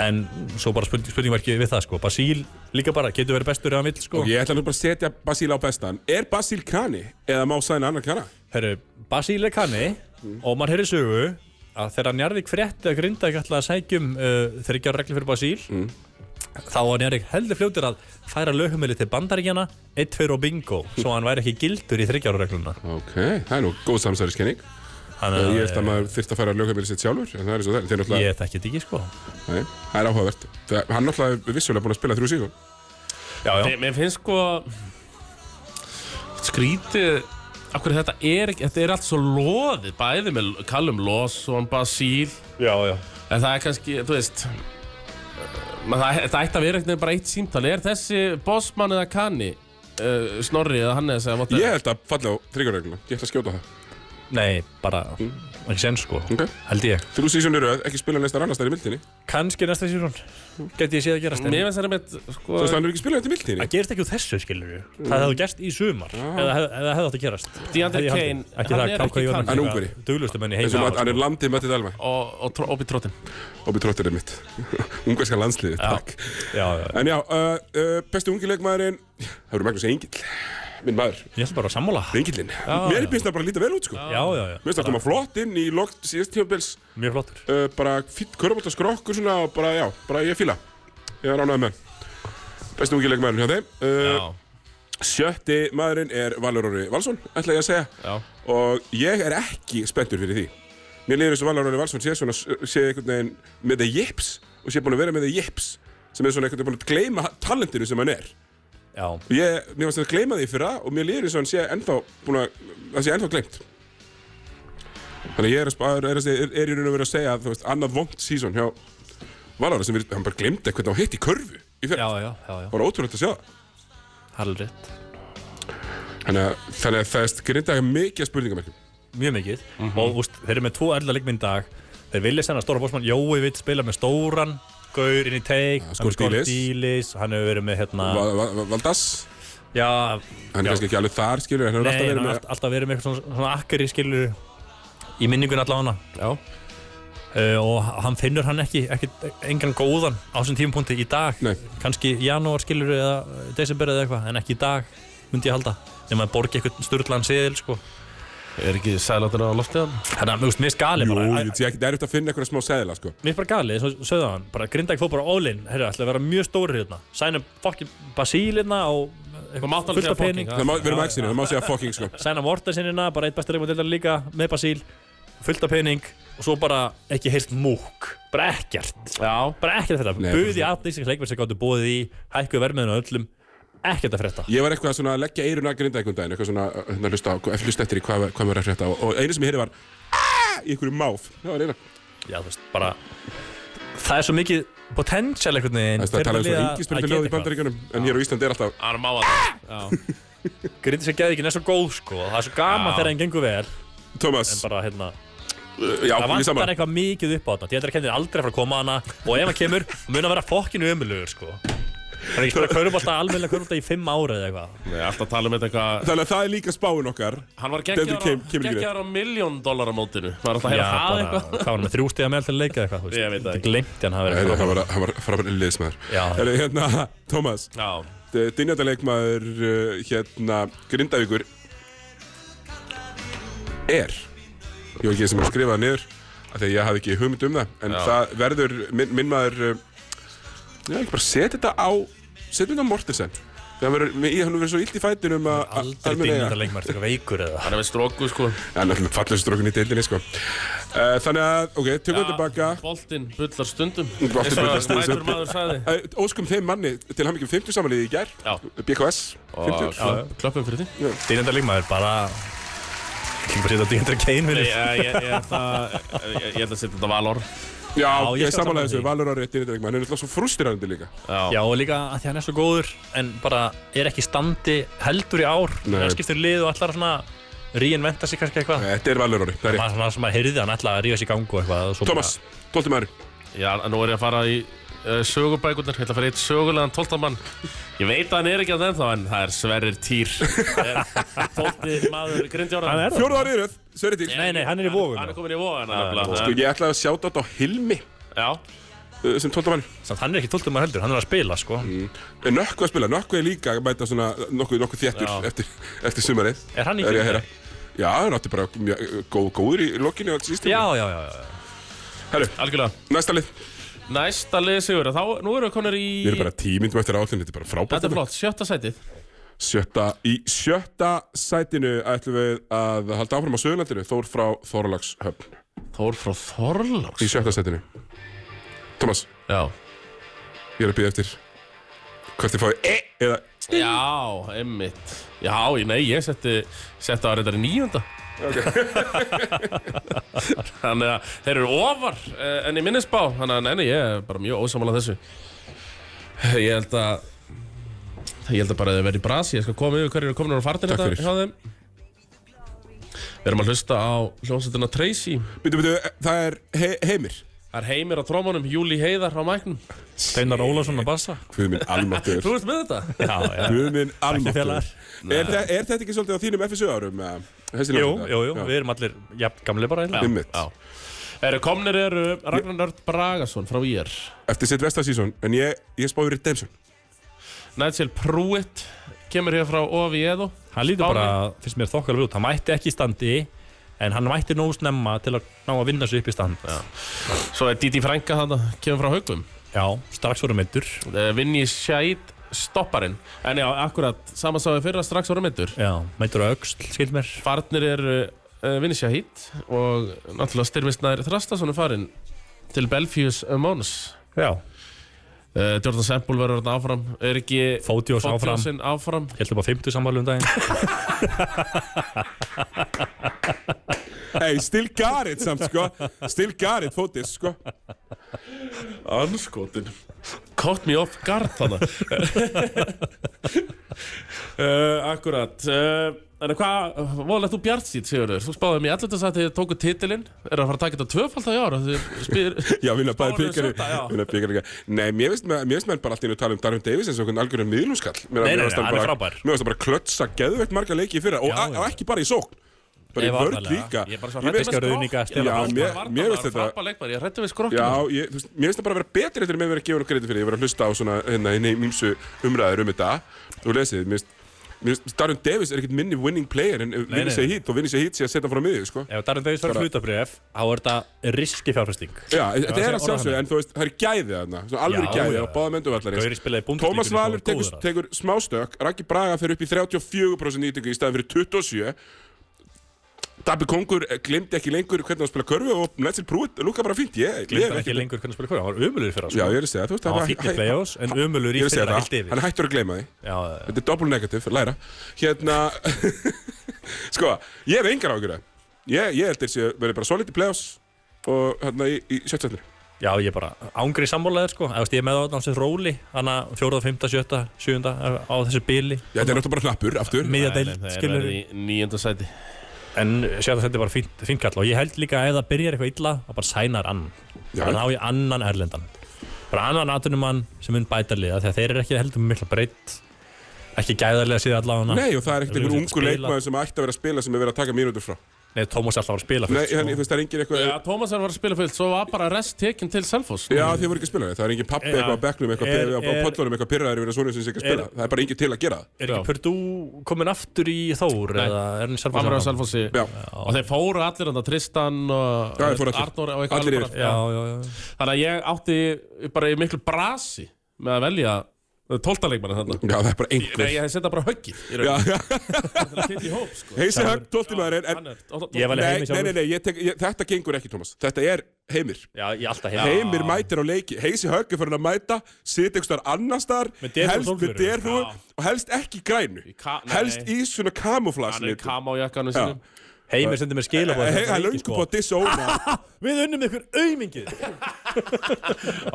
Speaker 3: en svo bara spurning, spurningverki við það sko Basíl líka bara getur verið bestur ef hann vill sko
Speaker 1: Og ég ætla nú bara að setja Basíl á bestan. Er Basíl Kani eða má sæna annar Kana?
Speaker 3: Herru, Basíl er kanni
Speaker 1: Mm.
Speaker 3: og maður heyri sögu að þegar Njarðvík frétti að grinda ekki alltaf að sækjum uh, þegar ekki á reglu fyrir Basíl
Speaker 1: Mm.
Speaker 3: þá var Njarðvík heldur fljótur að færa lögumili til bandaríkjana 1, 2 og bingo svo hann væri ekki gildur í 30 ára regluna
Speaker 1: Ok, það er nú góð samsæðiskenning.
Speaker 3: Þannig
Speaker 1: Ég held að maður þyrfti að fara að lögja mér sitt sjálfur, en það er eins og það er. Þeir náttúrulega,
Speaker 3: ég þekki þetta ekki sko
Speaker 1: nei, það er áhugavert. Það, hann náttúrulega er vissulega búin að spila þrjú síðan.
Speaker 3: Já, já,
Speaker 2: Mér, mér finnst sko skrítið af hverju þetta er ekki, þetta er allt svo loðið bæði með Callum Lawson, Basíl
Speaker 3: já, já.
Speaker 2: en það er kannski, þú veist eh, maður, það, það ætti að vera eitthvað bara eitt símtal er þessi bossmann eða kanni uh, Snorri eða Hannes eða what the-
Speaker 1: Ég held að falla á þryggjarregluna, ég ætla að skjóta það.
Speaker 3: Nei, bara ekki sen sko
Speaker 1: Mm. Ok.
Speaker 3: held ég
Speaker 1: Þrjú síðan eru að ekki spila neistar annars þar í mildinni.
Speaker 3: Kanski næsta sísón geti ég séð að gerast en-
Speaker 2: Mér finnst það með sko,
Speaker 1: Þú veist, hann er ekki spilað þetta í mildinni.
Speaker 3: Það gerist ekki úr þessu, skilur við. Það hefði gerst í sumar, eða hef- eða hefði átt að gerast.
Speaker 2: DeAndre
Speaker 3: Hefði ég haldið.
Speaker 2: Kane,
Speaker 3: Ekki
Speaker 2: hann
Speaker 3: það,
Speaker 2: er
Speaker 3: KK
Speaker 2: ekki
Speaker 3: Jóhann.
Speaker 2: kanni.
Speaker 1: Hann er ungveri.
Speaker 3: Duglustu menni
Speaker 1: Eins og maður- hann
Speaker 3: heima.
Speaker 1: er landið með til Dalma
Speaker 2: og, og, og Obi Trottin
Speaker 1: og við tróttir er mitt. Ungverska landsliði, takk.
Speaker 3: Já, já.
Speaker 1: En já, uh, uh, bestu ungilegmaðurinn, það eru Magnús Engill, minn maður,
Speaker 3: Ég ætla bara að sammála.
Speaker 1: Engillinn. Mér finnst það bara líta vel út, sko.
Speaker 3: Já, já, já.
Speaker 1: Mér finnst það koma flott inn í lokt síðast tímabils,
Speaker 3: Mjög flottur.
Speaker 1: uh, bara fýtt körbólta skrokkur svona og bara, já, bara ég fíla. Ég er ánægð með hann. Bestu ungi leikmaðurinn hjá þeim. Uh, sjötti maðurinn er Valur Orri Valsson, ætla ég að segja.
Speaker 2: Já.
Speaker 1: Og ég er ekki spenntur fyrir því. Mér líður eins og Valur Orri Valsson sé svona, sé einhvern veginn með það jips og sé búin að vera með það jips sem er svona einhvern veginn búin að gleyma talentinu sem hann er.
Speaker 3: Já.
Speaker 1: Og ég, mér varst að gleyma því fyrra og mér líður eins og hann sé ennþá búin að, það sé ennþá gleymt. Þannig að ég er, að, spá- er, er, er, er í raun og verið að segja að, þú veist, annað vongt sísón hjá Valur sem við, hann bara gleymdi eitthvað á hitt í körfu í fyrra.
Speaker 3: Já, já, já, já.
Speaker 1: Það var ótrúlegt að sjá það.
Speaker 3: Hallur rétt.
Speaker 1: Þannig að, þannig að það er grindaði mikið að spurningamerkjum.
Speaker 3: Mjög mikið.
Speaker 1: Mhm.
Speaker 3: Og úst, þeir eru með tvo erla leikminn í dag. Þeir vilja senda stóra bósmann. Jói vill spila með stóran. Gaur inn í teik.
Speaker 1: Ja,
Speaker 3: Hann
Speaker 1: Skor
Speaker 3: er Skor
Speaker 1: Dílis.
Speaker 3: Dílis. Hann hefur verið með hérna...
Speaker 1: Va- va- va- Valdas,
Speaker 3: Já,
Speaker 1: hann er
Speaker 3: Já.
Speaker 1: kannski ekki alveg þar skilur, en hann er
Speaker 3: nei,
Speaker 1: alltaf
Speaker 3: hann
Speaker 1: verið með
Speaker 3: hefur alltaf verið með eitthvað svona, svona akkeri skilur í minningun allavega
Speaker 2: Já.
Speaker 3: uh, og hann finnur hann ekki, ekki engan góðan á þessum tímapunkti í dag
Speaker 1: Nei.
Speaker 3: kannski í janúar skilur eða desember eða eitthvað en ekki í dag myndi ég halda nema að borgi eitthvað sturglaðan seðil sko.
Speaker 2: Er ekki sælátur á loftiðan?
Speaker 3: þannig að mér finnst mér gali
Speaker 1: Jú,
Speaker 3: bara
Speaker 1: ég veit, ég ekki, það er eftir að finna eitthvað smá seðla sko.
Speaker 3: mér finnst bara gali, eins og sögðu hann bara grindag fór bara all-in, herru, ætla að vera mjög stóri hérna sæna fokkin basíl hérna og
Speaker 2: Þú mátt alveg
Speaker 3: fullt
Speaker 2: segja
Speaker 3: af pening
Speaker 2: fucking,
Speaker 1: Það má vera með það má segja fucking sko.
Speaker 3: sæna Mortensenina, bara eitt besta leikmann deildar líka með Basíl, fullt af pening og svo bara ekki heilt múk bara ekkert,
Speaker 2: Já,
Speaker 3: bara ekkert þetta
Speaker 1: Nei,
Speaker 3: buði allt íslensk leikmenn sem gáttu búið í hækkuð vermiðinu öllum, ekkert að frétta
Speaker 1: Ég var eitthvað svona að leggja eirun að grinda einhvern daginn, eitthvað svona að hlusta á, eftir hlusta eftir í hvað, hvað maður er að frétta og, og einu sem ég heyrði var "Ah!" í einhverju máf. Það var eina.
Speaker 3: já þú veist, bara það er svo mikið potential einhvern veginn
Speaker 1: Það er talað um
Speaker 3: fyrir
Speaker 1: svona
Speaker 3: liða að
Speaker 1: yngispyrnuljóð
Speaker 3: geta
Speaker 1: í bandaríkjunum En hér á Íslandi er alltaf
Speaker 2: Hann er máa það Já,
Speaker 3: eitthvað. Grindiska geðvíkin er svo góð sko og það er svo gaman
Speaker 2: Já.
Speaker 3: þegar hann gengur vel
Speaker 1: Thomas, uh,
Speaker 3: en bara hérna
Speaker 1: já,
Speaker 3: það
Speaker 1: ég
Speaker 3: vantar
Speaker 1: saman
Speaker 3: eitthvað mikið upp á þetta þetta er kennir aldrei að fara að koma hana og ef hann kemur mun að vera fokkinu ömulugur sko það er ekki spara körubólta almennilega körubólta í fimm ára eða eitthvað
Speaker 2: Nei, alltaf tala um þetta eitthvað
Speaker 1: Þannig að það er líka spáin okkar
Speaker 2: Hann var
Speaker 1: Denver
Speaker 2: geggjar
Speaker 1: kem-
Speaker 2: á-
Speaker 1: kemur ekki við.
Speaker 2: geggjaður á miljón dólar á mótinu Var alltaf að
Speaker 3: Já,
Speaker 2: heyra það
Speaker 3: bara-
Speaker 2: eitthvað
Speaker 3: hvað var hann með þrjú stiga meðal til að leika eða eitthvað þú veist?
Speaker 2: Ég veit það
Speaker 3: Þetta
Speaker 2: ekki.
Speaker 3: gleymdi hann hafi verið
Speaker 1: Nei,
Speaker 3: eitthvað
Speaker 1: nei, Hann var, hann var framar liðsmaður
Speaker 3: Já.
Speaker 1: Þannig að hérna, Thomas
Speaker 2: Já,
Speaker 1: eh, Dynjandaleikmaður uh, hérna Grindavíkur er ég var ekki sem að skrifa það niður af því að ég hafði ekki hugmynd um það en
Speaker 2: Já.
Speaker 1: það verður minn, minn maður uh, já, ekki bara setja þetta á setja þetta á Mortensen Þegar hann verður, mér- hann verður svo illt í fætinum að
Speaker 3: aldrei dingið að leikmaður eitthvað veikur eða
Speaker 2: hann er með stróku sko
Speaker 1: Það er náttúrulega fallegstur í deildinni sko. uh, Þannig að, ok, tökum við tilbaka
Speaker 2: Boltinn bullar stundum
Speaker 1: Boltinn
Speaker 2: Eins og
Speaker 1: bullar stundum.
Speaker 2: Mætur maður sagði
Speaker 1: Uh, Óskum þeim manni til hann ekki um 50 samanlið í gær
Speaker 2: Já.
Speaker 1: BKS, 50
Speaker 2: Og klöpp- klöppum fyrir því
Speaker 3: dingið leikmaður bara ég kemur bara setja dingið að kein
Speaker 2: Nei,
Speaker 3: fyrir
Speaker 2: Ég ég- ég ætla ég- ég ætla að setja þetta valor
Speaker 1: Já,
Speaker 3: Já, ég
Speaker 1: ég er
Speaker 3: skal
Speaker 1: samanlega
Speaker 3: sammála
Speaker 1: þessu,
Speaker 3: því.
Speaker 1: Valur Ári Dynjandaleikmaður Hann er náttúrulega svo frustrerandi líka
Speaker 3: Já, og líka að því hann er svo góður en bara er ekki í standi heldur í ár
Speaker 1: Nei.
Speaker 3: hann skiptir lið og allar svona reinventa sig kannski eitthvað
Speaker 1: Þetta er Valur Ári, það er ég
Speaker 3: maður svona sem maður heyrði hann allar að ríða sig í gangu og eitthvað og svo
Speaker 1: Thomas, 12 maður
Speaker 2: Já, nú er ég að fara í uh, sögubækunar, ég ætla að fara í eitt sögulegan tóltamann. Ég veit að hann er ekki að ennþá, en það er Sverrir Týr. Tólti maður grindjóra.
Speaker 3: Hann er það?
Speaker 1: Fjóruðar yfir, Sverri Dýr
Speaker 3: Nei, nei, hann er í Vogum.
Speaker 2: Hann er komin í vógan, nefnilega.
Speaker 1: Sko, ég ætlaði að sjáta þetta á Hilmi
Speaker 2: Já,
Speaker 1: uh, sem 12 maður
Speaker 3: bara samt hann er ekki 12 maður heldur, hann er að spila sko
Speaker 1: Mm. Nökku að spila, Nökku er líka að mæta svona nokkuð, nokkuð
Speaker 2: Já.
Speaker 1: þéttur eftir, eftir sumarið
Speaker 3: Er hann í
Speaker 1: Er ég að
Speaker 3: fyrir?
Speaker 1: heyra Já, hann átti bara mjög, uh, góð, góður í lokinu og sístum
Speaker 3: Já, já, já, já.
Speaker 1: Herru,
Speaker 2: algjörlega.
Speaker 1: næsta lið
Speaker 2: Næsta lið sigur, þá, nú erum við komin í...
Speaker 1: Við erum bara tímyndum eftir áallinu, þetta er bara frábært
Speaker 2: Þetta er flott, sjötta sætið.
Speaker 1: Sjötta, í sjötta sætinu ætlum við að halda áfram á Söðurlandinu Þór frá Þorlagshöfn
Speaker 2: Þór frá Þorláks.
Speaker 1: Í sjötta sætinu Thomas,
Speaker 2: Já.
Speaker 1: ég er að býða eftir Hvert þið fáið e eða
Speaker 2: Já, emmitt. Já, ég- nei, ég setti, setti á reyndar í níunda. Þannig að þeir eru ofar eh, en í minnisbá, þannig að neini, ég er bara mjög ósamála þessu. Ég held að, ég held að bara þau verði í brasi, ég skal koma yfir hverju er komin úr fartin
Speaker 1: Takk fyrir.
Speaker 2: hérna hjá þeim. Við erum að hlusta á hljómsveitina Tracy.
Speaker 1: Býtu, býtu, það er he heimir
Speaker 2: Það er heimir á trómunum, Júli Heiðar á mæknum.
Speaker 3: Steinar Ólason að bassa
Speaker 1: Guð minn almáttur
Speaker 2: Þú veist með þetta?
Speaker 3: Já, já
Speaker 1: Guð minn almáttur
Speaker 3: félagar.
Speaker 1: er, þa er þetta ekki svolítið á þínum FSU árum? eh, þessi
Speaker 3: Jú,
Speaker 1: náttúrulega?
Speaker 3: jú, jú,
Speaker 1: Já.
Speaker 3: við erum allir jafn gamli bara einnig
Speaker 1: Einmitt.
Speaker 2: Eru komnir eru Ragnar Nörd Bragason frá IR.
Speaker 1: Eftir sitt vestasísón En ég, ég spáði Redemption
Speaker 2: Nigel Pruitt kemur hér frá Oviedo.
Speaker 3: Hann lítur bara, finnst mér þokkalega út, hann mætti ekki í standi en hann mætti nóg snemma til að ná að vinna sig upp í stand Já,
Speaker 2: Svo er Didi Frænka þarna, kemur frá Haugum.
Speaker 3: strax voru meittur
Speaker 2: Eh, Vinni Shait stopparinn En já, akkurat, saman sáðu fyrra strax voru myndur
Speaker 3: Já, meittur á öxl, skil mér
Speaker 2: Farnir er uh, Vinni Shait og náttúrulega styrmistnæður Þrastason er farinn til Belfius Mónus
Speaker 3: Já,
Speaker 2: uh, Jordan Sempul verður þarna áfram er ekki
Speaker 3: Fótiós áfram.
Speaker 2: Fótiósinn áfram
Speaker 3: Helt upp á 50 samvælu um daginn
Speaker 1: Hey, still got it samt sko Still got it fótið sko
Speaker 2: Anskotin Caught me off guard þarna uh, Akkurat uh, En hvað, voðalegt þú bjart sýt, Sigurður Þú spáðum í 11. sæti, tóku titilinn Eru að fara að taka þetta tvöfald það í ára Þú spyr
Speaker 1: Já, vinna bæði
Speaker 2: Spáðu
Speaker 1: byggjari
Speaker 2: sjötta, já.
Speaker 1: Vinna byggjari líka Nei, mér finnst menn- mér finnst menn bara alltaf inn og tala um Darwin Davis eins og einhvern algjörðan miðlumskall
Speaker 3: Nei, nei, nei, hann er frábær.
Speaker 1: Mér finnst það bara klötsa geðveikt marga leiki í fyrra og,
Speaker 3: Já,
Speaker 1: já,
Speaker 3: já.
Speaker 1: ekki bara í sókn Bara
Speaker 3: Nei,
Speaker 1: í vörn
Speaker 3: varnarlega.
Speaker 1: líka
Speaker 2: Ég sko, er bara svo
Speaker 1: Ég
Speaker 2: hrættur
Speaker 3: veist- Ruðninga, Stella
Speaker 1: Hall. Já, mér- mér finnst þetta-
Speaker 2: Frábæð leikmæri, ég hrættu við skrokkinu
Speaker 1: Já, ég, þú veist, mér finnst það bara að vera betri eftir með verið að gefa nokkuð reyndi fyrir, ég var að hlusta á svona hérna, hérna, mýmsu umræður um þetta og lesið, mér finnst- mér finnst Darren Davis er ekkert minni winning player en vinni
Speaker 3: nei.
Speaker 1: sig hitt og vinni sig hitt sé að setja hann frá miðju, sko.
Speaker 3: Ef Darren Davis verður hlutabrif, þá er þetta riski fjárfæsting
Speaker 1: Já, þetta
Speaker 3: það
Speaker 1: er
Speaker 3: sé
Speaker 1: að sjálfsögðu,
Speaker 3: orðanlega.
Speaker 1: en þú veist, það er gæðið þarna, svona alveg
Speaker 3: Já,
Speaker 1: gæðið
Speaker 3: já.
Speaker 1: á báða mönduvallari.
Speaker 3: Gauri spilaði í Bundesliga
Speaker 1: Tómas
Speaker 3: sem var
Speaker 1: Valur tekur,
Speaker 3: góður að.
Speaker 1: tekur smástökk, Raggi Braga fer upp í 34% nýtingu í staðin fyrir 27. Dabbi Kongur glimti ekki lengur hvernig hann spila körfu og Netsil Prúið lúka bara fínt, ég
Speaker 3: Gleif
Speaker 1: glef
Speaker 3: ekki
Speaker 1: ekki.
Speaker 3: lengur hvernig spila hverju, hann var umulur fyrir
Speaker 1: Já, ég er að segja, þú veist,
Speaker 3: Hann var
Speaker 1: hann-
Speaker 3: fínn í
Speaker 1: hann-
Speaker 3: play-offs, en umulur í
Speaker 1: Ég er að segja
Speaker 3: fyrra heilt
Speaker 1: það,
Speaker 3: yfir
Speaker 1: hann er hættur að gleyma því.
Speaker 3: Já, já, já.
Speaker 1: Þetta er doppel negativ, læra Hérna Sko, ég hef engar ágjur það Ég, ég held þessi að verði bara solid í playoffs Og hérna í, í sjöttsættinni
Speaker 3: Já, ég er bara ángri sammálaðir sko Eða, þú veist, Ég er með á þessu róli Hanna 4., 5., 7., 7. eh, á þessu bili
Speaker 1: Já, þetta er náttúrulega bara hnappur, aftur.
Speaker 3: Miðja
Speaker 2: Nei,
Speaker 3: deild,
Speaker 2: nei, þeir
Speaker 3: skilur
Speaker 2: verða í nýjönda sæti
Speaker 3: En sjötta þetta er bara fínt, fínt kall Og ég held líka að ef það byrjar eitthvað illa Það bara sænar annan
Speaker 1: Já.
Speaker 3: Bara ná ég annan erlendan Bara annan atunumann sem mun bæta liða Þegar þeir eru ekki heldur með mikla breytt Ekki gæðarlega síðan allavega
Speaker 1: Nei, og það er ekkert
Speaker 3: Þeir
Speaker 1: einhver
Speaker 3: eru
Speaker 1: ungu
Speaker 3: að spila.
Speaker 1: leikmaður sem ætti að vera að spila sem er verið að taka mínútur frá.
Speaker 3: Nei, Tómas er alltaf að spila
Speaker 1: Nei,
Speaker 3: fyrst sko.
Speaker 2: sko.
Speaker 1: hann, þú veist, það er engin eitthvað...
Speaker 2: Já, Tómas var að spila fullt, svo var bara rest tekin til Selfoss
Speaker 1: Já, þið voru ekki að spila það. Það er engin pappi
Speaker 3: Já.
Speaker 1: eitthvað á bekknum, eitthvað
Speaker 3: Er-
Speaker 1: er, á
Speaker 3: er-
Speaker 1: pollunum, eitthvað pyrraður yfir að svona sem sé ekki að spila.
Speaker 3: Er-
Speaker 1: Það er bara engin til að gera það.
Speaker 3: Er
Speaker 2: Já.
Speaker 3: ekki Purdú komin aftur í Þór
Speaker 2: Nei.
Speaker 3: eða er hann í
Speaker 2: Hann var á
Speaker 3: Selfoss?
Speaker 2: Selfossi
Speaker 1: Já.
Speaker 2: og þeir fóru allir hann, Tristan og
Speaker 1: Já, þeir fóru allir.
Speaker 2: Arnór og
Speaker 1: Allir
Speaker 2: alveg bara-
Speaker 1: yfir.
Speaker 3: Já, já, já.
Speaker 2: Þannig að ég átti bara í miklu brasi með að velja tóltaleikmanna þarna
Speaker 1: Já, það er bara einhver.
Speaker 2: Nei, ég hefði setja bara höggið í
Speaker 1: Já,
Speaker 2: raun
Speaker 1: já.
Speaker 2: til að fylla í hóp, sko
Speaker 1: Heisi högg, tólti maðurinn, en...
Speaker 2: Hann er- og- og-
Speaker 3: Ég var-
Speaker 1: Nei,
Speaker 3: Heimir
Speaker 1: nei,
Speaker 3: sjálfur.
Speaker 1: nei, nei, ég tek, ég, þetta gengur ekki, Tómas. Þetta er heimir.
Speaker 3: Já, ég alltaf
Speaker 2: Ah.
Speaker 1: Heimir mætir á leiki. Heisi högg er farin að mæta, sitja einhvers þar annars þar,
Speaker 3: Með derhúfur
Speaker 1: helst
Speaker 3: og
Speaker 1: með
Speaker 3: sólgleraugu.
Speaker 1: derhúfur og helst ekki í grænu.
Speaker 2: Í ka- nei.
Speaker 1: Helst í svona
Speaker 2: Hann er
Speaker 1: kamuflasnit.
Speaker 2: kam á jakkanum sínum
Speaker 3: Heimir sendir mér skilabóð
Speaker 1: Hei, Það er Eh, löngu búið að sko. dissa óna.
Speaker 3: Við unnum ykkur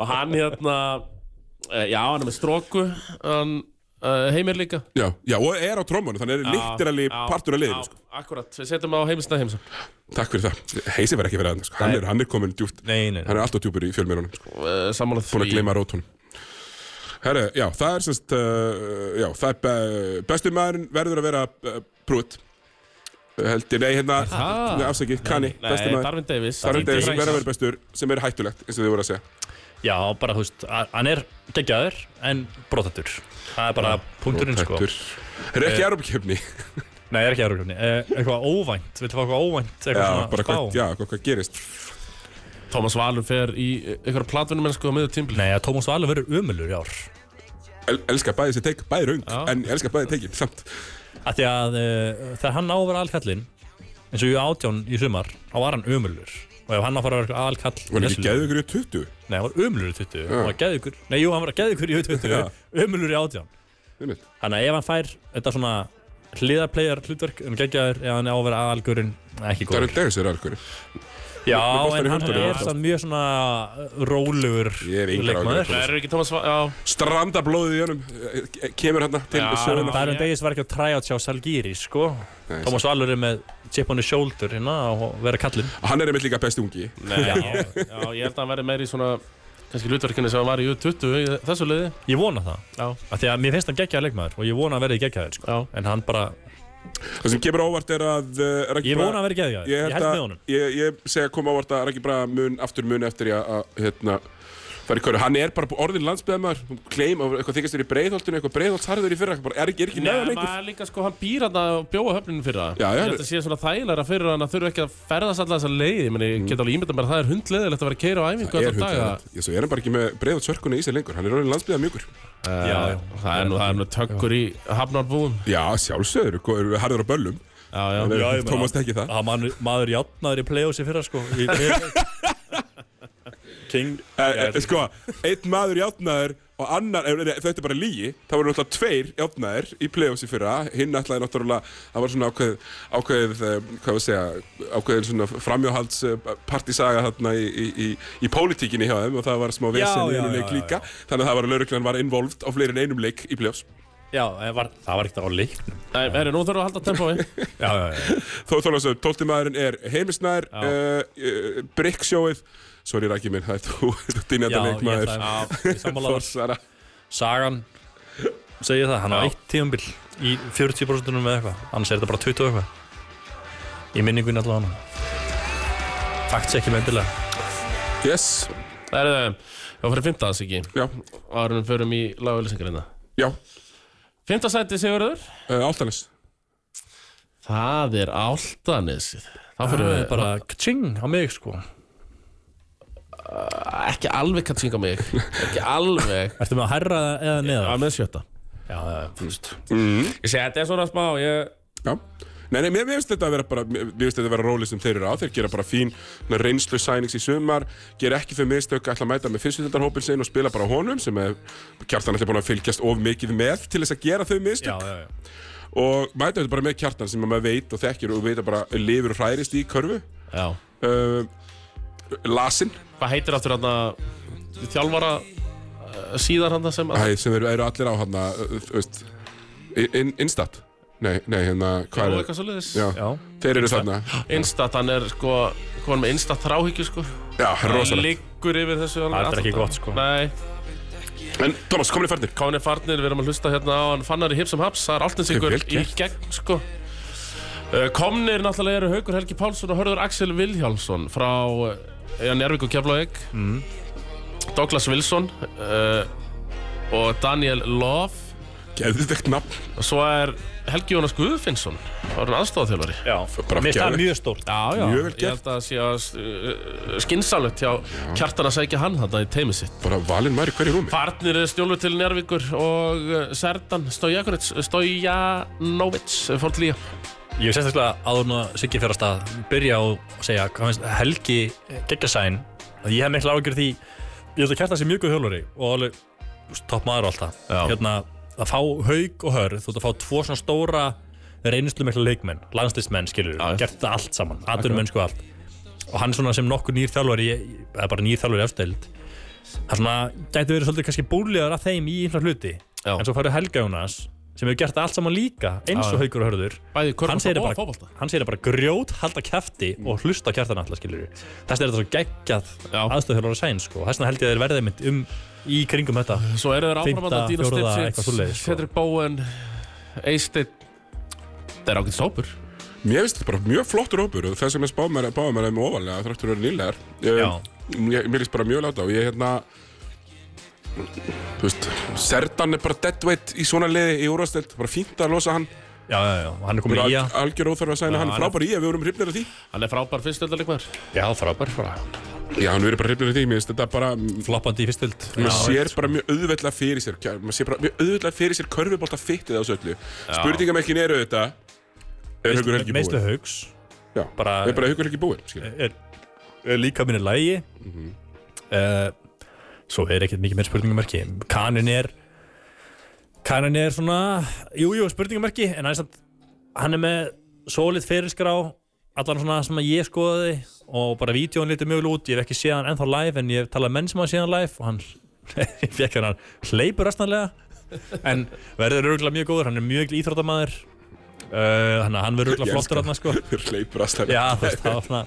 Speaker 3: auðmingið
Speaker 2: og hann hérna eh, já, hann er með stróku hann, uh, heimir líka
Speaker 1: Já, já, og er á trómanu, þannig er litterali
Speaker 2: Já,
Speaker 1: partur af liðinu. sko.
Speaker 2: já, Akkurat, við setjum á heimilsna heimsa
Speaker 1: Takk fyrir það. Heisi verður ekki verið aðeins. Sko. Hann, er- hann er komin djúpt.
Speaker 3: Nei, nei, nei.
Speaker 1: Hann er alltaf djúpur í fjölmjörunum. Sko.
Speaker 2: uh, Sammála því
Speaker 1: Búin að gleyma rótunum. Herru, já, það er semst, uh, já, það er be bestu maðurinn verður að vera uh, prútt. Held ég, nei, hérna,
Speaker 2: það?
Speaker 1: nei, afsaki, kanni, bestu
Speaker 2: Nei,
Speaker 1: maður.
Speaker 2: Darvin Davis
Speaker 1: Það er
Speaker 2: Davis.
Speaker 1: sem verður að vera bestur, sem er hættulegt, eins og þið voru að segja.
Speaker 3: Já, bara þú veist, a- hann er geggjaður en brotatur Það er bara punkturinn sko
Speaker 1: Hættur. Herru, ekki erupkjöfni.
Speaker 3: Nei, er ekki aðrugumni Eitthvað óvænt, viltu fá eitthvað óvænt
Speaker 1: Já,
Speaker 3: Eitthvað
Speaker 1: bara
Speaker 3: svona
Speaker 1: hvað,
Speaker 3: spá
Speaker 1: já, hvað, hvað gerist.
Speaker 2: Thomas Valur fer í einhverja platvinnum mennsku á miður tímbli
Speaker 3: Nei, að Tómas Valur verður umulur í ár
Speaker 1: El, elska bæði þessi teik, bæði raung,
Speaker 2: Já.
Speaker 1: en elska bæði teikin, samt.
Speaker 3: Af því að uh, þegar hann á að vera alkallinn eins og ég átján í sumar þá var hann ömulur og ef hann á að fara að vera alkall
Speaker 1: Var hann ekki
Speaker 3: næstu-
Speaker 1: geðið ykkur í 20?
Speaker 3: Nei, hann var ömulur í 20 hann var geðugur Nei, jú, hann var geðugur í 20 ömulur í átján
Speaker 1: Einmitt.
Speaker 3: Þannig að ef hann fær þetta svona hliðarplegar hlutverk um geggjaður ef hann á að vera algurinn ekki
Speaker 1: Darren
Speaker 3: góður
Speaker 1: Davis er alveg
Speaker 3: Já,
Speaker 1: með boltann í
Speaker 3: en hann
Speaker 1: höndunum,
Speaker 3: er
Speaker 1: já.
Speaker 3: sann mjög svona uh, rólegur
Speaker 1: Ég hef engar áhyggjur af
Speaker 3: leikmaður
Speaker 1: Thomas.
Speaker 2: Nei, eru ekki Thomas Valur Já,
Speaker 1: strandablóðið í honum eh, eh, kemur hérna til
Speaker 2: Já,
Speaker 1: söguna
Speaker 2: bara-
Speaker 3: Darren Davis var ekki að træja át sjá Salgiri, sko
Speaker 1: Nei,
Speaker 3: Thomas Valur er með chip on his shoulder hérna og vera kallinn
Speaker 1: hann er einmitt líka besti ungi
Speaker 2: Nei, já, já, ég held að hann verði meir í svona kannski hlutverkinu sem hann var í U20 í þessu liði
Speaker 3: Ég vona það
Speaker 2: Já,
Speaker 3: af því að mér finnst hann geggjaður leikmaður og ég vona að verði geggjaður sko.
Speaker 2: já
Speaker 3: en hann bara,
Speaker 1: það sem kemur á óvart er að eh, Raggi
Speaker 3: ég
Speaker 1: Braga-
Speaker 3: vona að verði geggjaður ég, held með
Speaker 1: að
Speaker 3: honum
Speaker 1: ég, ég segi að koma á óvart að Raggi Braga mun aftur mun eftir ég að hérna fara í körðu hann er bara orðin landsbyðamæður kleim og eitthvað þykist þér í breiðholtinu eitthvað breiðholtsharður í fyrra bara, er, ekki- er ekki
Speaker 2: Nei,
Speaker 1: neðan lengur
Speaker 2: maður líka sko, hann býr hann að bjóa höfninu fyrir það
Speaker 1: Já, já.
Speaker 2: Ég held að sé svona þægilega fyrir hann að þurfa ekki að ferðast alltaf þessa leið Ég meni,
Speaker 3: Mm.
Speaker 2: ég get alveg ímynda mér að það er hundleðilegt að vera að keira á æfingu
Speaker 1: er
Speaker 2: alltaf daga
Speaker 1: hundleitt ég svo er hann bara ekki með breiðholtsörkunni í sig lengur hann er orðin landsbyðamjúkur
Speaker 2: Eh,
Speaker 3: Já, já.
Speaker 2: Það er nú, það er nú tökkur í hafnarbúum
Speaker 1: já sjálfsögur harður á böllum
Speaker 2: Já, já
Speaker 1: En,
Speaker 3: Já,
Speaker 1: eh,
Speaker 3: ég meina-
Speaker 1: Tómas tekki það
Speaker 3: að man, maður játnaður í playoffsi fyrra sko í, King
Speaker 1: Eh, eh, sko, einn maður játnaður og annar, ef, ef þetta er bara lígi þá voru náttúrulega tveir játnaður í play-offs í fyrra, hinn ætlaði náttúrulega það var svona ákveð, ákveð eh, hvað við segja, ákveðin svona framjáhalds partisaga þarna í, í, í, í pólitíkinni hjá þeim og það var smá vesen í
Speaker 3: já,
Speaker 1: einum
Speaker 3: já,
Speaker 1: leik
Speaker 3: já,
Speaker 1: líka þannig að það var að lauruglan var involved á fleiri en einum leik í play-offs
Speaker 3: já, en var, það var ekkert á leiknum
Speaker 2: Nei, herri, nú þurfum við að halda tempói
Speaker 3: já, já, já,
Speaker 1: þó þóla svo, tólti maðurinn er heimisnær uh, uh, bryggsjóið sorry Raki minn, það er þú, þú
Speaker 3: já,
Speaker 1: dýnjandi
Speaker 3: ég
Speaker 1: leikmaður
Speaker 3: ætlaði ég sammála þar.
Speaker 1: Þórsara
Speaker 3: Sagan segir það, hann á
Speaker 2: Já.
Speaker 3: eitt tíumbil í 40% með eitthvað, annars er þetta bara 20 eitthvað í minningunni allavega hann fakt sé ekki með endilega
Speaker 1: yes,
Speaker 2: Það er það, það fyrir fymtaðans ekki
Speaker 1: já,
Speaker 2: Árum við förum í lagauðlýsingar hérna
Speaker 1: já
Speaker 2: Fymtasæti Sigurður
Speaker 1: Uh, Áltanes
Speaker 2: Það er áltanesið Þá fyrir
Speaker 3: það
Speaker 2: við
Speaker 3: er bara kting á mig sko
Speaker 2: ekki alveg kattinga mig Ekki alveg
Speaker 3: Ertu með að herra eða neða?
Speaker 2: Það með sjötta
Speaker 3: Já, já, já, þú veist
Speaker 2: Mm. Ég segi þetta er svona smá ég...
Speaker 1: Já. Nei, nei, mér mér finnst þetta að vera bara, mér mér finnst þetta að vera rólið sem þeir eru á, þeir gera bara fín svona reynslu sænings í sumar, gera ekki fyrir mistök, ætla að mæta með fyrstutöldarhópin sinn og spila bara á honum sem er, kjartan ætla búin að fylgjast of mikið með til þess að gera þau mistök
Speaker 3: Já, já, já
Speaker 1: og mæta þetta bara með kjartan sem að maður veit og þekkir og veit að bara lifir og hrærist í körfu
Speaker 2: Já
Speaker 1: uh, Lasin,
Speaker 2: hvað heitir aftur hann þjálfara eh, síðar hann sem
Speaker 1: Æ, sem eru, eru allir á hann að, þú veist, in, Instat? Nei, nei, hérna,
Speaker 2: Hvað
Speaker 1: hvað er
Speaker 2: eitthvað svolítið?
Speaker 1: Já,
Speaker 3: Já,
Speaker 1: þeir eru þarna.
Speaker 2: Instat, hann er sko, hvað er með Instat þráhyggju sko?
Speaker 1: Já,
Speaker 2: Hann
Speaker 1: rosalegt.
Speaker 2: liggur yfir þessu alveg
Speaker 3: Það er
Speaker 2: allan
Speaker 3: ekki
Speaker 2: dag.
Speaker 3: gott, sko.
Speaker 2: Nei,
Speaker 1: En, Thomas, komin í færdir.
Speaker 2: Káni Farnir, við erum að hlusta hérna á hann Fannar í Hipsum Haps, það er alltins ykkur
Speaker 1: Vel
Speaker 2: í
Speaker 1: gert.
Speaker 2: gegn sko Eh, Komnir náttúrulega eru Haukur Helgi Pálsson og Hörður Axel Vilhjálmsson frá eh, Jan Jærvík og Keflavík
Speaker 1: Mm.
Speaker 2: Douglas Wilson uh, og Daniel Love
Speaker 1: Geðvikt nafn.
Speaker 2: og svo er Helgi Jónas Guðfinnsson það er hann aðstofþjólari
Speaker 3: já.
Speaker 1: bara
Speaker 3: Mér það
Speaker 1: geðveikt.
Speaker 3: er mjög stórt
Speaker 2: Já, já,
Speaker 1: Mjög vel
Speaker 2: ég held að sé að uh, skinsalegt hjá kjartan að segja hann þarna í teimi sitt
Speaker 1: Bara valinn maður í hverju rúmi.
Speaker 2: Farnir er stjólur til Njárvíkur og eh, Serdan Stojakovic Stojanovic fór til Lía
Speaker 3: Ég hef sérstaklega áður nú að Siggi fyrir að stað byrja á að segja hvað finnst Helgi geggasæn að ég hef mikla ágjör því ég held að kjarta sér mjög góð hjólari og alveg topp maður og alltaf
Speaker 2: Já.
Speaker 3: hérna að fá haug og hörð þú ert að fá tvo svona stóra reynslu mikla leikmenn, landslistmenn skilur
Speaker 2: Já.
Speaker 3: gert þetta allt saman, aðurum mennsku allt og hann svona sem nokkur nýr þjálfari ég- eða bara nýr þjálfari efstild hann svona gæti verið svolítið kannski búlegar að þeim í einhver hluti
Speaker 2: Já.
Speaker 3: en svo færðu Helga Jónas sem hefur gert þetta allt saman líka eins
Speaker 2: Já,
Speaker 3: og haugur og hörður
Speaker 2: Bæði
Speaker 3: hann
Speaker 2: körfbólta
Speaker 3: segir
Speaker 2: og
Speaker 3: bara,
Speaker 2: fótbolta
Speaker 3: hann segir bara grjót, halda kæfti og hlusta á kjartan alltaf skilur þess er þetta svo geggjað
Speaker 2: Já.
Speaker 3: aðstöðhjálfara sæn sko. þess vegna held ég að þeir verði mitt um í kringum þetta
Speaker 2: Svo eru þeir áfram að
Speaker 3: Fimmta,
Speaker 2: Dino
Speaker 3: fjórða, eitthvað svoleiðis,
Speaker 2: Stipsits
Speaker 3: sko.
Speaker 2: Cedric Bowen Eisteinn Það er ágætt sópur
Speaker 1: Mér finnst þetta bara mjög flottur hópur og það sem ég spáði mér, spáði mér um ofalega þráttur að vera nýlegar. Um,
Speaker 3: Já.
Speaker 1: Mér mér líst bara mjög láta og ég, hérna, þú veist, Serdan er bara deadweight í svona liði í úrvastild. Bara fínt að losa hann.
Speaker 3: já, já, já, hann er komin í
Speaker 1: Al,
Speaker 3: já,
Speaker 1: algjör óþarf að sæna hann.
Speaker 2: hann er-
Speaker 1: Frábær í að við vorum hrifnir af því.
Speaker 2: Hann er frábær fyrstöldaleikmar
Speaker 3: já frábær frá.
Speaker 1: Já, hann verið bara hrifnir af því. Mér finnst þetta bara
Speaker 3: floppandi í fyrstild
Speaker 1: maður sér bara mjög auðveldlega fyrir sér kjær- maður sér bara mjög auðveldlega fyrir sér körfubolta fittið á þessu öllu spurningamekkin eru þetta er Haukur Helgi
Speaker 3: meðslu
Speaker 1: búinn
Speaker 3: haugs
Speaker 1: Já,
Speaker 3: bara-
Speaker 1: er bara Haukur Helgi búinn skilur.
Speaker 3: er, er líka minni lægi mm svo er ekkert mikið meir spurningamarki kanin er kanin er svona jújú jú, spurningamarki en hann er, samt, hann er með solid ferilskrá allan svona sem að ég skoðaði og bara vídjón lítið mjög vel út ég hef ekki séð hann ennþá live en ég hef talað við menn sem hafa séð hann live og hann ég fekk hann hann hleypur rastanlega en verður örgulega mjög góður hann er mjög íþróttamaður uh, hann, hann
Speaker 1: Ég
Speaker 3: verður örgulega flottur
Speaker 1: elska
Speaker 3: hann sko
Speaker 1: Haukur hleypur aðstæðan
Speaker 3: já þú veist það var svona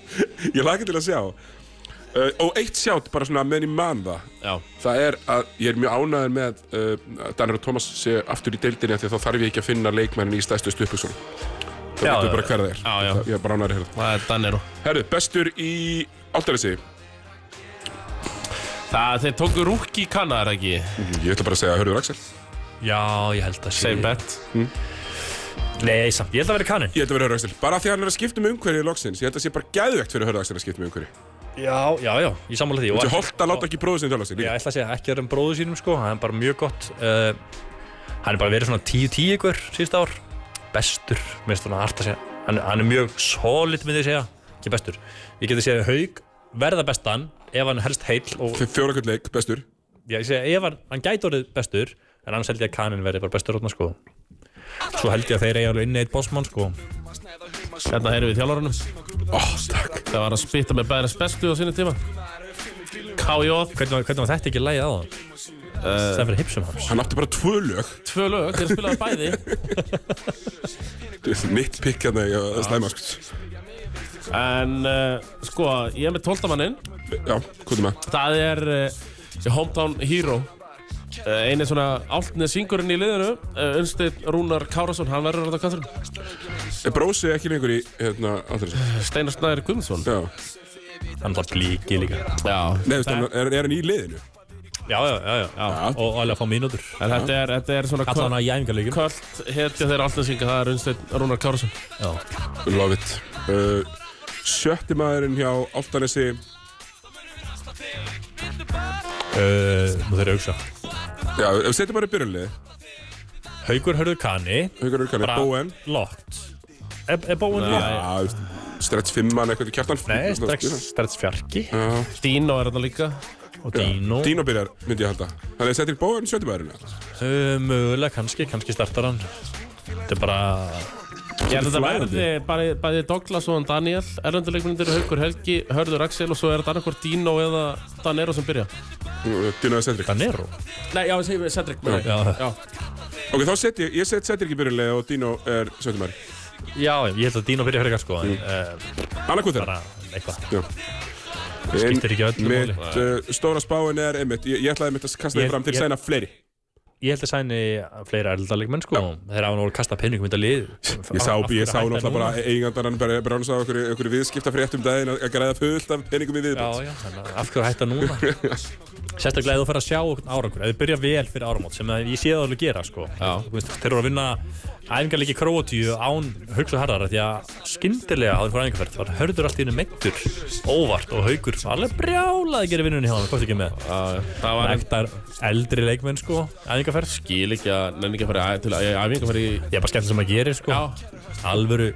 Speaker 1: ég laka til að sjá uh, og eitt sjátt bara svona meðan ég man það
Speaker 2: Já
Speaker 1: það er að ég er mjög ánæður með uh, að Danir og Thomas sé aftur í deildinni af því að þá þarf ég ekki að finna leikmennin í stæstu stuppisón þá
Speaker 3: Já,
Speaker 1: veitum
Speaker 3: já,
Speaker 1: bara hver það er
Speaker 2: Já, já.
Speaker 1: Það- ég er bara ánæður að heyra það.
Speaker 2: Það er Danero
Speaker 1: herru, bestur í áltarinsi
Speaker 2: Það þeir tóku rúk í kanna er það ekki
Speaker 3: Mhm.
Speaker 1: ég ætla bara að segja Hörður Axel
Speaker 3: Já, ég held að sé
Speaker 2: Same bet
Speaker 3: Nei, samt, ég held að vera kanin
Speaker 1: Ég held að vera Hörðarstil, bara af því að hann er að skipta um umhverfi í loksins, ég held að sé bara gæðvegt fyrir Hörðarstil að skipta um umhverfi.
Speaker 3: Já, já, já, ég sammála því
Speaker 1: Þetta er holdt að láta ekki bróðu sinni þjóla sig,
Speaker 3: Ég
Speaker 1: líka.
Speaker 3: ætla að segja ekki að vera um bróðu sínum sko Hann er bara mjög gott uh, Hann er bara verið svona 10-10 ykkur síðust ár Bestur, mér finnst svona hart að segja Hann, hann er mjög solid, myndi ég segja Ekki bestur Ég geti segja haug verða bestan Ef hann er helst heill og,
Speaker 1: F- Fjóra kvöld leik, bestur.
Speaker 3: Ég segja, ef hann, hann gæti orðið bestur En annars held ég að kanin verði bara bestur rótna sko Svo held ég að þeir eiga alveg inni eitt bossmann sko
Speaker 2: Hérna heyrum við þjálfarunum
Speaker 1: Ó, takk.
Speaker 2: Það var að spytta með bæðins bestu á sinni tíma KJ
Speaker 3: Hvernig var, hvernig var þetta ekki lægið á það? Uh, það fyrir hipsum hans
Speaker 1: Hann átti bara tvö lög,
Speaker 2: Tvö lög, þeir spilaði bæði
Speaker 1: mitt pikk hérna í að slæma, sko.
Speaker 2: En uh, sko, ég er með tóltamanninn
Speaker 1: Já, hvað er maður?
Speaker 2: Það er uh, Hometown Hero uh, Einir svona áltnið singurinn í liðinu uh, Unsteinn Rúnar Kárasson, hann verður rátt á katturinn
Speaker 1: Er brósi ekki lengur í, hérna, Andrés?
Speaker 2: Steinar Snæður Guðmundsson
Speaker 1: Já.
Speaker 3: Hann er það blíki líka
Speaker 2: Já,
Speaker 1: Nei, veist, hann- er, er hann í liðinu?
Speaker 3: já, já, já, já.
Speaker 1: Já.
Speaker 3: og alveg að fá mínútur
Speaker 2: en þetta er, þetta er svona
Speaker 3: allan að jæfingarleikum
Speaker 2: kvöld Hetja þeirra áltnið singa, það er Unsteinn Rúnar Kárasson
Speaker 3: já.
Speaker 1: Love it. Uh, sjötti maðurinn hjá Áltanesi,
Speaker 3: Uh, nú þeir eru auksa
Speaker 1: já, ef við setjum bara í byrjunlið,
Speaker 3: Haugur Hörður Kani
Speaker 1: Haukur Urkanir, Bóen,
Speaker 3: Lott Er, er Bóen
Speaker 2: Nei.
Speaker 3: Lott?
Speaker 1: já, veist, stretch fimmann eitthvað til kjartan.
Speaker 3: Nei, Strets Fjarki
Speaker 1: Já.
Speaker 2: Dino er þarna líka
Speaker 3: og Dino
Speaker 1: Dino byrjar, myndi ég halda Þannig að setja ekki
Speaker 3: Eh,
Speaker 1: bóðan sjöndumæðurinn
Speaker 3: Uh, Mögulega kannski, kannski startar hann Þetta er bara
Speaker 2: Ég held að þetta
Speaker 1: Flæðandi.
Speaker 2: verði bara- bæði Douglas og hann Daniel Erlenduleikmyndir eru Haukur Helgi, Hörður Axel og svo er þetta annarkvort Dino eða Danero sem byrja
Speaker 1: Dino eða Cedric
Speaker 3: Danero
Speaker 2: Nei, já, segjum við Cedric meina ég.
Speaker 3: Já.
Speaker 2: já.
Speaker 1: Ok, þá set ég, ég set Cedric í byrjunlega og Dino er sötumari
Speaker 3: Já, ég held að Dino byrja fyrir sko
Speaker 1: Mm.
Speaker 3: en, uh,
Speaker 1: Annarkvöð þeirra
Speaker 3: bara eitthvað skiptir ekki öllu
Speaker 1: En
Speaker 3: máli.
Speaker 1: mitt uh, stóra spáin er einmitt, ég, ég ætlaði einmitt að kasta
Speaker 3: Ég-
Speaker 1: þið fram til
Speaker 3: ég-
Speaker 1: sæna fleiri
Speaker 3: Ég held að sæni fleira erldalegmenn sko Þeir hafa nú að kasta penningum í þetta lið
Speaker 1: Ég sá,
Speaker 3: Af hverju
Speaker 1: ég sá
Speaker 3: hætta
Speaker 1: náttúrulega
Speaker 3: núna?
Speaker 1: bara eigandarinn bara bránsa á okkur, okkur viðskipta fréttum daginn að að græða fullt af peningum í viðbútt.
Speaker 3: Já, já, þannig að af hverju hætta núna Sérstaklega ef þú fer að sjá okkur árangur Ef þið byrja vel fyrir áramót sem að ég sé það alveg gera sko. Þú veist, Þeir eru að vinna æfingarleiki Króatíu án hugsa harðara Því að skyndilega á þeim fyrir æfingarferð var hörður allt í hennu meittur óvart og haugur var alveg brjálað að gera vinnunni hjá hann Hvort ekki með
Speaker 2: Það var ekki
Speaker 3: Ektar eldri leikmenn sko æfingarferð
Speaker 2: Gíl ekki að nenni ekki að fara í æ- til að æfinga fara í
Speaker 3: Ég er bara skemmt sem að gera sko Alvöru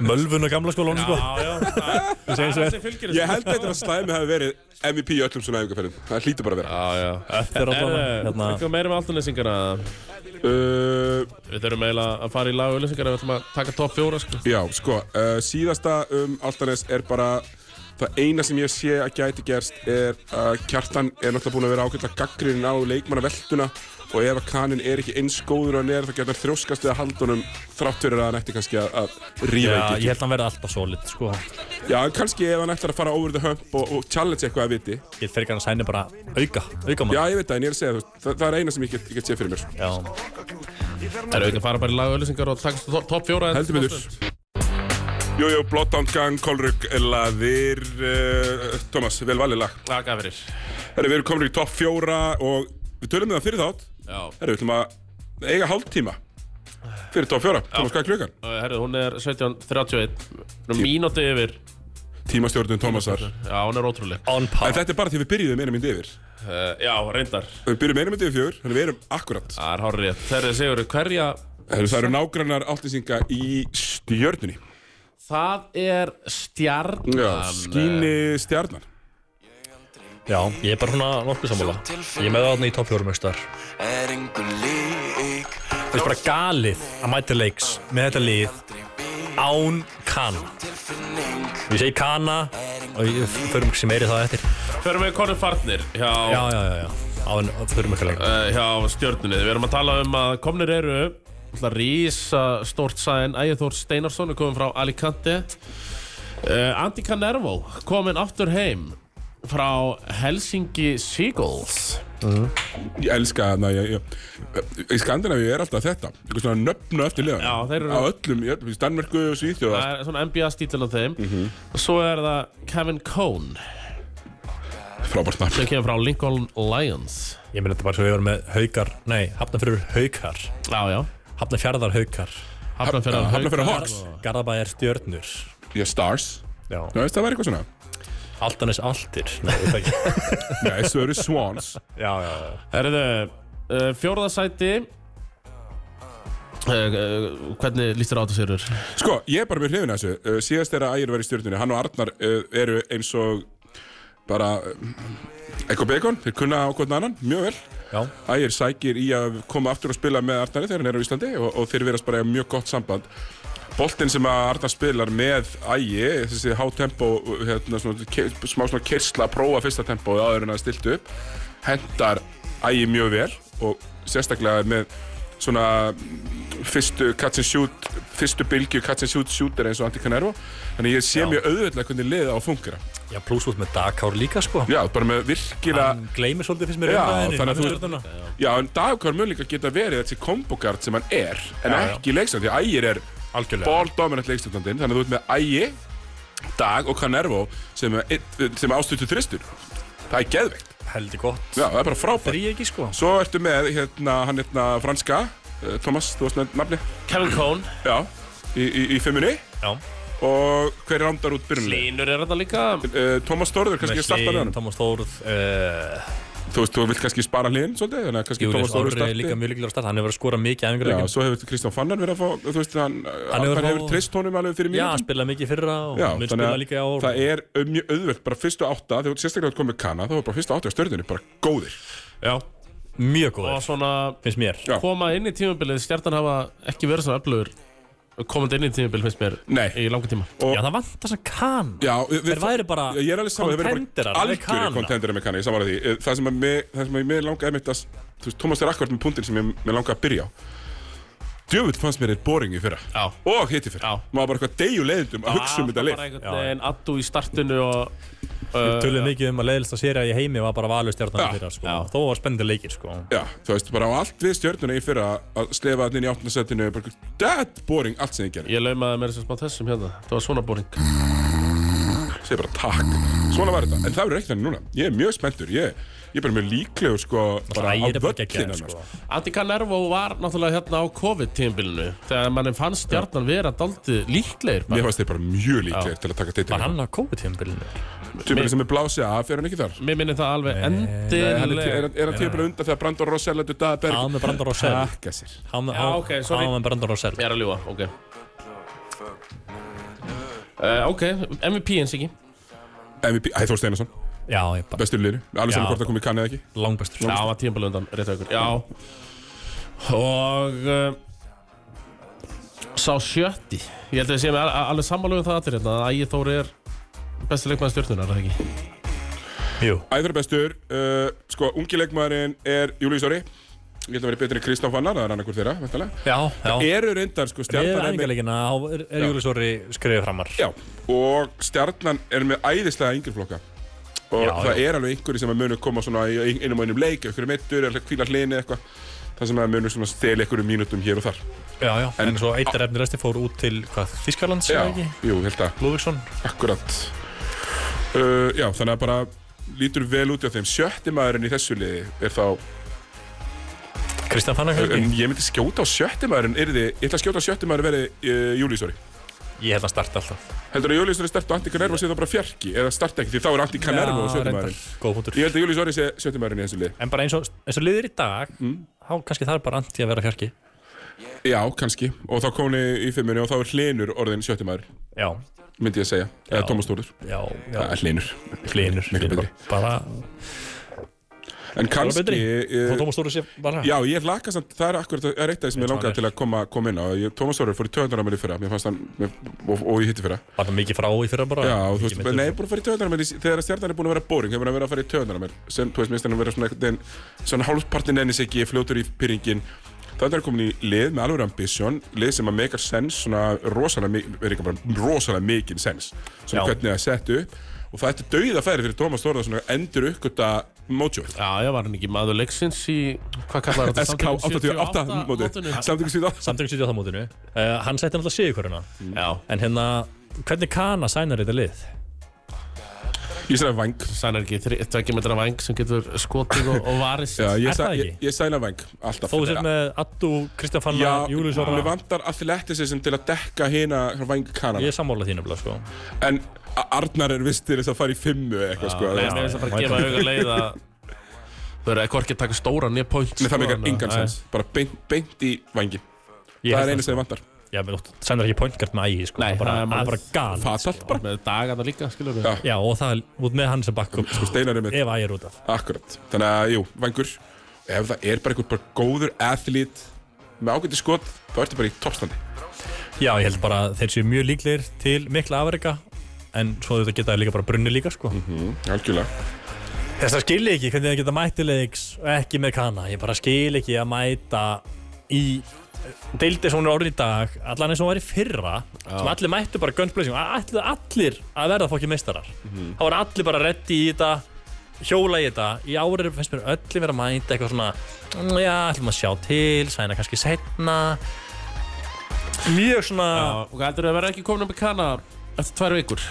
Speaker 3: Mölvun og gamla skólan sko
Speaker 2: já Það
Speaker 3: segir svo.
Speaker 2: það sem fylgir þessu.
Speaker 1: Ég held eitthvað að Slæmi hafi verið MVP í öllum svona æfingarferðum. Það hlýtur bara að vera.
Speaker 2: Já, já
Speaker 3: Þetta er allavega,
Speaker 2: Erðu,
Speaker 3: hérna.
Speaker 2: eitthvað meira með altanesingana
Speaker 1: Uh,
Speaker 2: Við þurfum eiginlega að fara í lag og öllinsingana Við ætlum að taka topp fjóra sko
Speaker 1: já, sko, uh, síðasta um Altanes er bara, það eina sem ég sé að gæti gerst er að Kjartan er náttúrulega búin að vera ákveðla gaggrinin á leikmanna velduna og ef að Kanin er ekki eins góður og hann er þá getur hann þrjóskast við að halda honum þrátt fyrir að hann ætti kannski að, að rífa í
Speaker 3: Já, ég
Speaker 1: gegn.
Speaker 3: held að hann verði alltaf solid sko
Speaker 1: Já, en kannski ef hann ætlar að fara over the hump og, og challenge eitthvað að viti,
Speaker 3: Ég fer ekki hann að sæna bara auka, auka mann
Speaker 1: Já, ég veit það, en ég er að segja þú veist, það, það er eina sem ég get, ég get séð fyrir mér
Speaker 3: Já.
Speaker 2: Erðu ekki að fara bara í lag og öllinsingana og taka to- topp fjóra
Speaker 1: Heldur betur Jújú, Bloodhound Gang, Kolrugg, Laðir, uh, Thomas, vel valið lag
Speaker 2: Það gaf fyrir
Speaker 1: Herri, við erum komin í topp fjóra og við tölum við það fyrir þátt
Speaker 2: Já
Speaker 1: Herri, við ætlum að eiga hálftíma fyrir topp fjóra Thomas, hvað er klukkan?
Speaker 2: Herðu, eh, hún er 17.31 Mínúti yfir
Speaker 1: Tímastjórnum Thomasar En
Speaker 2: Já, hún er ótrúleg
Speaker 3: On par
Speaker 1: þetta er bara því við byrjuðum einu myndi yfir
Speaker 2: uh, Já, reyndar
Speaker 1: Við byrjuðum einu myndi yfir fjögur, þannig við erum akkurat
Speaker 2: Það er hárið rétt Þegar þið segjur hverja
Speaker 1: Herri, það eru nágrannar áltinsinga í stjörnunni
Speaker 2: Það er stjarn
Speaker 1: Já, skíni stjarnar
Speaker 3: Já, ég er bara svona nokkuð sammála Ég er með það í topp fjórum austar Það
Speaker 4: er engu lík
Speaker 3: er bara galið að mæta leiks með þetta lið án Kana
Speaker 4: Tilfinning
Speaker 3: Ég segi Kana og ég förum ekki meiri það eftir
Speaker 2: Förum við konum farnir hjá,
Speaker 3: Já, já, já, já Á en förum ekki lengur
Speaker 2: eh, hjá stjörnunni Við erum að tala um að komnir eru Það rísa stórt sæðin Ægithór Steinarsson er komin frá Alicante uh, Andi Canervo komin aftur heim frá Helsingi Seagulls
Speaker 1: Ég elska það, ég, ég, í Skandinavíu er alltaf þetta, eitthvað svona nöfnu eftir liðan.
Speaker 2: Já, þeir eru-
Speaker 1: Á öllum, í öllum, í Danmörku og Svíþjóð.
Speaker 2: Það er svona NBA stílinn á þeim og svo er það Kevin Cohn
Speaker 1: Frábært nafn.
Speaker 2: sem kemur frá Lincoln Lions
Speaker 3: Ég meina þetta bara svo við varum með haukar Nei, hafnafyrir haukar
Speaker 2: Já, já
Speaker 3: Hafnafjarðar haukar
Speaker 2: Hafnarfjörðar
Speaker 1: Hafnarfjörður
Speaker 2: Haukar
Speaker 1: Hawks.
Speaker 2: og-
Speaker 3: Garðabæjar stjörnur
Speaker 1: Já, Stars.
Speaker 3: Já
Speaker 1: Já, veist, það væri eitthvað svona.
Speaker 3: Altanes altir Nei, ég veit það ekki
Speaker 1: Nei, svo eru Swans.
Speaker 3: Já, já, já
Speaker 2: Herðu, uh, fjórðasæti uh, uh, Hvernig líst þér á þetta sérur?
Speaker 1: Sko, ég er bara mjög hrifin að þessu. Uh, síðast þegar Ægir var í stjórnunni, hann og Arnar uh, eru eins og bara uh, eitthvað bacon, þeir kunna á hvern annan, mjög vel.
Speaker 3: Já,
Speaker 1: Ægir sækir í að koma aftur og spila með Arnari þegar hann er á Íslandi og, og þeir verðast bara í mjög gott samband. Boltinn sem að Arnar spilar með Ægi, þessi hátempo, hérna, svona, ke, smá svona kyrsla að prófa fyrsta tempóið áður en að stiltu upp, hendar Ægi mjög vel og sérstaklega með svona mm, fyrstu catch and shoot, fyrstu bylgju catch and shoot shooter eins og Antti Canervo. Þannig ég sé mjög auðvitað hvernig liða á að fungera.
Speaker 3: já pluss út með Dakár líka sko
Speaker 1: Já, bara með virkilega...
Speaker 3: Hann gleymir svolítið fyrst mér
Speaker 1: Já,
Speaker 3: umræðinni,
Speaker 1: þannig að
Speaker 3: hann
Speaker 1: þú-
Speaker 3: finnur þarna.
Speaker 1: Já, en Dagkar mun líka geta verið þessi kombogard sem hann er En
Speaker 3: Já, já.
Speaker 1: ekki leikstjórn, því Ægir er
Speaker 3: Algjörlega.
Speaker 1: Balldominant leikstjórnandinn Þannig að þú ert með Ægi, Dag og Canervo Sem, er einn- sem ástuttu þristur Það er geðveikt
Speaker 3: heldur gott
Speaker 1: Já, það er bara frábært
Speaker 3: Þrý ekki sko
Speaker 1: Svo ertu með hérna, hann hérna franska eh, Thomas, þú varst með nafni
Speaker 2: Kevin Cohn
Speaker 1: Já, í, í, í fimmunni
Speaker 3: Já
Speaker 1: Og hver rándar út byrjunlega?
Speaker 2: Línur er þetta líka
Speaker 1: Uh, Thomas Þórður kannski að starta með hann
Speaker 3: Tómas Þóruð uh,
Speaker 1: Þú veist, þú vilt kannski spara hlinn svolítið Þannig að kannski
Speaker 3: Július
Speaker 1: Thomas Þórður
Speaker 3: Orri er
Speaker 1: starti
Speaker 3: líka mjög líklega að starta Hann hefur verið að skora mikið í
Speaker 1: Já,
Speaker 3: æfingarleikum
Speaker 1: svo hefur Kristján Fannar verið að fá, þú veist, hann, hann
Speaker 3: hefur
Speaker 1: hefur,
Speaker 3: fá-
Speaker 1: hefur treyst honum alveg fyrir
Speaker 3: Já,
Speaker 1: mínútum.
Speaker 3: spilaði mikið í fyrra og
Speaker 1: Já,
Speaker 3: mun
Speaker 1: þannig
Speaker 3: spila
Speaker 1: að
Speaker 3: líka í ár
Speaker 1: það er um- mjög auðvelt, bara fyrstu átta, þegar sérstaklega þú komið Kana, þá var bara fyrstu átta á stjörnunni, bara góðir.
Speaker 2: Já
Speaker 3: Mjög
Speaker 2: Og
Speaker 3: góður,
Speaker 2: svona
Speaker 3: finnst mér
Speaker 1: Já.
Speaker 2: koma inn í tímabilið Stjartan hafa ekki verið svona öflugur eh, komandi inn í tímabil finnst mér
Speaker 1: Nei.
Speaker 2: í langa tíma
Speaker 1: Og-
Speaker 3: Já, það vantar svona kan
Speaker 1: Já, við,
Speaker 3: Þeir væri bara
Speaker 1: Já, Ég er alveg saman, þeir væri
Speaker 3: contenderar
Speaker 1: bara
Speaker 3: með
Speaker 1: algjörir
Speaker 3: Kana.
Speaker 1: kontenderar með kanna, ég saman að því Eh, Það sem að mig, það sem að mig langaði mitt að Þú veist, Thomas er akkurat með punktinn sem ég mig langaði að byrja á Djöfull fannst mér þeir boring í fyrra
Speaker 2: Já.
Speaker 1: Og hitt í fyrra
Speaker 2: Já.
Speaker 1: Maður bara eitthvað deyju leiðindum að hugsa um þetta lið
Speaker 3: Já, já.
Speaker 2: En addu í startinu og eh,
Speaker 3: Við tölum mikið um að leiðilsta séri í heimi var bara valur stjarnan
Speaker 1: Já.
Speaker 3: fyrir sko.
Speaker 2: Já.
Speaker 3: Þó var spennandi leikir sko.
Speaker 1: Já, þú veist, bara á allt við stjörnuna í fyrra Að slefa þarna inn í áttnasettinu Dead boring allt sem þið gerir
Speaker 2: ég laumaði mér sem smá þessum hérna Það var svona boring
Speaker 1: Segir bara takk, svona var þetta En það verður ekkert þannig núna, ég er mjög spenntur Ég, ég er bara mjög líklegur, sko Bara á
Speaker 3: Ægir er bara geggjaður,
Speaker 1: völlin
Speaker 3: sko.
Speaker 2: Andi Canervo var náttúrulega hérna á COVID-tímbilinu Þegar mann fannst stjarnan vera daldi líklegir bara.
Speaker 1: Mér fannst þeir bara mjög líklegir til að taka
Speaker 3: Var
Speaker 1: titilinn
Speaker 3: hann á COVID-tímabilinu?
Speaker 1: Tjöfnir sem er blásið af, fer hann ekki þar?
Speaker 2: Mér minnir það alveg
Speaker 1: Nei, hann er- er
Speaker 2: endilega
Speaker 1: er hann tíðbæra undan þegar Brandon Rosell Þetta Daðberg
Speaker 3: Hann með Brandon Rosell.
Speaker 1: Takka sér
Speaker 3: Hann
Speaker 2: Já, ok, sorry.
Speaker 3: hann með Brandon Rosell
Speaker 2: Ég er að ljúa, ok uh, Ok, MVP eins ekki
Speaker 1: MVP, Æþór Steinarsson,
Speaker 3: Já, ég bara
Speaker 1: bestur liðinu Alveg saman
Speaker 3: Já.
Speaker 1: hvort það komið kannið ekki
Speaker 3: langbæstur
Speaker 2: Já, hann var tímabili undan, rétt að ykkur Já Og uh, Sá sjötti Ég held að við séum al- al- alveg sammála um það allir hérna að Ægi Þóri er besti leikmaður stjórnunar, er það ekki?
Speaker 3: Jú,
Speaker 1: Æþór er bestur uh, Sko, ungi leikmaðurinn er Július Orri Ég held að vera betri en Kristján Fannar Það er annarkur þeirra, vettalega
Speaker 3: já, já
Speaker 1: Eru reyndar, sko,
Speaker 3: Við erum
Speaker 1: stjarnan er með
Speaker 3: æfingarleikina, þá er- er Júli Sori skrifið framar
Speaker 1: Já, og stjarnan er með æðislega yngri flokka Og
Speaker 3: Já,
Speaker 1: það er alveg einhverju sem að munu koma svona í í- einum og einum leik Einhverju meittur, hvíla hlini eitthvað Það sem að munu svona steli einhverju mínútum hér og þar
Speaker 3: Já, já, en,
Speaker 1: En-
Speaker 3: svo eitt er efnir resti fór út til hvað, Þískarlands
Speaker 1: Já,
Speaker 3: eða ekki?
Speaker 1: jú, held að
Speaker 3: Lúvíksson
Speaker 1: Akkurat uh, Já, þannig að bara lítur vel út á þeim Sjötti maðurinn í þessu liði er þá
Speaker 3: Kristján Fannar Helgi
Speaker 1: En ég myndi skjóta á sjötti maðurinn yrði, Ég ætla að skjóta á sjötti maðurinn verði uh, Júlísori
Speaker 3: Ég held að starta alltaf
Speaker 1: Heldur að Júlísori start og Antti Canervo sé þá bara fjarki Eða start ekki, því þá er Antti Canervo
Speaker 3: Já,
Speaker 1: sjötti
Speaker 3: reyndar.
Speaker 1: maðurinn
Speaker 3: Góð punktur
Speaker 1: Ég held að Júlísori sé sjötti maðurinn í þessu liði
Speaker 3: En bara eins og, eins og liðir í dag
Speaker 1: Mm.
Speaker 3: Þá kannski það er bara anti að vera fjarki
Speaker 1: Já, kannski Og þá kom komni í fimmunni og þá er hlinur orðin sjötti maður
Speaker 3: Já,
Speaker 1: Myndi ég að segja, eða
Speaker 3: Já.
Speaker 1: Tómas Þórður
Speaker 3: já, já
Speaker 1: Hlinur
Speaker 3: Hlinur
Speaker 1: Miklu
Speaker 3: Hlinur
Speaker 1: betri.
Speaker 3: Bara
Speaker 1: En kannski
Speaker 3: betri.
Speaker 1: eh,
Speaker 3: Þá Tómas Stóri sé bara
Speaker 1: Já, ég laka samt, það er akkurat það er eitt af því sem ég
Speaker 3: Veit
Speaker 1: langaði
Speaker 3: hvað
Speaker 1: til að koma, koma inn á Ég- Tómas Þórir fór í 200 mæli fyrra, mér fannst hann mér, og, og ég hitti fyrra
Speaker 3: Var það mikið frá í fyrra bara
Speaker 1: Já, og þú veist,
Speaker 3: Mikið meiddur.
Speaker 1: nei, búin að fara í 200 mæli þegar að stjarnan er búin að vera boring, hefur hann verið að fara í 200 mæli sem, þú veist, minnst hann að vera svona einhvern veginn svona hálfpartin ennis ekki, fljótur í pyrringin Þannig er komin í lið með alveg ambition lið sem að make sense, svona rosalega, mi- er ekki bara rosalega mikinn sense svona
Speaker 3: Já.
Speaker 1: hvernig það er sett upp og það er dauða færi fyrir Tómas Þórðar svona endur uppgöta mojóið
Speaker 2: Já, ég var hann ekki maður leiksins í Hvað kallar þetta?
Speaker 1: SK 88 mótið, samtökum 78
Speaker 3: Samtökum 78 mótinu uh, Hann setti náttúrulega sigurköruna
Speaker 2: Já,
Speaker 3: En hérna, hvernig kana sænar þetta lið?
Speaker 1: Ég sagði vang
Speaker 2: sann er ekki þri- tveggja metra væng sem getur skotið og, og varist
Speaker 1: Já, ég,
Speaker 3: Er
Speaker 1: sa,
Speaker 3: það
Speaker 1: ég,
Speaker 3: ekki?
Speaker 1: ég sæna vang Alltaf
Speaker 3: Þó þú sér með Addu, Kristján
Speaker 1: Já,
Speaker 3: Fannar, Július
Speaker 1: mér
Speaker 3: Orra
Speaker 1: vantar athleticism til að dekka hina vangkanana
Speaker 3: Ég er sammála þínu blá, sko
Speaker 1: En A- Arnar er vist til þess að fara í fimmu eða eitthvað sko
Speaker 2: Nei,
Speaker 1: það-
Speaker 2: mér finnst það bara að gefa auga leið að Þau eru ekki að taka stóra nýja point
Speaker 1: Nei, það meikar
Speaker 2: eh,
Speaker 1: engan sens Bara beint, beint í vangin
Speaker 3: Ég
Speaker 1: Það
Speaker 3: held
Speaker 1: er einu sem ég vantar
Speaker 3: Já, menn, þú sænar ekki pointgart með ægi, sko
Speaker 2: Nei,
Speaker 3: bara,
Speaker 2: það er
Speaker 3: það
Speaker 2: málið.
Speaker 3: er bara gal
Speaker 1: Fatalt bara
Speaker 2: Með dagana líka, skilur við
Speaker 1: Já.
Speaker 3: Já, og það er út með hann sem bakkum Ef
Speaker 1: Steinar Sko, er með
Speaker 3: ægi er út af
Speaker 1: Akkurat Þannig að, jú, vangur Ef það er bara einhver bara góður athlít Með ágæti skot Það ertu bara í toppstandi
Speaker 3: Já, ég held bara að þeir séu mjög líklegir til mikla afreika en svo þetta geta þeir líka bara brunni líka sko.
Speaker 1: mm, Algjörlega
Speaker 3: Þess að skil ég ekki hvernig þeir geta mættilegs ekki með kana, ég bara skil ekki að mæta í deildi sem hún er orðið í dag, allan eins og hún var í fyrra sem allir mættu bara gunsblessing allir, allir að verða fólki meistarar þá var allir bara reddi í þetta hjóla í þetta, í árið finnst mér öllum vera að mæta eitthvað svona "Mm, já, ætlum að sjá til, sæna kannski setna mjög svona
Speaker 2: Og heldur þau að vera ekki komin upp í kana eftir tvær vikur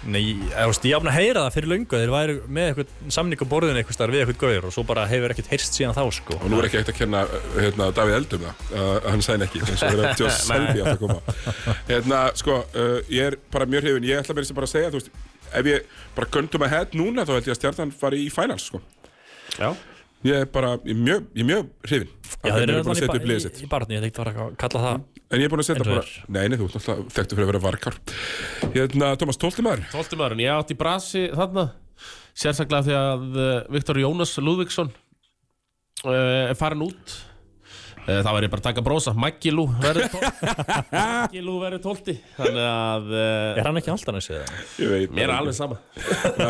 Speaker 3: Nei, ég veist, ég áfna að heyra það fyrir löngu að Þeir væri með eitthvað samning á borðinu eitthvað starf við eitthvað gauður og svo bara hefur ekkert heyrst síðan þá sko
Speaker 1: Og nú er ekki hægt að kenna uh, hérna, Davíð Eldum það, uh, að hann sæn ekki, eins og þeirra Joss Selby átt að koma. Hérna, sko, uh, ég er bara mjög hrifin, ég ætla mér sem bara að segja, þú veist, ef ég bara göndum að hætt núna, þá held ég að stjarnan fari í finals, sko.
Speaker 2: Já
Speaker 1: Ég er bara, ég er mjög, ég er mjög hrifin.
Speaker 3: Já,
Speaker 1: Já, þeir eru búin að
Speaker 3: allan í
Speaker 1: setja upp Mm.
Speaker 3: ba-
Speaker 1: liðið sitt.
Speaker 3: í, í barni, ég tekti bara að kalla það
Speaker 1: En ég er búin að setja
Speaker 3: En þú
Speaker 1: bara,
Speaker 3: er.
Speaker 1: nei, nei, þú ert náttúrulega þekktu fyrir að vera varkar. Hérna, Tómas, tólti maður?
Speaker 2: Tóltum aðurinn, ég átti í brasi þarna Sérstaklega því að eh, Viktor Jónas Lúðvíksson uh, er farin eh, út Eh, Það væri bara að taka brósa, Magilú verður tólti Magilú verður tólti Þannig að eh,
Speaker 3: Er hann ekki alltaf næsið það?
Speaker 1: Ég veit
Speaker 2: Mér er alveg sama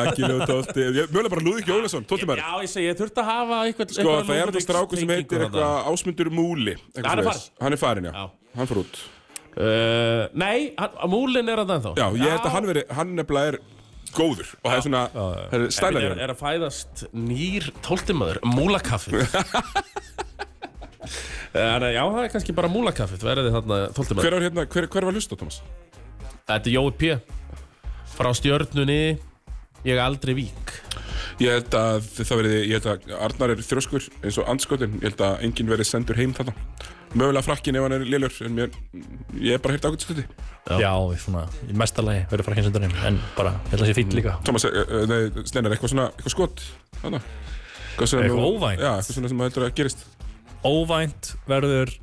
Speaker 1: Akiló 12. Mjögulega bara Lúðvík Jólasson, 12. maður.
Speaker 2: Já, ég segi, ég þurfti að hafa eitthvað
Speaker 1: Sko, það er þetta strákur sem heitir eitthvað Ásmundur Múli. eitthvað
Speaker 2: Hann er
Speaker 1: svoleiðis. Hann er farinn, já.
Speaker 2: Já.
Speaker 1: Hann fór út.
Speaker 2: eitthvað Eh, Nei, hann- múlin er að það ennþá
Speaker 1: Já, ég held að hann veri, hann nefnilega er góður og það er svona, það er
Speaker 2: Stælar
Speaker 1: stælar í
Speaker 2: er,
Speaker 1: hann.
Speaker 2: er að fæðast nýr tóltimaður, múlakaffið Þannig að já, það er kannski bara múlakaffið verðið þarna tóltimaður
Speaker 1: Hver var hérna, hver, hver var hlusta, Thomas?
Speaker 2: Þetta er Jói P frá stjörnunni Ég er aldrei vík
Speaker 1: Ég held að það verið, ég held að Arnar er þrjóskur eins og andskotin, ég held að enginn verið sendur heim þarna. Mögulega frakkin ef hann er lélur, en mér, ég er bara heyrt ákveðt skuti.
Speaker 3: Já, ég svona, í mesta lagi verður frækinn sendurinn En bara, ég held að sé fýtt líka
Speaker 1: Thomas, eh, eh, nei, Steinar, eitthvað svona, eitthvað skot, þarna. Eitthvað svona-
Speaker 3: Eitthvað óvænt.
Speaker 1: Já, eitthvað svona sem maður heldur að gerist.
Speaker 3: Óvænt verður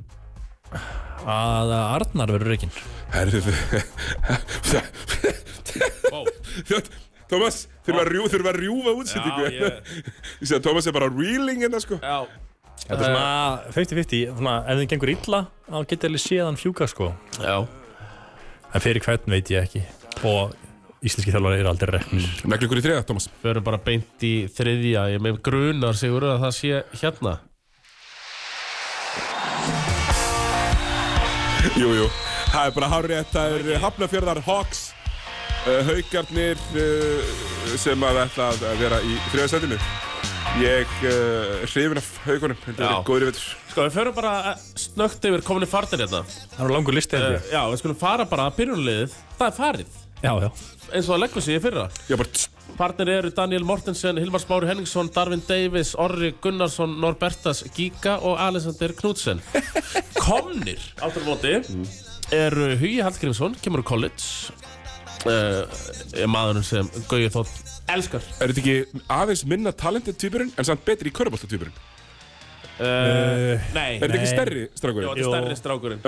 Speaker 3: að Arnar verður reikinn
Speaker 1: Herðu, Thomas, þurfa að, rjú, þurfa að rjúfa útsendingu.
Speaker 2: Já, ég-
Speaker 1: Ég sé að Thomas er bara reeling hérna, sko.
Speaker 2: Já,
Speaker 3: Þetta er
Speaker 1: Eh.
Speaker 3: svona 50-50, svona, ef þið gengur illa þá getur alveg séð hann fjúka sko
Speaker 2: já
Speaker 3: En fyrir hvern veit ég ekki Og íslenski þjálfari eru aldrei reknir
Speaker 1: Negli ykkur í þriða, Thomas.
Speaker 2: Við erum bara beint í þriðja Ég með grunar sigur að það sé hérna
Speaker 1: Jú, jú. Það er bara hárið það er Hafnafjörðar Hawks. Uh, haukarnir uh, sem að ætla að vera í þriða setinu. Ég uh, hrifin af haukunum, þetta
Speaker 2: Já.
Speaker 1: er góður í vetur.
Speaker 2: Sko, við förum bara eh, snöggt yfir komin í farnir hérna
Speaker 3: Það eru langur listi
Speaker 2: Eh,
Speaker 3: heldur
Speaker 2: Já, við skulum fara bara að byrjunliðið Það er farið,
Speaker 3: Já, já
Speaker 2: eins og það leggur sig í fyrra
Speaker 1: Já, bara tss,
Speaker 2: Partner eru Daniel Mortensen, Hilmar Smári Henningsson, Darvin Davis, Orri Gunnarsson, Norbertas Giga og Alexander Knudsen. Komnir, áttur á móti, eru Hugi Hallgrímsson, kemur úr college, uh, maðurinn sem Gauði Þótt elskar.
Speaker 1: er þetta ekki aðeins minna talentið týpurinn en samt betri í köruboltatýpurinn?
Speaker 2: Uh,
Speaker 3: uh,
Speaker 2: nei,
Speaker 1: Er þetta
Speaker 3: Nei.
Speaker 1: ekki stærri,
Speaker 2: Jó,
Speaker 1: strákurinn?
Speaker 2: þetta er stærri strákurinn.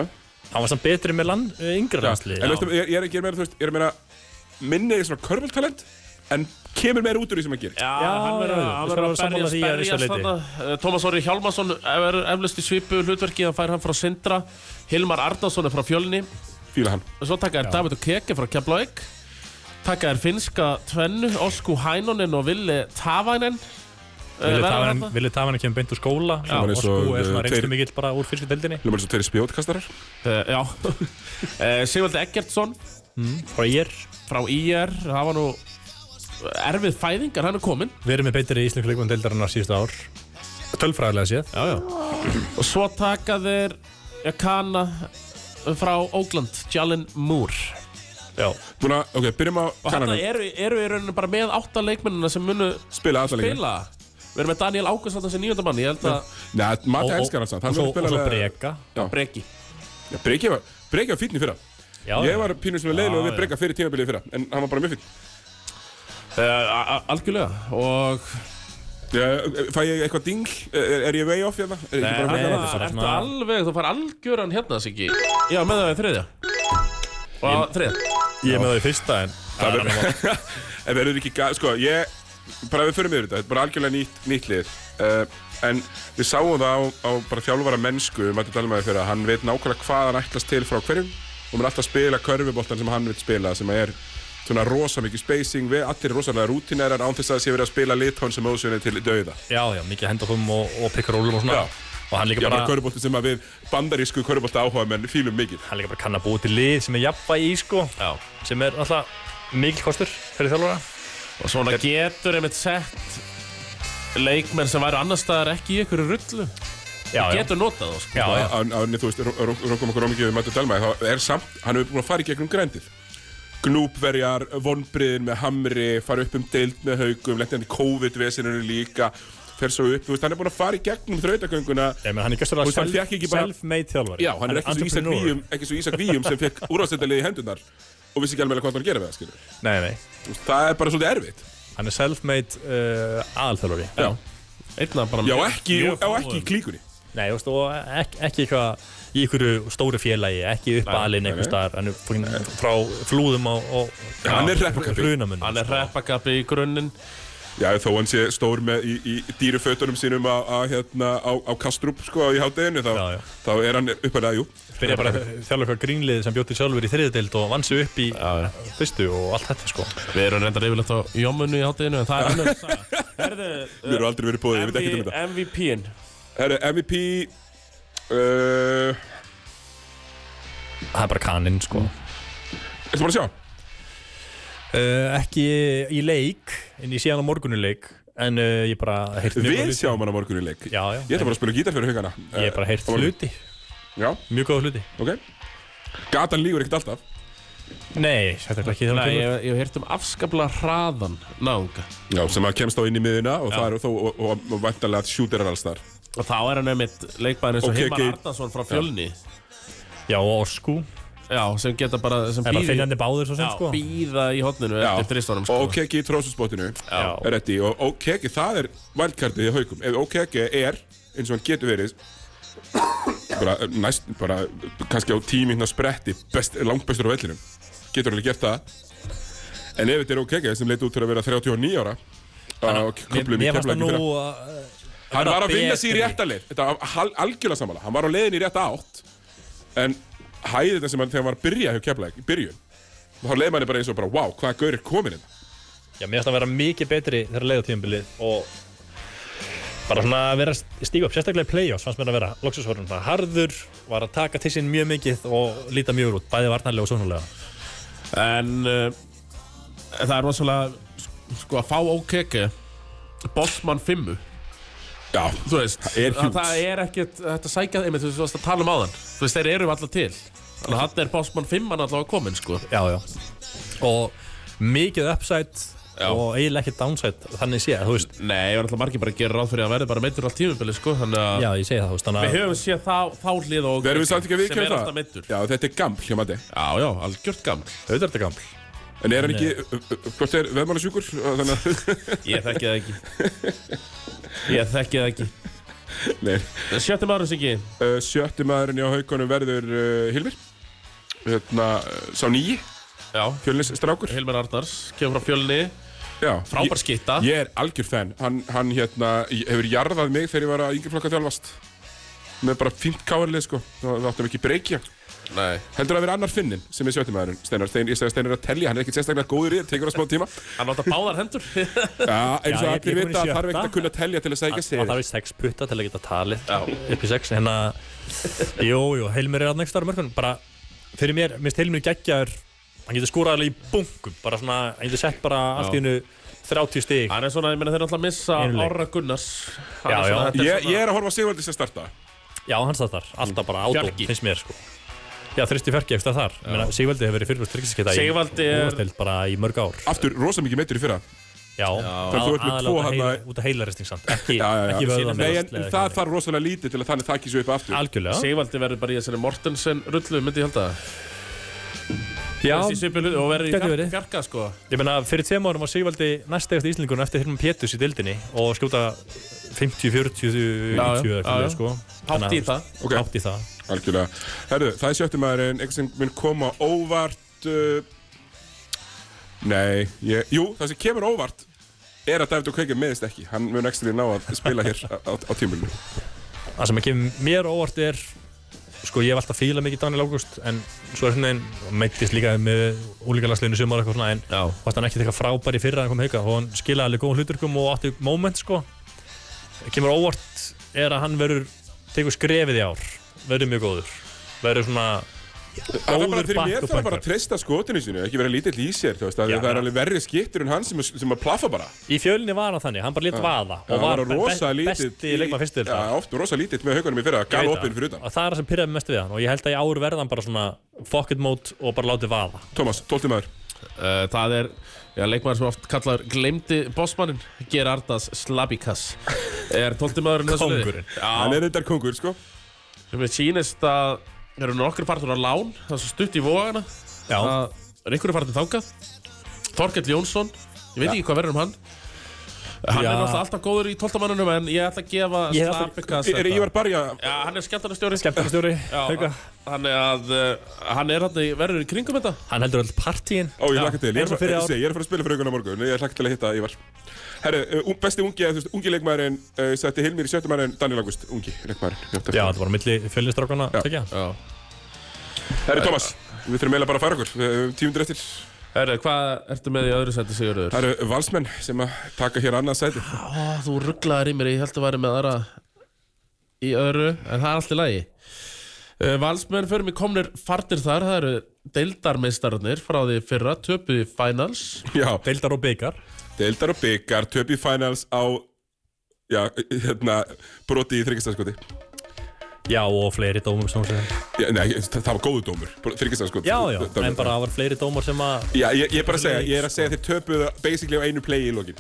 Speaker 3: Hann var samt betri með land, uh, yngra
Speaker 1: Já,
Speaker 3: landsli
Speaker 1: en veistu, ég, ég er ekki að meina, þú veist, ég er að meina minni er svona körbóltalent en kemur meira út úr því sem hann gerir.
Speaker 2: Já,
Speaker 3: já,
Speaker 2: hann verður
Speaker 3: já,
Speaker 2: hann
Speaker 3: við
Speaker 2: verður
Speaker 3: skulum
Speaker 2: að
Speaker 3: sammála
Speaker 2: berjast,
Speaker 3: því að vissu
Speaker 2: berjast
Speaker 3: leyti.
Speaker 2: þarna. Eh, Tómas Orri Hjálmarsson verður eflust í svipu hlutverki, hann fær hann frá Sindra, Hilmar Arnason er frá Fjölni,
Speaker 1: Fíla hann.
Speaker 2: Svo taka þær David og Keke frá Keflavík Taka þær finska tvennu Osku Hænonen og Ville Tavainen Eh,
Speaker 3: Vilja Tavan kemur beint úr skóla
Speaker 1: var
Speaker 3: og
Speaker 1: eins
Speaker 3: sko
Speaker 1: og,
Speaker 3: er svona
Speaker 1: uh,
Speaker 3: reynslu
Speaker 1: tveir-
Speaker 3: mikill bara úr fyrstu deildinni
Speaker 1: Hljómar eins og tveiri spjótkastarar.
Speaker 2: uh, Já uh, Sigvaldi Eggertsson
Speaker 3: frá ég
Speaker 2: frá IR Það var nú eh, erfið fæðingar hann er kominn
Speaker 3: við erum með betri íslensku leikmann deildarinn á síðustu ár tölfræðilega séð
Speaker 2: Já, já Og svo taka þær Kana frá Ógland Jalen Moore
Speaker 3: já.
Speaker 1: Búna, ok, byrjum á
Speaker 2: Og hann
Speaker 1: kannanum.
Speaker 2: eru, eru í rauninu bara með átta leikmennina sem munu
Speaker 1: Spila alla lengi.
Speaker 2: spila Við erum með Daniel Ágúst sem nýjönda mann Ég held að
Speaker 1: Nei,
Speaker 3: og,
Speaker 1: Matti
Speaker 3: og,
Speaker 1: elskar hann samt. Hann
Speaker 3: og svo,
Speaker 1: verður
Speaker 3: og svo
Speaker 1: að spila
Speaker 3: breka
Speaker 2: breki
Speaker 1: með... Breki var, Breki var fínn í fyrra.
Speaker 3: já,
Speaker 1: Ég var pínur sem er leilu og
Speaker 2: Já,
Speaker 1: við breka fyrir tímabilið í fyrra. En hann var bara mjög fínn.
Speaker 2: Eh, a- a- Algjörlega og
Speaker 1: Ég- Fæ ég eitthvað dingl? Er, er ég way off hérna? Er ég ekki bara
Speaker 2: Nei,
Speaker 1: með
Speaker 3: þetta er
Speaker 2: það
Speaker 3: svona
Speaker 2: ertu
Speaker 3: smá-
Speaker 2: alveg, þú far algjöran hérna Siggi Já, með það er þriðja Og þriðja
Speaker 3: ég er með það í fyrsta en það er annað mál.
Speaker 1: En verður ekki gæð, sko, ég, bara við förum yfir þetta, þetta er bara algjörlega nýtt, nýtt lið. Uh, en við sáum það á, á bara þjálfara mennsku, Matti Dalmaði fyrir að hann veit nákvæmlega hvað hann ætlast til frá hverjum og hann er alltaf að spila körfuboltan sem hann vil spila, sem er svona rosa mikið spacing, við allir rosalega rútinerar án þess að það sé verið að spila litón sem ósunni til dauða.
Speaker 3: já, já, mikið hendafum um og, og pikkarólum og svona
Speaker 1: Já.
Speaker 3: og hann líka
Speaker 1: Já, bara
Speaker 3: bara
Speaker 1: körfubolti sem að við bandarísku körfubolta áhuga menn fílum mikið.
Speaker 3: hann líka bara kann að búa til lið sem er jafnvægi í sko
Speaker 2: Já.
Speaker 3: sem er alltaf mikil kostur fyrir þjálfara
Speaker 2: Og svona getur einmitt sett leikmenn sem væri annar staðar ekki í ykkur rullu
Speaker 3: já, já,
Speaker 2: Getur notað þá sko
Speaker 3: já, já.
Speaker 1: Án- án- Þú veist, Rókum okkur ómikið við Matti Dalmaði, þá er samt, hann hefur búin að fara í gegnum grændið. Gnúpverjar, vonbriðin með hamri, fara upp um deild með haugum, lenti hann í COVID-vesinunum líka, fer svo upp, þú veist, hann er búin að fara í gegnum þrautagönguna.
Speaker 3: Ég menn, hann er
Speaker 1: Þú veist, hann
Speaker 3: gæstur
Speaker 1: fékk ekki
Speaker 3: að
Speaker 1: bara-
Speaker 3: self-made þjálfari
Speaker 1: Já, hann er ekki svo Ísak
Speaker 3: entrepreneur.
Speaker 1: Víum, ekki svo Ísak Víum sem fekk úrvarsleitarlið í hendunar og vissi ekki alveg hvað hann var að gera við það, skilur.
Speaker 3: Nei, nei,
Speaker 1: Þú veist, það er bara svolítið erfitt.
Speaker 3: hann er self-made uh, aðalþjálfari
Speaker 1: Já,
Speaker 2: Einna bara
Speaker 1: já og ekki,
Speaker 2: mjög
Speaker 1: og, og ekki í
Speaker 2: fáum.
Speaker 1: klíkunni.
Speaker 3: Nei, þú veist, og ekki, ekki eitthvað í einhverju stóru félagi, ekki upp alinn einhver staðar, hann er fókin frá flúðum og, og
Speaker 1: Hann er hreppakappur.
Speaker 3: hrunamun
Speaker 2: Hann er reppakappi í grunninn
Speaker 1: Já, þó hann sé stór með í, í dýrufötunum sínum að, að hérna á, á Kastrup sko í hátteginu þá,
Speaker 3: Já, já.
Speaker 1: þá er hann uppalega, jú
Speaker 3: Byrja bara að þjálfa eitthvað grínliði sem bjóti sjálfur í þriðdeild og vann sig upp í
Speaker 2: Já, já.
Speaker 3: fyrstu og allt þetta sko
Speaker 2: Við erum reyndar yfirlegt á jómunni í hátteginu en það er annar saga. Herðu,
Speaker 1: Mér hefur aldrei verið bóðið, ég veit ekki um þetta
Speaker 2: MVP-in.
Speaker 1: Herru, MVP uh,
Speaker 3: Það er bara kaninn sko
Speaker 1: Ertu bara að sjá?
Speaker 3: Uh, ekki í leik en ég sé hann á morgunuleik en uh, ég bara heyrti mjög
Speaker 1: Við
Speaker 3: góða hluti.
Speaker 1: sjáum hann á morgun í leik
Speaker 3: já, já,
Speaker 1: Ég ætla bara að spila gítar fyrir hugana
Speaker 3: ég hef bara heyrt
Speaker 1: á morgun.
Speaker 3: hluti,
Speaker 1: Já,
Speaker 3: mjög góða hluti
Speaker 1: ok Gatan lígur ekkert alltaf
Speaker 3: nei, þetta er ekki þegar
Speaker 2: Nei,
Speaker 3: hann
Speaker 2: ég hef hýrt um afskapla hraðan náunga.
Speaker 1: Já, sem að kemst á inn í miðuna og það er þó og, og, og, og væntanlega að shooter er alls þar
Speaker 2: Og þá er hann einmitt leikbæðin eins og
Speaker 1: Ok,
Speaker 2: okay, Heimar
Speaker 1: ok.
Speaker 2: Arnason frá fjölni.
Speaker 3: kemur já, og Orsku,
Speaker 2: Já, sem geta bara, sem
Speaker 3: er það
Speaker 2: býði,
Speaker 3: finnandi báður svo sem
Speaker 2: já,
Speaker 3: sko
Speaker 2: býða í hotninu
Speaker 1: Já,
Speaker 2: eftir þristunum sko.
Speaker 1: og OKG í trósusbótinu
Speaker 3: um Já.
Speaker 1: er þetta í og OKG, það er valkartið í haukum ef OKG er, eins og hann getur verið bara eh, næst bara, kannski á tíminn að spretti best, langbestur á vellinum getur alveg gert það en ef þetta er OKG sem leit út til að vera 39 ára á
Speaker 3: mér
Speaker 1: köflum í
Speaker 3: mér fannst
Speaker 1: keflækjum
Speaker 3: það nú
Speaker 1: fyrir
Speaker 3: að
Speaker 1: hann var að vinna sér í
Speaker 3: betri.
Speaker 1: rétta leið þetta var hal- algjörlega samanlega, hann var á leiðin í rétta átt en hæði þetta sem hann þegar hann var að byrja hjá keflæk, í byrjun þá leið manni bara eins og bara, wow, hvað gaur er komin hérna
Speaker 3: já, mér fannst það vera mikið betri þegar leið á tímabilið og bara svona að vera að stíga upp sérstaklega í play-offs fannst mér að vera loksusvörðum það harður, var að taka til sín mjög mikið og líta mjög út, bæði varnarlega og sónulega
Speaker 2: En uh, það er rosalega sko að fá ókeke Bossmann 5
Speaker 1: Já,
Speaker 2: Þú veist,
Speaker 1: Það er huge.
Speaker 2: það er ekkert þetta sækjað, einmitt þú veist að tala um áðan Þú veist, þeir eru alltaf til Þannig að hann er Bossmann 5 hann alltaf að komin sko
Speaker 3: já, já. og mikið upside og eiginlega ekki downside þannig sé, þú veist
Speaker 2: Nei, ég var alltaf margir bara að gera ráð fyrir að verði bara meittur allt tímubili sko Þannig að
Speaker 3: já, ég segi það, þú veist þannig
Speaker 2: við höfum séð þá, þá hlið og
Speaker 1: Verðum við samt ekki að
Speaker 2: Sem er
Speaker 1: viðkjöna
Speaker 2: alltaf
Speaker 1: það?
Speaker 2: meittur
Speaker 1: Já, þetta er gaml hjá Matti.
Speaker 2: Já, já, algjört gaml
Speaker 3: auðvitað er þetta gaml
Speaker 1: En er hann ekki, uh, hvort er veðmálasjúkur? Þannig að,
Speaker 2: Ég þekki það ekki Ég þekki það ekki
Speaker 1: nei.
Speaker 2: Sjötti maður sem ekki
Speaker 1: Uh, Sjötti maðurinn hjá haugunum verður uh, Hilmir. Hérna, uh, sá nýji,
Speaker 2: Já,
Speaker 1: fjölnis strákur.
Speaker 2: Hilmar Arnars Kemur frá fjölni
Speaker 1: Já.
Speaker 2: Frábær skytta.
Speaker 1: Ég, ég er algjör fenn. Hann, hann hérna, hefur jarðað mig þegar ég var að yngri flokka þjálfast. Með bara fínt káarlið, sko. Það áttum ekki breykja.
Speaker 2: Nei
Speaker 1: Heldur það að vera annar finnin sem er sjötti maðurinn, Steinar. Stein, ég segja Steinar er að telja, hann er ekki sérstaklega góður í þér, tekur það smá tíma.
Speaker 2: Hann átt að báðar hendur
Speaker 1: Já, eins
Speaker 3: Já,
Speaker 1: og
Speaker 3: ég-
Speaker 1: allir
Speaker 3: ég er búinn í
Speaker 1: vita að þarf
Speaker 3: sjötta.
Speaker 1: ekkert að kunna telja til að sækja
Speaker 3: það
Speaker 1: sér.
Speaker 3: þarf í sex putta til að geta talið
Speaker 2: Já.
Speaker 3: upp í sex, hérna jú, jú, Heilmir er að nægst ára mörgum bara, fyrir mér, minnst Heilmir geggjaður hann getur skórað alveg í bunkum bara svona, hann getur sett bara allt í hennu 30 stig
Speaker 2: Hann er svona, ég meina þeir náttúrulega missa
Speaker 3: Einleik.
Speaker 2: Orra Gunnars Hann
Speaker 3: Já,
Speaker 2: er svona,
Speaker 3: já.
Speaker 2: þetta er
Speaker 1: Ég,
Speaker 2: svona-
Speaker 1: ég er að horfa á Sigvaldi sem starta.
Speaker 3: já, hann stað þar, alltaf bara átó,
Speaker 2: Fjarki.
Speaker 3: finnst mér sko já, þristi fjarki eftir þar, Ég meina, Sigvaldi hefur verið fyrirfæst tryggseskita í
Speaker 2: Sigvaldi er-
Speaker 3: úrstild bara í mörg ár
Speaker 1: Aftur, rosa mikið meittur í fyrra.
Speaker 3: Já,
Speaker 1: Þannig þú ert með tvo
Speaker 3: út af
Speaker 1: þarna-
Speaker 3: heila- út af heilaristing samt ekki,
Speaker 1: Já, já, já.
Speaker 3: ekki vöðan
Speaker 1: Nei, en en það þarf rosalega lítið til að þannig þakki svo upp aftur.
Speaker 3: algjörlega
Speaker 2: Sigvaldi verður bara í þessari Mortensen rullu myndi ég held að
Speaker 3: já,
Speaker 2: Þessi svipilu og verður í
Speaker 3: Gæti
Speaker 2: fjark-
Speaker 3: verið.
Speaker 2: fjarka sko
Speaker 3: ég meina fyrir tveim árum var Sigvaldi næst eða Íslingun eftir hérna Pétus í dildinni og skjóta 50, 40, 90
Speaker 2: Já, já, já,
Speaker 3: eða eitthvað
Speaker 2: já.
Speaker 3: sko
Speaker 2: Hátt í það
Speaker 1: Ok.
Speaker 3: hátt í það
Speaker 1: Algjörlega. Herðu, það er sjöttum maðurinn, eitthvað sem mun koma óvart... Uh, nei, ég, jú, það sem kemur óvart er að David O'Kveikir meðist ekki. Hann mun ekki ná að spila hér á, á, á tímulinu.
Speaker 3: það sem ekki mér á óvart er sko ég hef alltaf fílað mikið Daniel Ágúst en svo er svona einn meittist líka með úlíkalagsleginu sumar eitthvað svona en
Speaker 2: Já
Speaker 3: varst hann ekki eitthvað frábær í fyrra að koma hauka og hann skilaði alveg góðum hluturkum og átti moment sko kemur óvart er að hann verður tekur skrefið í ár, verður mjög góður verður svona
Speaker 1: Það er bara
Speaker 3: Góður
Speaker 1: fyrir mér
Speaker 3: bakk
Speaker 1: það er
Speaker 3: og
Speaker 1: bara að
Speaker 3: bankar.
Speaker 1: treysta skotinu sínu, ekki vera lítill í sér, þú veist, að
Speaker 3: Já.
Speaker 1: það er alveg verri skittur en hann sem, sem að plaffa bara.
Speaker 3: í fjölinni var hann þannig, hann bara létt vaða
Speaker 1: Já,
Speaker 3: og var
Speaker 1: hann rosa
Speaker 3: be-
Speaker 1: lítill
Speaker 3: besti leikmann fyrstu
Speaker 1: Já, oft rosa lítill með haugunum í fyrra, gal opinn fyrir utan.
Speaker 3: og það er það sem pyrraði mest við hann og ég held að í ár verða hann bara svona fuck it mode og bara látið vaða
Speaker 1: Tómas, 12 maður.
Speaker 2: Uh, það er já, leikmaður sem oft kallar glemdi bossmannin Gerardas Slabikas er tóltimaðurinn þessu liði.
Speaker 3: Kóngurinn.
Speaker 1: Hann
Speaker 2: Já,
Speaker 1: er reyndar kongur, sko.
Speaker 2: sem við sýnist að það eru nokkru partur á lán það er svo stutt í vógana
Speaker 3: Já.
Speaker 2: að einhverju partur þangað Þorkell Jónsson ég veit ekki hvað verður um hann Hann
Speaker 3: Já.
Speaker 2: er náttúrulega alltaf góður í 12 mannunum en ég ætla að gefa
Speaker 3: Ég ætla-
Speaker 2: Slapikas
Speaker 1: Er
Speaker 2: þetta.
Speaker 1: Ívar Barja
Speaker 2: Já, hann er skemmtarnastjóri.
Speaker 3: Skemmtarstjóri,
Speaker 2: Já,
Speaker 3: hauka
Speaker 2: hann er að, uh, hann er hann verður í kringum þetta.
Speaker 3: Hann heldur öll partíin
Speaker 1: Ó, ég hlakka til, ég
Speaker 3: eins
Speaker 1: er,
Speaker 3: og
Speaker 1: ég,
Speaker 3: fyrir
Speaker 1: ég,
Speaker 3: ár.
Speaker 1: segi, ég er að fara að spila fyrir augun á morgun Ég hlakka til að hitta Ívar Herru, uh, un- besti ungi, eða, þú veist, ungi leikmæðurinn uh, Setti Hilmir í sjöttum mæðurinn, Daniel August Ungi leikmæðurinn, já,
Speaker 3: Já,
Speaker 1: þetta er-
Speaker 3: þetta var á milli fjölnistrákana
Speaker 1: Já.
Speaker 3: Tekja
Speaker 2: Já.
Speaker 1: Herru Thomas, við þurfum eiginlega bara að færa okkur Við höfum tímundur eftir
Speaker 2: Herru, hvað ertu með í öðru seti Sigurður?
Speaker 1: Það eru valsmenn sem að taka hér annað sæti
Speaker 2: Ó, þú rugglaðir í mér, ég held að væri með aðra í öðru, en það er allt í lagi. Uh, Valsmenn fyrir mig komnir fartir þar, það eru deildarmeistararnir frá því fyrra, töpuði finals.
Speaker 1: Já,
Speaker 3: Deildar og byggar
Speaker 1: deildar og byggar, töp í finals á Já, hérna, broti í þryggistæðskoti
Speaker 3: Já, og fleiri dómum sem hún segir
Speaker 1: Nei, það það var góðu dómur, þryggistæðskoti
Speaker 3: Já, já, en bara það var fleiri dómar sem að
Speaker 1: sko, Já, ég, ég er bara að segja, ég er að segja að þeir töpuðu basically á einu play í lokin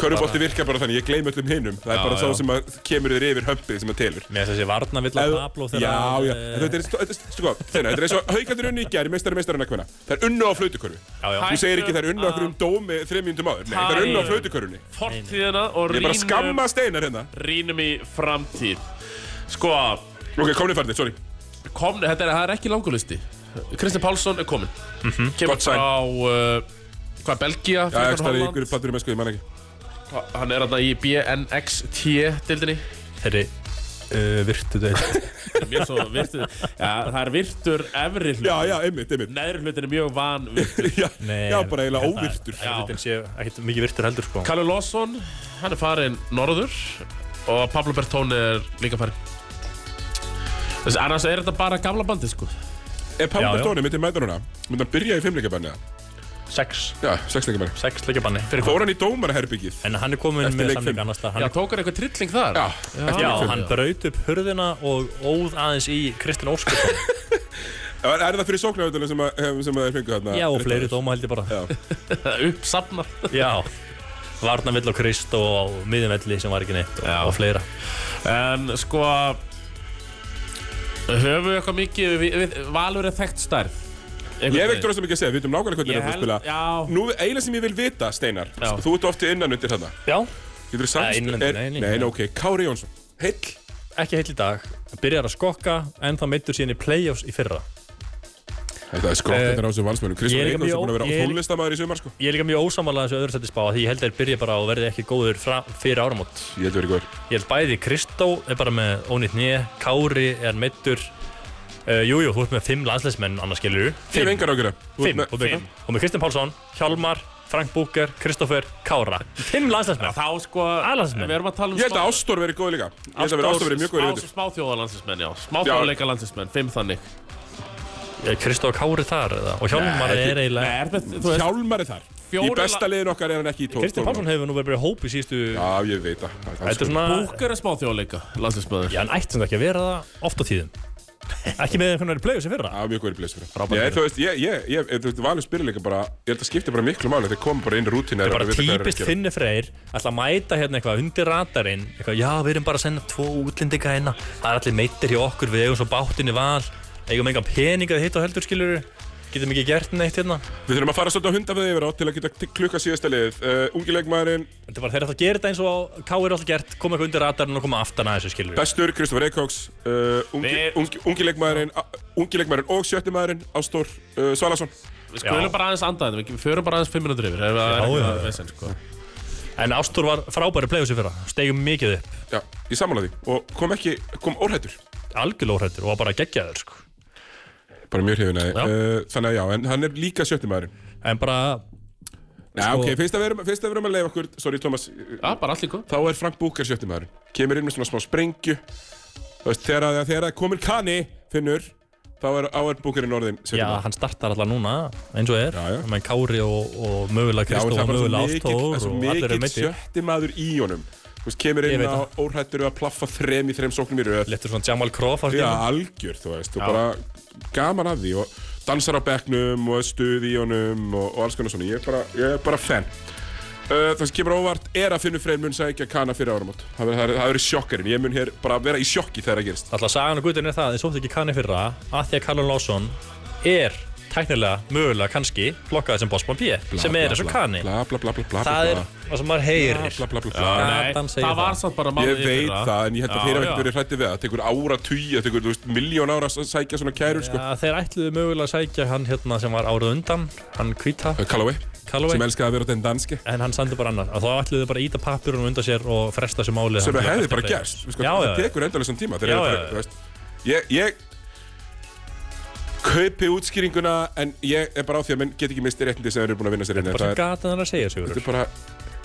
Speaker 1: Körfubolti virkar bara þannig, ég gleym öllum hinum Það er
Speaker 3: Já,
Speaker 1: bara
Speaker 3: já.
Speaker 1: þá sem að kemur þér yfir hömpið sem að telur
Speaker 3: Mér þess að þessi varna vill að Pablo
Speaker 1: Já,
Speaker 3: þegar eh, að-
Speaker 1: já, en þetta er, þetta er, sko, þeirna, þetta er eins og haugandir unni í gær í meistari meistarinn að hvenna Það er unnu á flautukörfu
Speaker 3: Já, já.
Speaker 1: Þú segir ekki það er unnu á
Speaker 3: Ah.
Speaker 1: hverjum dómi þrejum mínútum áður Nei, það er unnu á flautukörfunni
Speaker 2: Fortíðina og
Speaker 1: Ég er bara að
Speaker 2: rínum,
Speaker 1: skamma steinar hérna
Speaker 2: rínum í framtíð. Sko,
Speaker 1: Ok, komni farnir, sorry
Speaker 2: komnir, þetta er, það er ekki langulisti. Kristján Pálsson er komin. Kemur
Speaker 1: Mhm, Gott sæn.
Speaker 2: frá, uh, hvað, Belgia?
Speaker 1: Já,
Speaker 2: frekar
Speaker 1: ekki stærri
Speaker 2: Holland?
Speaker 1: ykkur plattur í mennsku, ég man ekki
Speaker 2: Hann er þarna í BNXT-dildinni
Speaker 3: Herri, uh, virtu þetta
Speaker 2: Mjög svo virtur Já, það er virtur efri hlut
Speaker 1: Já, já, einmitt, einmitt
Speaker 2: Neðri hlutin er mjög van virtur
Speaker 1: Já,
Speaker 3: Nei,
Speaker 1: já
Speaker 3: en-
Speaker 1: bara eiginlega
Speaker 3: en það-
Speaker 1: óvirtur
Speaker 2: Já.
Speaker 3: Þetta sé ekkert mikið virtur heldur sko
Speaker 2: Kalle Lawson, hann er farin norður Og Pablo Bertone er líka farin Þessi, annars er þetta bara gamla bandi, sko
Speaker 1: Ef
Speaker 3: Já, já.
Speaker 1: Pablo Bertoni myndi mæta núna Myndi hann byrja í fimmleikabanni eða?
Speaker 3: Sex,
Speaker 1: Já, sexleikabanni
Speaker 3: sex leikja banni Fyrir
Speaker 1: Fór hann í dómaraherbyggið
Speaker 3: En hann er komin
Speaker 1: Eftir
Speaker 3: með
Speaker 1: leik
Speaker 3: samning
Speaker 1: fimm.
Speaker 3: annars
Speaker 2: Já,
Speaker 3: staðar.
Speaker 2: tók hann eitthvað trilling þar
Speaker 1: Já, eftir
Speaker 3: Já,
Speaker 1: leik fimm.
Speaker 3: hann braut upp hurðina og óð aðeins í Kristinn Óskarsson
Speaker 1: Er, er það fyrir sóknaröðunum sem, að- eh, sem að þeir fengu þarna?
Speaker 3: Já, og
Speaker 1: dómar
Speaker 3: fleiri dóma held ég bara
Speaker 2: Uppsafnar
Speaker 3: Já, varnavill á Krist og á miðumelli sem var ekki neitt og,
Speaker 2: Já.
Speaker 3: og fleira
Speaker 2: En, sko Höfum við eitthvað mikið við, við, Valur er þekkt stærð
Speaker 1: Ég
Speaker 2: Einhvern
Speaker 1: hef
Speaker 2: veginn.
Speaker 1: ekkert rosa mikið að segja, við veitum nákvæmlega hvernig
Speaker 2: Ég
Speaker 1: þeir eru að
Speaker 2: held-
Speaker 1: spila
Speaker 2: já.
Speaker 1: Nú, eiginlega sem ég vil vita, Steinar
Speaker 2: Já.
Speaker 1: Þú ert ofti innan undir þarna
Speaker 3: Já,
Speaker 1: Getur þú sagt
Speaker 3: Nei, innan-
Speaker 1: er-
Speaker 3: nei, nei,
Speaker 1: Nei,
Speaker 3: nei.
Speaker 1: ok, Kári Jónsson Heill
Speaker 3: ekki heill í dag Byrjar að skokka, en þá meittur síðan í playoffs í fyrra
Speaker 1: Þetta er skott,
Speaker 3: Eh,
Speaker 1: þetta er á þessu valsmönnum
Speaker 3: ég
Speaker 1: Kristján
Speaker 3: er líka
Speaker 1: Eikons er
Speaker 3: mjög-
Speaker 1: búin að vera
Speaker 3: ég er-
Speaker 1: tónlistamæður í sumar sko
Speaker 3: Ég er líka mjög ósamála þessu öðru sætti spá Því ég held að þeir byrja bara og verði ekki góður fra, fyrir áramót
Speaker 1: Ég held að vera góður
Speaker 3: Ég held bæði Kristó er bara með ónýtt nýja Kári er meittur uh, Jújú, þú ert með fimm landsleismenn annars skilur
Speaker 1: Ég hef engar ágjörða
Speaker 3: Fimm, og, með, og með Kristinn Pálsson, Hjálmar, Frank Búker, Kristófer, Kára Fimm landsleismenn
Speaker 2: Þá, sko,
Speaker 3: Aðlandsmenn.
Speaker 2: við erum að tala um
Speaker 1: Ég held að
Speaker 2: smá-
Speaker 1: Ástór verið góð líka Ég held að vera Ástór verið mjög góð í
Speaker 2: Smá-
Speaker 1: veitur
Speaker 2: Smáþjóða landsinsmenn, já Smáþjóðleika landsinsmenn, fimm þannig
Speaker 3: Kristó og Kári þar eða? Og Hjálmar
Speaker 1: Nei,
Speaker 3: er
Speaker 2: Nei,
Speaker 3: eiginlega
Speaker 2: er þetta, þú veist
Speaker 1: Hjálmar er þar Í
Speaker 2: Fjórir
Speaker 1: besta
Speaker 2: la-
Speaker 1: liðin okkar er hann ekki í tók
Speaker 3: Kristinn Pálsson hefur nú verið að byrja hóp í síðustu
Speaker 1: Já, ég veit það Hann- hann
Speaker 3: Þetta er
Speaker 1: sko-
Speaker 3: svona
Speaker 2: Búkar er smáþjóðleika landsinsmennur
Speaker 3: Já, hann ætti sem þetta ekki að vera það oft á tíðum Ekki með einhvern veginn playoffs í fyrra
Speaker 1: Já, mjög góður í blessur
Speaker 3: Frábær
Speaker 1: Ég,
Speaker 3: fyrir.
Speaker 1: þú veist, ég, ég, ég, þú veist, valur spyrir líka bara Ég held að skipti bara miklu máli Þeir koma bara inn rútina
Speaker 3: Bara típist Finni Freyr ætla að mæta hérna eitthvað undir radarinn eitthvað, Já, við erum bara að senda tvo útlendinga hérna Það er allir meittir hjá okkur, við eigum svo bátinn í val Eigum engan peningað hitt og heldur skilur Getum ekki gert neitt hérna
Speaker 1: Við þurfum að fara svolítið á hundafið yfir á Til að geta t- klukka síðasta liðið uh, Ungilegmaðurinn,
Speaker 3: Þetta var þeir ætla að gera þetta eins og K er alltaf gert Koma eitthvað undir radarinn og koma aftan að þessu skilur
Speaker 1: bestur, Kristoffer Eikóks uh, ungi,
Speaker 2: Við-
Speaker 1: ungi, Ungilegmaðurinn Ungilegmaðurinn og sjöttimaðurinn Ástór uh, Svalason
Speaker 2: Við skulum
Speaker 3: Já.
Speaker 2: bara aðeins anda þetta, við förum bara aðeins fimm minútur yfir ef það er
Speaker 3: Já, já,
Speaker 2: eitthvað
Speaker 3: já.
Speaker 2: vesen, sko.
Speaker 3: En Ástúr var frábæri playoffs í fyrra Stegum mikið upp,
Speaker 1: Já, ég samanlega því Og kom ekki, kom óhættur
Speaker 3: algjörlega óhræddur og var bara geggjaður sko.
Speaker 1: Bara mjög hrifin að
Speaker 3: Já.
Speaker 1: því uh, Þannig að já, en hann er líka sjöttimaðurinn
Speaker 3: En bara
Speaker 1: Já,
Speaker 3: sko-
Speaker 1: ok, fyrst að við erum, fyrst að við erum að leifa okkur Sorry, Thomas,
Speaker 2: Já, bara allir góð
Speaker 1: þá er Frank Búker sjöttimaðurinn kemur inn með svona smá sprengju Þú veist, þegar, að- þegar að komin kanni finnur þá er áhverð Búkerinn orðin
Speaker 3: Já,
Speaker 1: sjöttimaður
Speaker 3: hann startar alltaf núna eins og er,
Speaker 1: Já, já.
Speaker 3: menn Kári og, og mögulega Kristó og mögulega Ástór
Speaker 1: svo
Speaker 3: og allir eru
Speaker 1: mikill
Speaker 3: meittir
Speaker 1: sjöttimaður í honum Þú veist, kemur
Speaker 3: Ég
Speaker 1: inn
Speaker 3: veit
Speaker 1: á óhrættur að plaffa þrem í þrem sóknum í röð
Speaker 3: Lettur svona Jamal Crawford
Speaker 1: Já,
Speaker 3: hérna.
Speaker 1: algjör, þú veist, og bara gaman af því og dansar á bekknum og er stuð í honum og, og alls konar svona, ég er bara, ég er bara fan Uh, það sem kemur á óvart er að finnur frein mun sækja kana fyrir áramót Það verður- það verður sjokkarinn, ég mun hér bara vera í sjokki þegar það gerist
Speaker 3: Alltaf sagan og gutin er það, þið sóttu ekki kanni fyrra að því að Callum Lawson er tæknilega, mögulega, kannski flokkaði sem Bosman P sem er eins og Kani
Speaker 1: Bla bla bla bla bla
Speaker 3: það er
Speaker 1: bla.
Speaker 3: það sem maður heyrir
Speaker 1: Bla bla bla
Speaker 3: Já.
Speaker 1: bla
Speaker 3: Adam segir
Speaker 2: það var
Speaker 3: það.
Speaker 2: samt bara
Speaker 1: Ég
Speaker 2: málið í
Speaker 1: veit
Speaker 2: fyrra.
Speaker 1: það, en ég held að
Speaker 3: Já,
Speaker 1: þeir hafa
Speaker 3: já.
Speaker 1: ekkert verið hrættið við það. Það tekur ára tugi, það tekur, þú veist, miljón ára að sækja svona kærur, sko.
Speaker 3: Já, þeir ætluðu mögulega að sækja hann hérna sem var árið undan, hann Kvita
Speaker 1: Uh, Callaway,
Speaker 3: Callaway.
Speaker 1: sem elskaði að vera den danski.
Speaker 3: en hann sandi bara annað, að þá ætluðu bara að íta pappirunum undan sér og fresta sér málið
Speaker 1: sem
Speaker 3: þangað
Speaker 1: það hefði
Speaker 3: eftir
Speaker 1: bara
Speaker 3: leik.
Speaker 1: gerst sko,
Speaker 3: já,
Speaker 1: það
Speaker 3: já,
Speaker 1: tekur endalessan tíma þeir eru
Speaker 3: Já,
Speaker 1: bara,
Speaker 3: já, já.
Speaker 1: þú veist ég, ég kaupi útskýringuna en ég er bara á því að menn get ekki misti réttindi sem þeir eru búin að vinna sér inn
Speaker 3: bara
Speaker 1: það
Speaker 3: sem
Speaker 1: er,
Speaker 3: gata þannig að segja sig
Speaker 1: þetta er bara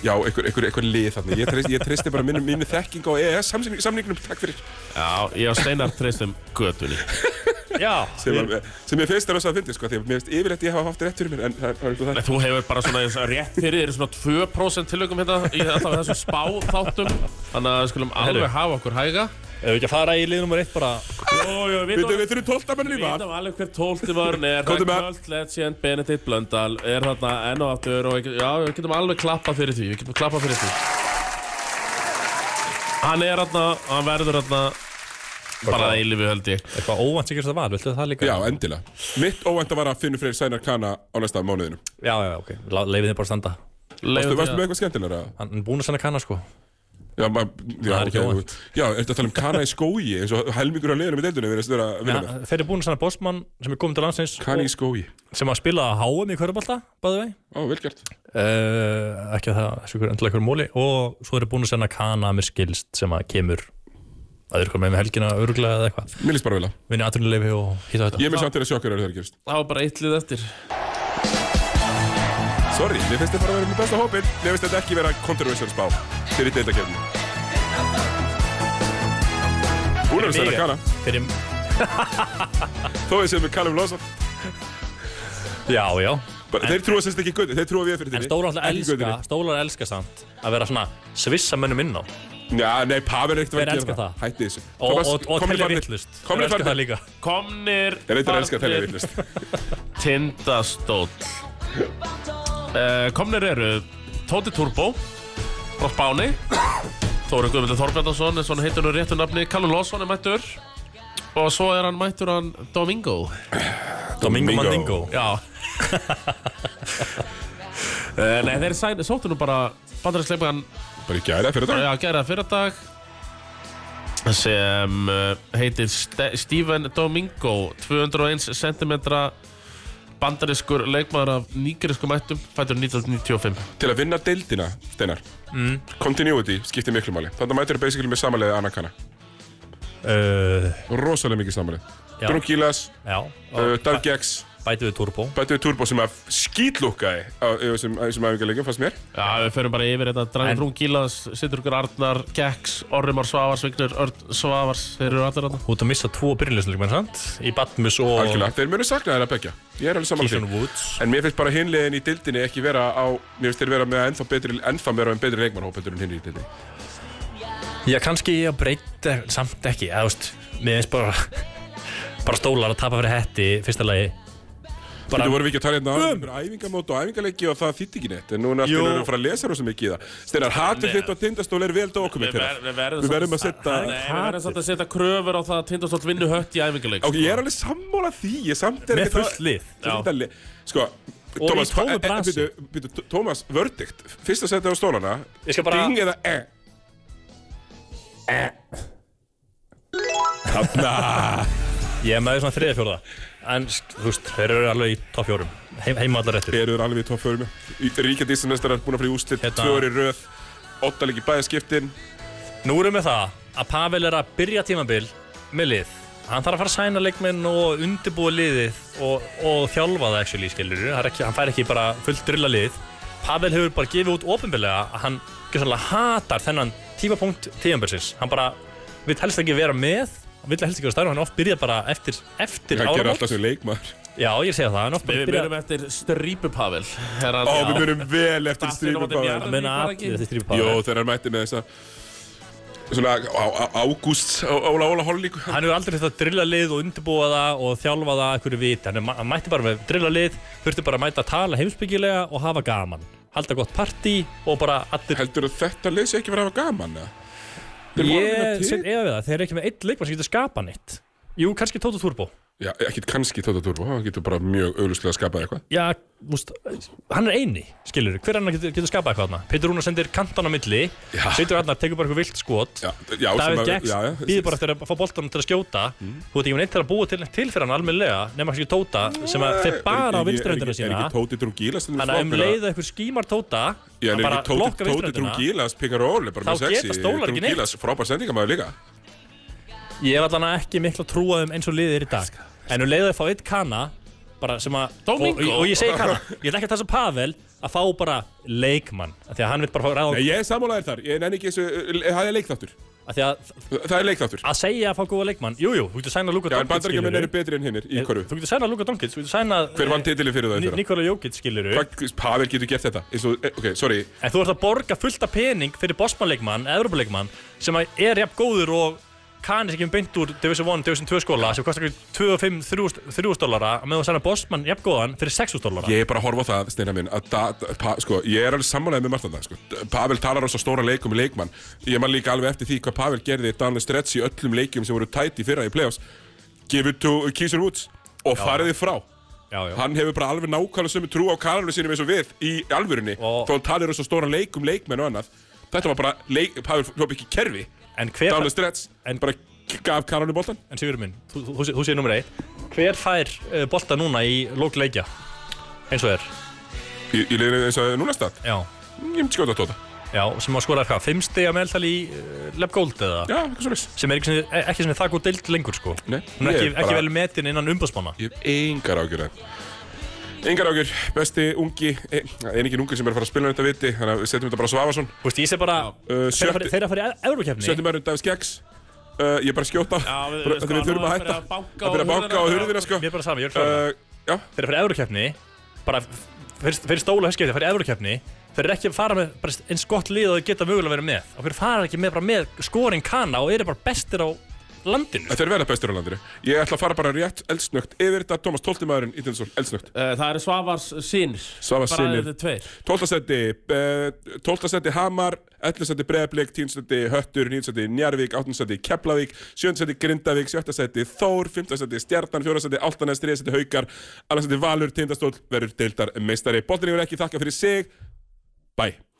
Speaker 1: já, einhver, einhver, einhver lið þarna ég treysti, ég treysti bara minni, minni þekking á E EES samsýning- samningnum, takk fyrir
Speaker 2: Já, ég á steinar treystum götunni
Speaker 3: já,
Speaker 1: sem, var, sem ég finnst er rosa að fyndi sko, því að mér finnst yfirleitt ég hafa haft rétt fyrir mér en það er- það er eitthvað
Speaker 2: Nei, Þú hefur bara svona eins- rétt fyrir þér svona 2% tilökum hérna í alltaf þessum spáþáttum Þannig að við skulum alveg hafa okkur hæga
Speaker 3: ef við ekki að fara í lið nummer eitt bara
Speaker 2: Jó, jó, við
Speaker 1: það við við þurfum tólta menn í
Speaker 2: Við
Speaker 1: val
Speaker 2: veitum alveg hver tólti vörn er
Speaker 1: Komdu með.
Speaker 2: Ragnar Legend, Benedikt Blöndal er þarna enn og aftur og já, við getum alveg klappað fyrir því Við getum klappað fyrir því Hann er þarna, hann verður þarna bara að eilifu held ég
Speaker 3: eitthvað óvænt sikkert það var, viltu það líka
Speaker 1: já, endilega mitt óvænt að vara að finna fyrir Sænar Kana á næsta mánuðinu
Speaker 3: já, já, ok, La- leifið þið bara að standa
Speaker 1: Varstu
Speaker 2: Leifum
Speaker 1: varstu
Speaker 2: því
Speaker 1: með
Speaker 2: að
Speaker 1: eitthvað skemmtilegra?
Speaker 3: hann er búin að sanna kanna sko
Speaker 1: Já, maður, já,
Speaker 3: Það er
Speaker 1: ok,
Speaker 3: ekki óvænt.
Speaker 1: já, ertu að tala um kana í skói eins og helmingur af liðunum í deildunum verðist vera að vinna
Speaker 3: ja,
Speaker 1: með
Speaker 3: þeir eru búin að sanna Bosman sem er komin til landsins
Speaker 1: Kana í skói,
Speaker 3: og- sem að spila að háum í körubálta bæðu vei
Speaker 1: á, vel gert
Speaker 3: uh, ekki að það sé ykkur endilega ykkur móli og svo eru búin að senda Kana mér skilst sem að kemur að ykkur með með helgina öruglega eða eitthvað
Speaker 1: Mér líst bara vel á
Speaker 3: vinni aðrunleifi og hýta þetta
Speaker 1: Ég mun samt til að sjokkar eru það gerist
Speaker 2: Það var bara eitt lið eftir
Speaker 1: Sorry, mér finnst þetta bara að vera með besta hópin Mér finnst þetta ekki vera controversial spá Fyrir deildakefni Hún er að segja kana
Speaker 3: fyrir,
Speaker 1: Þó við séum við Callum Lawson
Speaker 3: já, já
Speaker 1: Bara- Þeir trúa sérst ekki gutti, þeir trúa við fyrir
Speaker 3: en
Speaker 1: þinni
Speaker 3: stólar alltaf
Speaker 1: Ekki
Speaker 3: elska,
Speaker 1: gautinni.
Speaker 3: stólar elska samt að vera svona svissa mönnum inn á
Speaker 1: Já, nei, Pavel er ekkert að
Speaker 3: Þeir
Speaker 1: gera
Speaker 3: elska það.
Speaker 1: Hætti þessu
Speaker 3: og,
Speaker 1: Thomas,
Speaker 3: og, og
Speaker 1: komnir
Speaker 3: telja
Speaker 1: farnir.
Speaker 3: vittlust
Speaker 1: Komnir
Speaker 3: elska það
Speaker 1: farnir
Speaker 3: líka
Speaker 2: Komnir
Speaker 1: Ég reyndar að elska að telja
Speaker 2: farnir.
Speaker 1: vittlust
Speaker 2: Tindastóll uh, Komnir eru Tóti Turbo frá Spáni Þóri Guðmundur Þorbjarnason eins og hann heitir nú réttu nafni Callum Lawson er mættur og svo er hann mættur hann Domingo
Speaker 3: Domingo Mandingo
Speaker 2: Já Eh, Nei, þeir sæn, sóttu nú bara bandarinskleipan
Speaker 1: Bara í gæra fyrir dag
Speaker 2: að gera það fyrir dag sem uh, heitir Ste Steven Domingo 201 cm bandariskur leikmaður af nýgeriskum ættum fættur 1995
Speaker 1: Til að vinna deildina, Steinar
Speaker 3: Mm.
Speaker 1: Continuity skiptir miklu máli Þannig mætir það basically með samanlega Anakana Eh,
Speaker 3: uh,
Speaker 1: rosalega mikið samanlega.
Speaker 3: Já.
Speaker 1: Brún Gílas,
Speaker 3: já,
Speaker 1: uh,
Speaker 3: og
Speaker 1: Dag Gex,
Speaker 3: bætu við turbo
Speaker 1: Bættu við Turbo sem að skýtlúkkaði á á þessum á þessum æfingarleikum, fannst mér.
Speaker 2: Já, við förum bara yfir þetta Dragin
Speaker 3: En-
Speaker 2: Brún Gílas, Sitturkur Arnar, Geks Orrimar Svavars, Vignur Örn Svavars þeir eru allir þarna
Speaker 3: þú ert að missa tvo byrjuleysleikmenn samt í Batmus og
Speaker 1: Algjörlega, þeir munu sakna þeirra begja. Ég er alveg samanlega
Speaker 3: Keaton
Speaker 1: því.
Speaker 3: Woods
Speaker 1: En mér finnst bara hinlegin í dildinni ekki vera á, mér finnst þeir vera með ennþá betri, ennþá vera með betri leikmannhóp heldur en hinni í dildinni.
Speaker 3: Já, kannski ég að breyta samt ekki, eða þú veist, mér finnst bara bara stólar að tapa fyrir hetti fyrsta lagi
Speaker 1: Þú vorum við ekki að tala hérna á einhverju æfingamót og æfingarleiki og það þýtti ekki neitt, en núna allt í
Speaker 3: Um!
Speaker 1: einu
Speaker 3: Jú.
Speaker 1: erum við að fara að lesa rosa mikið í það. Steinar, hatur þitt og tindastól er vel dokumentera. Við verðum að setja...
Speaker 2: Nei, við verðum samt að setja kröfur á það að Tindastótt vinnu hött í æfinguleik
Speaker 1: Ok, ég er alveg sammála því, ég samt er
Speaker 3: Með
Speaker 1: ekkert að-
Speaker 3: fullt lið.
Speaker 1: Fullt að lið. Sko,
Speaker 3: í
Speaker 1: Thomas,
Speaker 3: tómu
Speaker 1: e- e-
Speaker 3: brasi.
Speaker 1: bíddu- bíddu, T- Thomas, vördikt, fyrst að setja á stólana,
Speaker 3: Ég skal bara-
Speaker 1: ding eða e.
Speaker 3: Ég er með því svona þriða fjóða En st- þú veist, þeir eru alveg í topp fjórum Heim, Heima allar réttur
Speaker 1: Eru þeir alveg í toppförum? Ríkjandi Íslandmestrar búin að fara í úslit,
Speaker 3: Hérna.
Speaker 1: tvö orði röð, óttalegi bæðaskiptin.
Speaker 3: Nú erum við það að Pavel er að byrja tímabil með lið Hann þarf að fara að sæna leikminn og undirbúa liðið og, og þjálfa það actually, skilur ekki, Hann fær ekki bara fullt drilla lið Pavel hefur bara gefið út ofinbilega að hann gjörsamlega hatar þennan tímapunkt tímabilsins Hann bara vill helst ekki vera með hann vill helst ekki vera stærn og hann oft byrjað bara eftir, eftir
Speaker 1: Það gerir
Speaker 3: áramót.
Speaker 1: alltaf sem leikmaður.
Speaker 3: Já, ég segja það, hann oft
Speaker 2: Við
Speaker 3: bara
Speaker 2: við
Speaker 3: byrjað
Speaker 2: munum eftir Strípupavel
Speaker 1: Ó, við munum vel eftir strífum báðar.
Speaker 3: Ég meina allir þetta er í Pavel
Speaker 1: Jó, þegar hann mætti með þessa svona á- á- ágúst á- Óla Óla Hollíku.
Speaker 3: hann hefur aldrei þetta drilla lið og undirbúa það og þjálfa það einhverju viti hann, er, ma- hann mætti bara með drilla lið þurfti bara að mæta að tala heimsbyggilega og hafa gaman halda gott partí og bara allir
Speaker 1: Heldur þetta lið sé ekki verið að hafa gaman, eða? Þeir voru að vinna
Speaker 3: ég
Speaker 1: titil.
Speaker 3: set eða við það þeir eru ekki með eitt leikmann sem getur skapað neitt jú, kannski Tóta Turbo
Speaker 1: Já, ekkert kannski Tóta Turbo, hann getur bara mjög auðlustlega að skapa eitthvað.
Speaker 3: já, úst, hann er eini, skilur hver annar getur, getur skapað eitthvað hann Petur Rúnar sendir kantan á milli
Speaker 1: Já.
Speaker 3: Sveitur Arnar tekur bara eitthvað vilt skot
Speaker 1: Já, já,
Speaker 3: David
Speaker 1: að-
Speaker 3: Gex
Speaker 1: já, já, Mm.
Speaker 3: býður bara eftir að fá boltanum til að skjóta þú veit ekki neitt til að búa til neitt til fyrir hann almennilega nema kannski Tóta sem að þeir bara á
Speaker 1: Er- er- er- er-
Speaker 3: vinstrahundina
Speaker 1: Er
Speaker 3: sína
Speaker 1: ekki Tóti Drungíla stundum
Speaker 3: þannig að um
Speaker 1: flottur
Speaker 3: leiða eitthvað skímar Tóta
Speaker 1: Já, en
Speaker 3: hann
Speaker 1: er
Speaker 3: bara
Speaker 1: ekki Tóti,
Speaker 3: lokka
Speaker 1: Tóti
Speaker 3: vinstrahundina
Speaker 1: Drungílas Picaroli, bara
Speaker 3: Þá
Speaker 1: mjög sexy.
Speaker 3: geta stólar ekki neitt.
Speaker 1: Drungilas, frábær sendingamæður líka.
Speaker 3: ég er allan ekki miklu að trúa þeim eins og liðið er í dag en um leiða þeir fá eitt kana bara sem að
Speaker 2: Domingo.
Speaker 3: og, og, og ég segi kana ég ætla ekki að tala sem Pavel að fá bara leikmann af því að hann vil bara fá ráð
Speaker 1: Nei, ég er sammálaðir þar, ég nenni ekki þessu, eh, það er leikþáttur.
Speaker 3: af því að
Speaker 1: Það er leikþáttur.
Speaker 3: að segja að fá góða leikmann Jújú, jú, þú getur sæna Luka
Speaker 1: Já, en
Speaker 3: Donkit
Speaker 1: bandaríkjumenn eru betri en hinnir í hverju.
Speaker 3: Eh, Þú eh, getur sæna Luka Donkit, þú getur sæna
Speaker 1: Hver vann titilið fyrir það? í fyrra?
Speaker 3: Nikola Jókit skilur
Speaker 1: Hvað- Pavel getur gert þetta. Eins og- eh, Ok, sorry,
Speaker 3: En þú ert að borga fullt af pening fyrir Bosman-leikmann, Evropa-leikmann sem að er jafn góður og kanir sem kemur beint úr Division 1, Division 2 skóla sem kostar ekki 2 og 5, 3 dólara og meðan þú sæna Bosman jafn góðan fyrir 6 dólara
Speaker 1: Ég er bara að horfa á það, Steina minn að da, da, pa, sko, Ég er alveg sammálaðið með margt af það sko. Pavel talar á svo stóra leikum í leikmann Ég man líka alveg eftir því hvað Pavel gerði Daniel Stretch í öllum leikjum sem voru tætt í fyrra í playoffs Give it to Keeser Woods Og fariði frá
Speaker 3: Já, já.
Speaker 1: Hann hefur bara alveg nákvæmlega sömu trú á kalinu sínum eins og við í alvörunni
Speaker 3: Og-
Speaker 1: Þó hann talar á svo stóra leikum, leikmenn og annað Þetta var bara, leik, Pavel hljóp ekki í kerfi
Speaker 3: En hver,
Speaker 1: Daniel Stretch
Speaker 3: en-
Speaker 1: bara gaf kalinu boltan
Speaker 3: en Sigur minn, þú, þú, þú, sé- þú séð nummer 1 Hver fær uh, bolta núna í lókleikja? Eins og er
Speaker 1: Í, í liðinu eins og núna stað
Speaker 3: Já,
Speaker 1: Ég myndi skjóta Tota. að tóta
Speaker 3: já sem að skora hvað, 5 stiga meðaltal í uh, Lab Gold eða?
Speaker 1: Já, eitthvað svo leys
Speaker 3: sem er ekki, sinni, ekki sinni það góð deild lengur sko
Speaker 1: Nei,
Speaker 3: hún er
Speaker 1: ég
Speaker 3: ekki,
Speaker 1: er
Speaker 3: ekki
Speaker 1: bara-
Speaker 3: vel metin innan umbásmána
Speaker 1: Ég hef engar ágjur af þeim. Engar ágjur, besti ungi, ein, einingin ungi sem er að fara að spila um þetta viti, þannig að við setjum þetta bara á Svavarsson.
Speaker 3: Þú veist, ég sé bara
Speaker 1: Uh,
Speaker 3: þeirra
Speaker 1: sjötti-
Speaker 3: farið þeir fari í e- Evrókefni
Speaker 1: Sjöndum örnum Davids Geks, uh, ég er bara að skjóta,
Speaker 2: Já, við-
Speaker 1: Bara-
Speaker 2: sko,
Speaker 1: við þurfum
Speaker 2: nú
Speaker 1: að
Speaker 2: er
Speaker 1: hætta.
Speaker 2: fyrir að banka
Speaker 1: Það fyrir að
Speaker 2: á
Speaker 1: banka á
Speaker 2: hurðina.
Speaker 1: hurðina sko.
Speaker 3: mér er bara saman, ég er kláður
Speaker 1: Uh, já,
Speaker 3: þeirra farið í Evrókefni bara f- fyrir, fyrir stóla höskefni þeirra farið í Evrókefni þeir eru ekki að fara með bara eins gott lið og þeir geta mögulega verið með og þeir fara ekki með bara með skorin kana og eru bara bestir á landinu
Speaker 1: þetta er verða bestur á landinu. Ég ætla að fara bara rétt eldsnögt yfir þetta, Tómas Tóltimaðurinn, Ídilsson, eldsnögt.
Speaker 2: Eh, Það eru Svavars sínir
Speaker 1: Svavars
Speaker 2: Bara
Speaker 1: synir.
Speaker 2: þetta tveir
Speaker 1: Tóltasetti, uh, tóltasetti Hamar, 11. Breiðblik, 10. Höttur, 9. Njarvík, 8. Keflavík, 7. Grindavík, 7. Þór, 5. Stjartan, 4. Altanes, 3. Haukar, 2. Valur, 10. Stóll, verður deildar meistari. Bóttinni verður ekki þakka fyrir sig. Bye.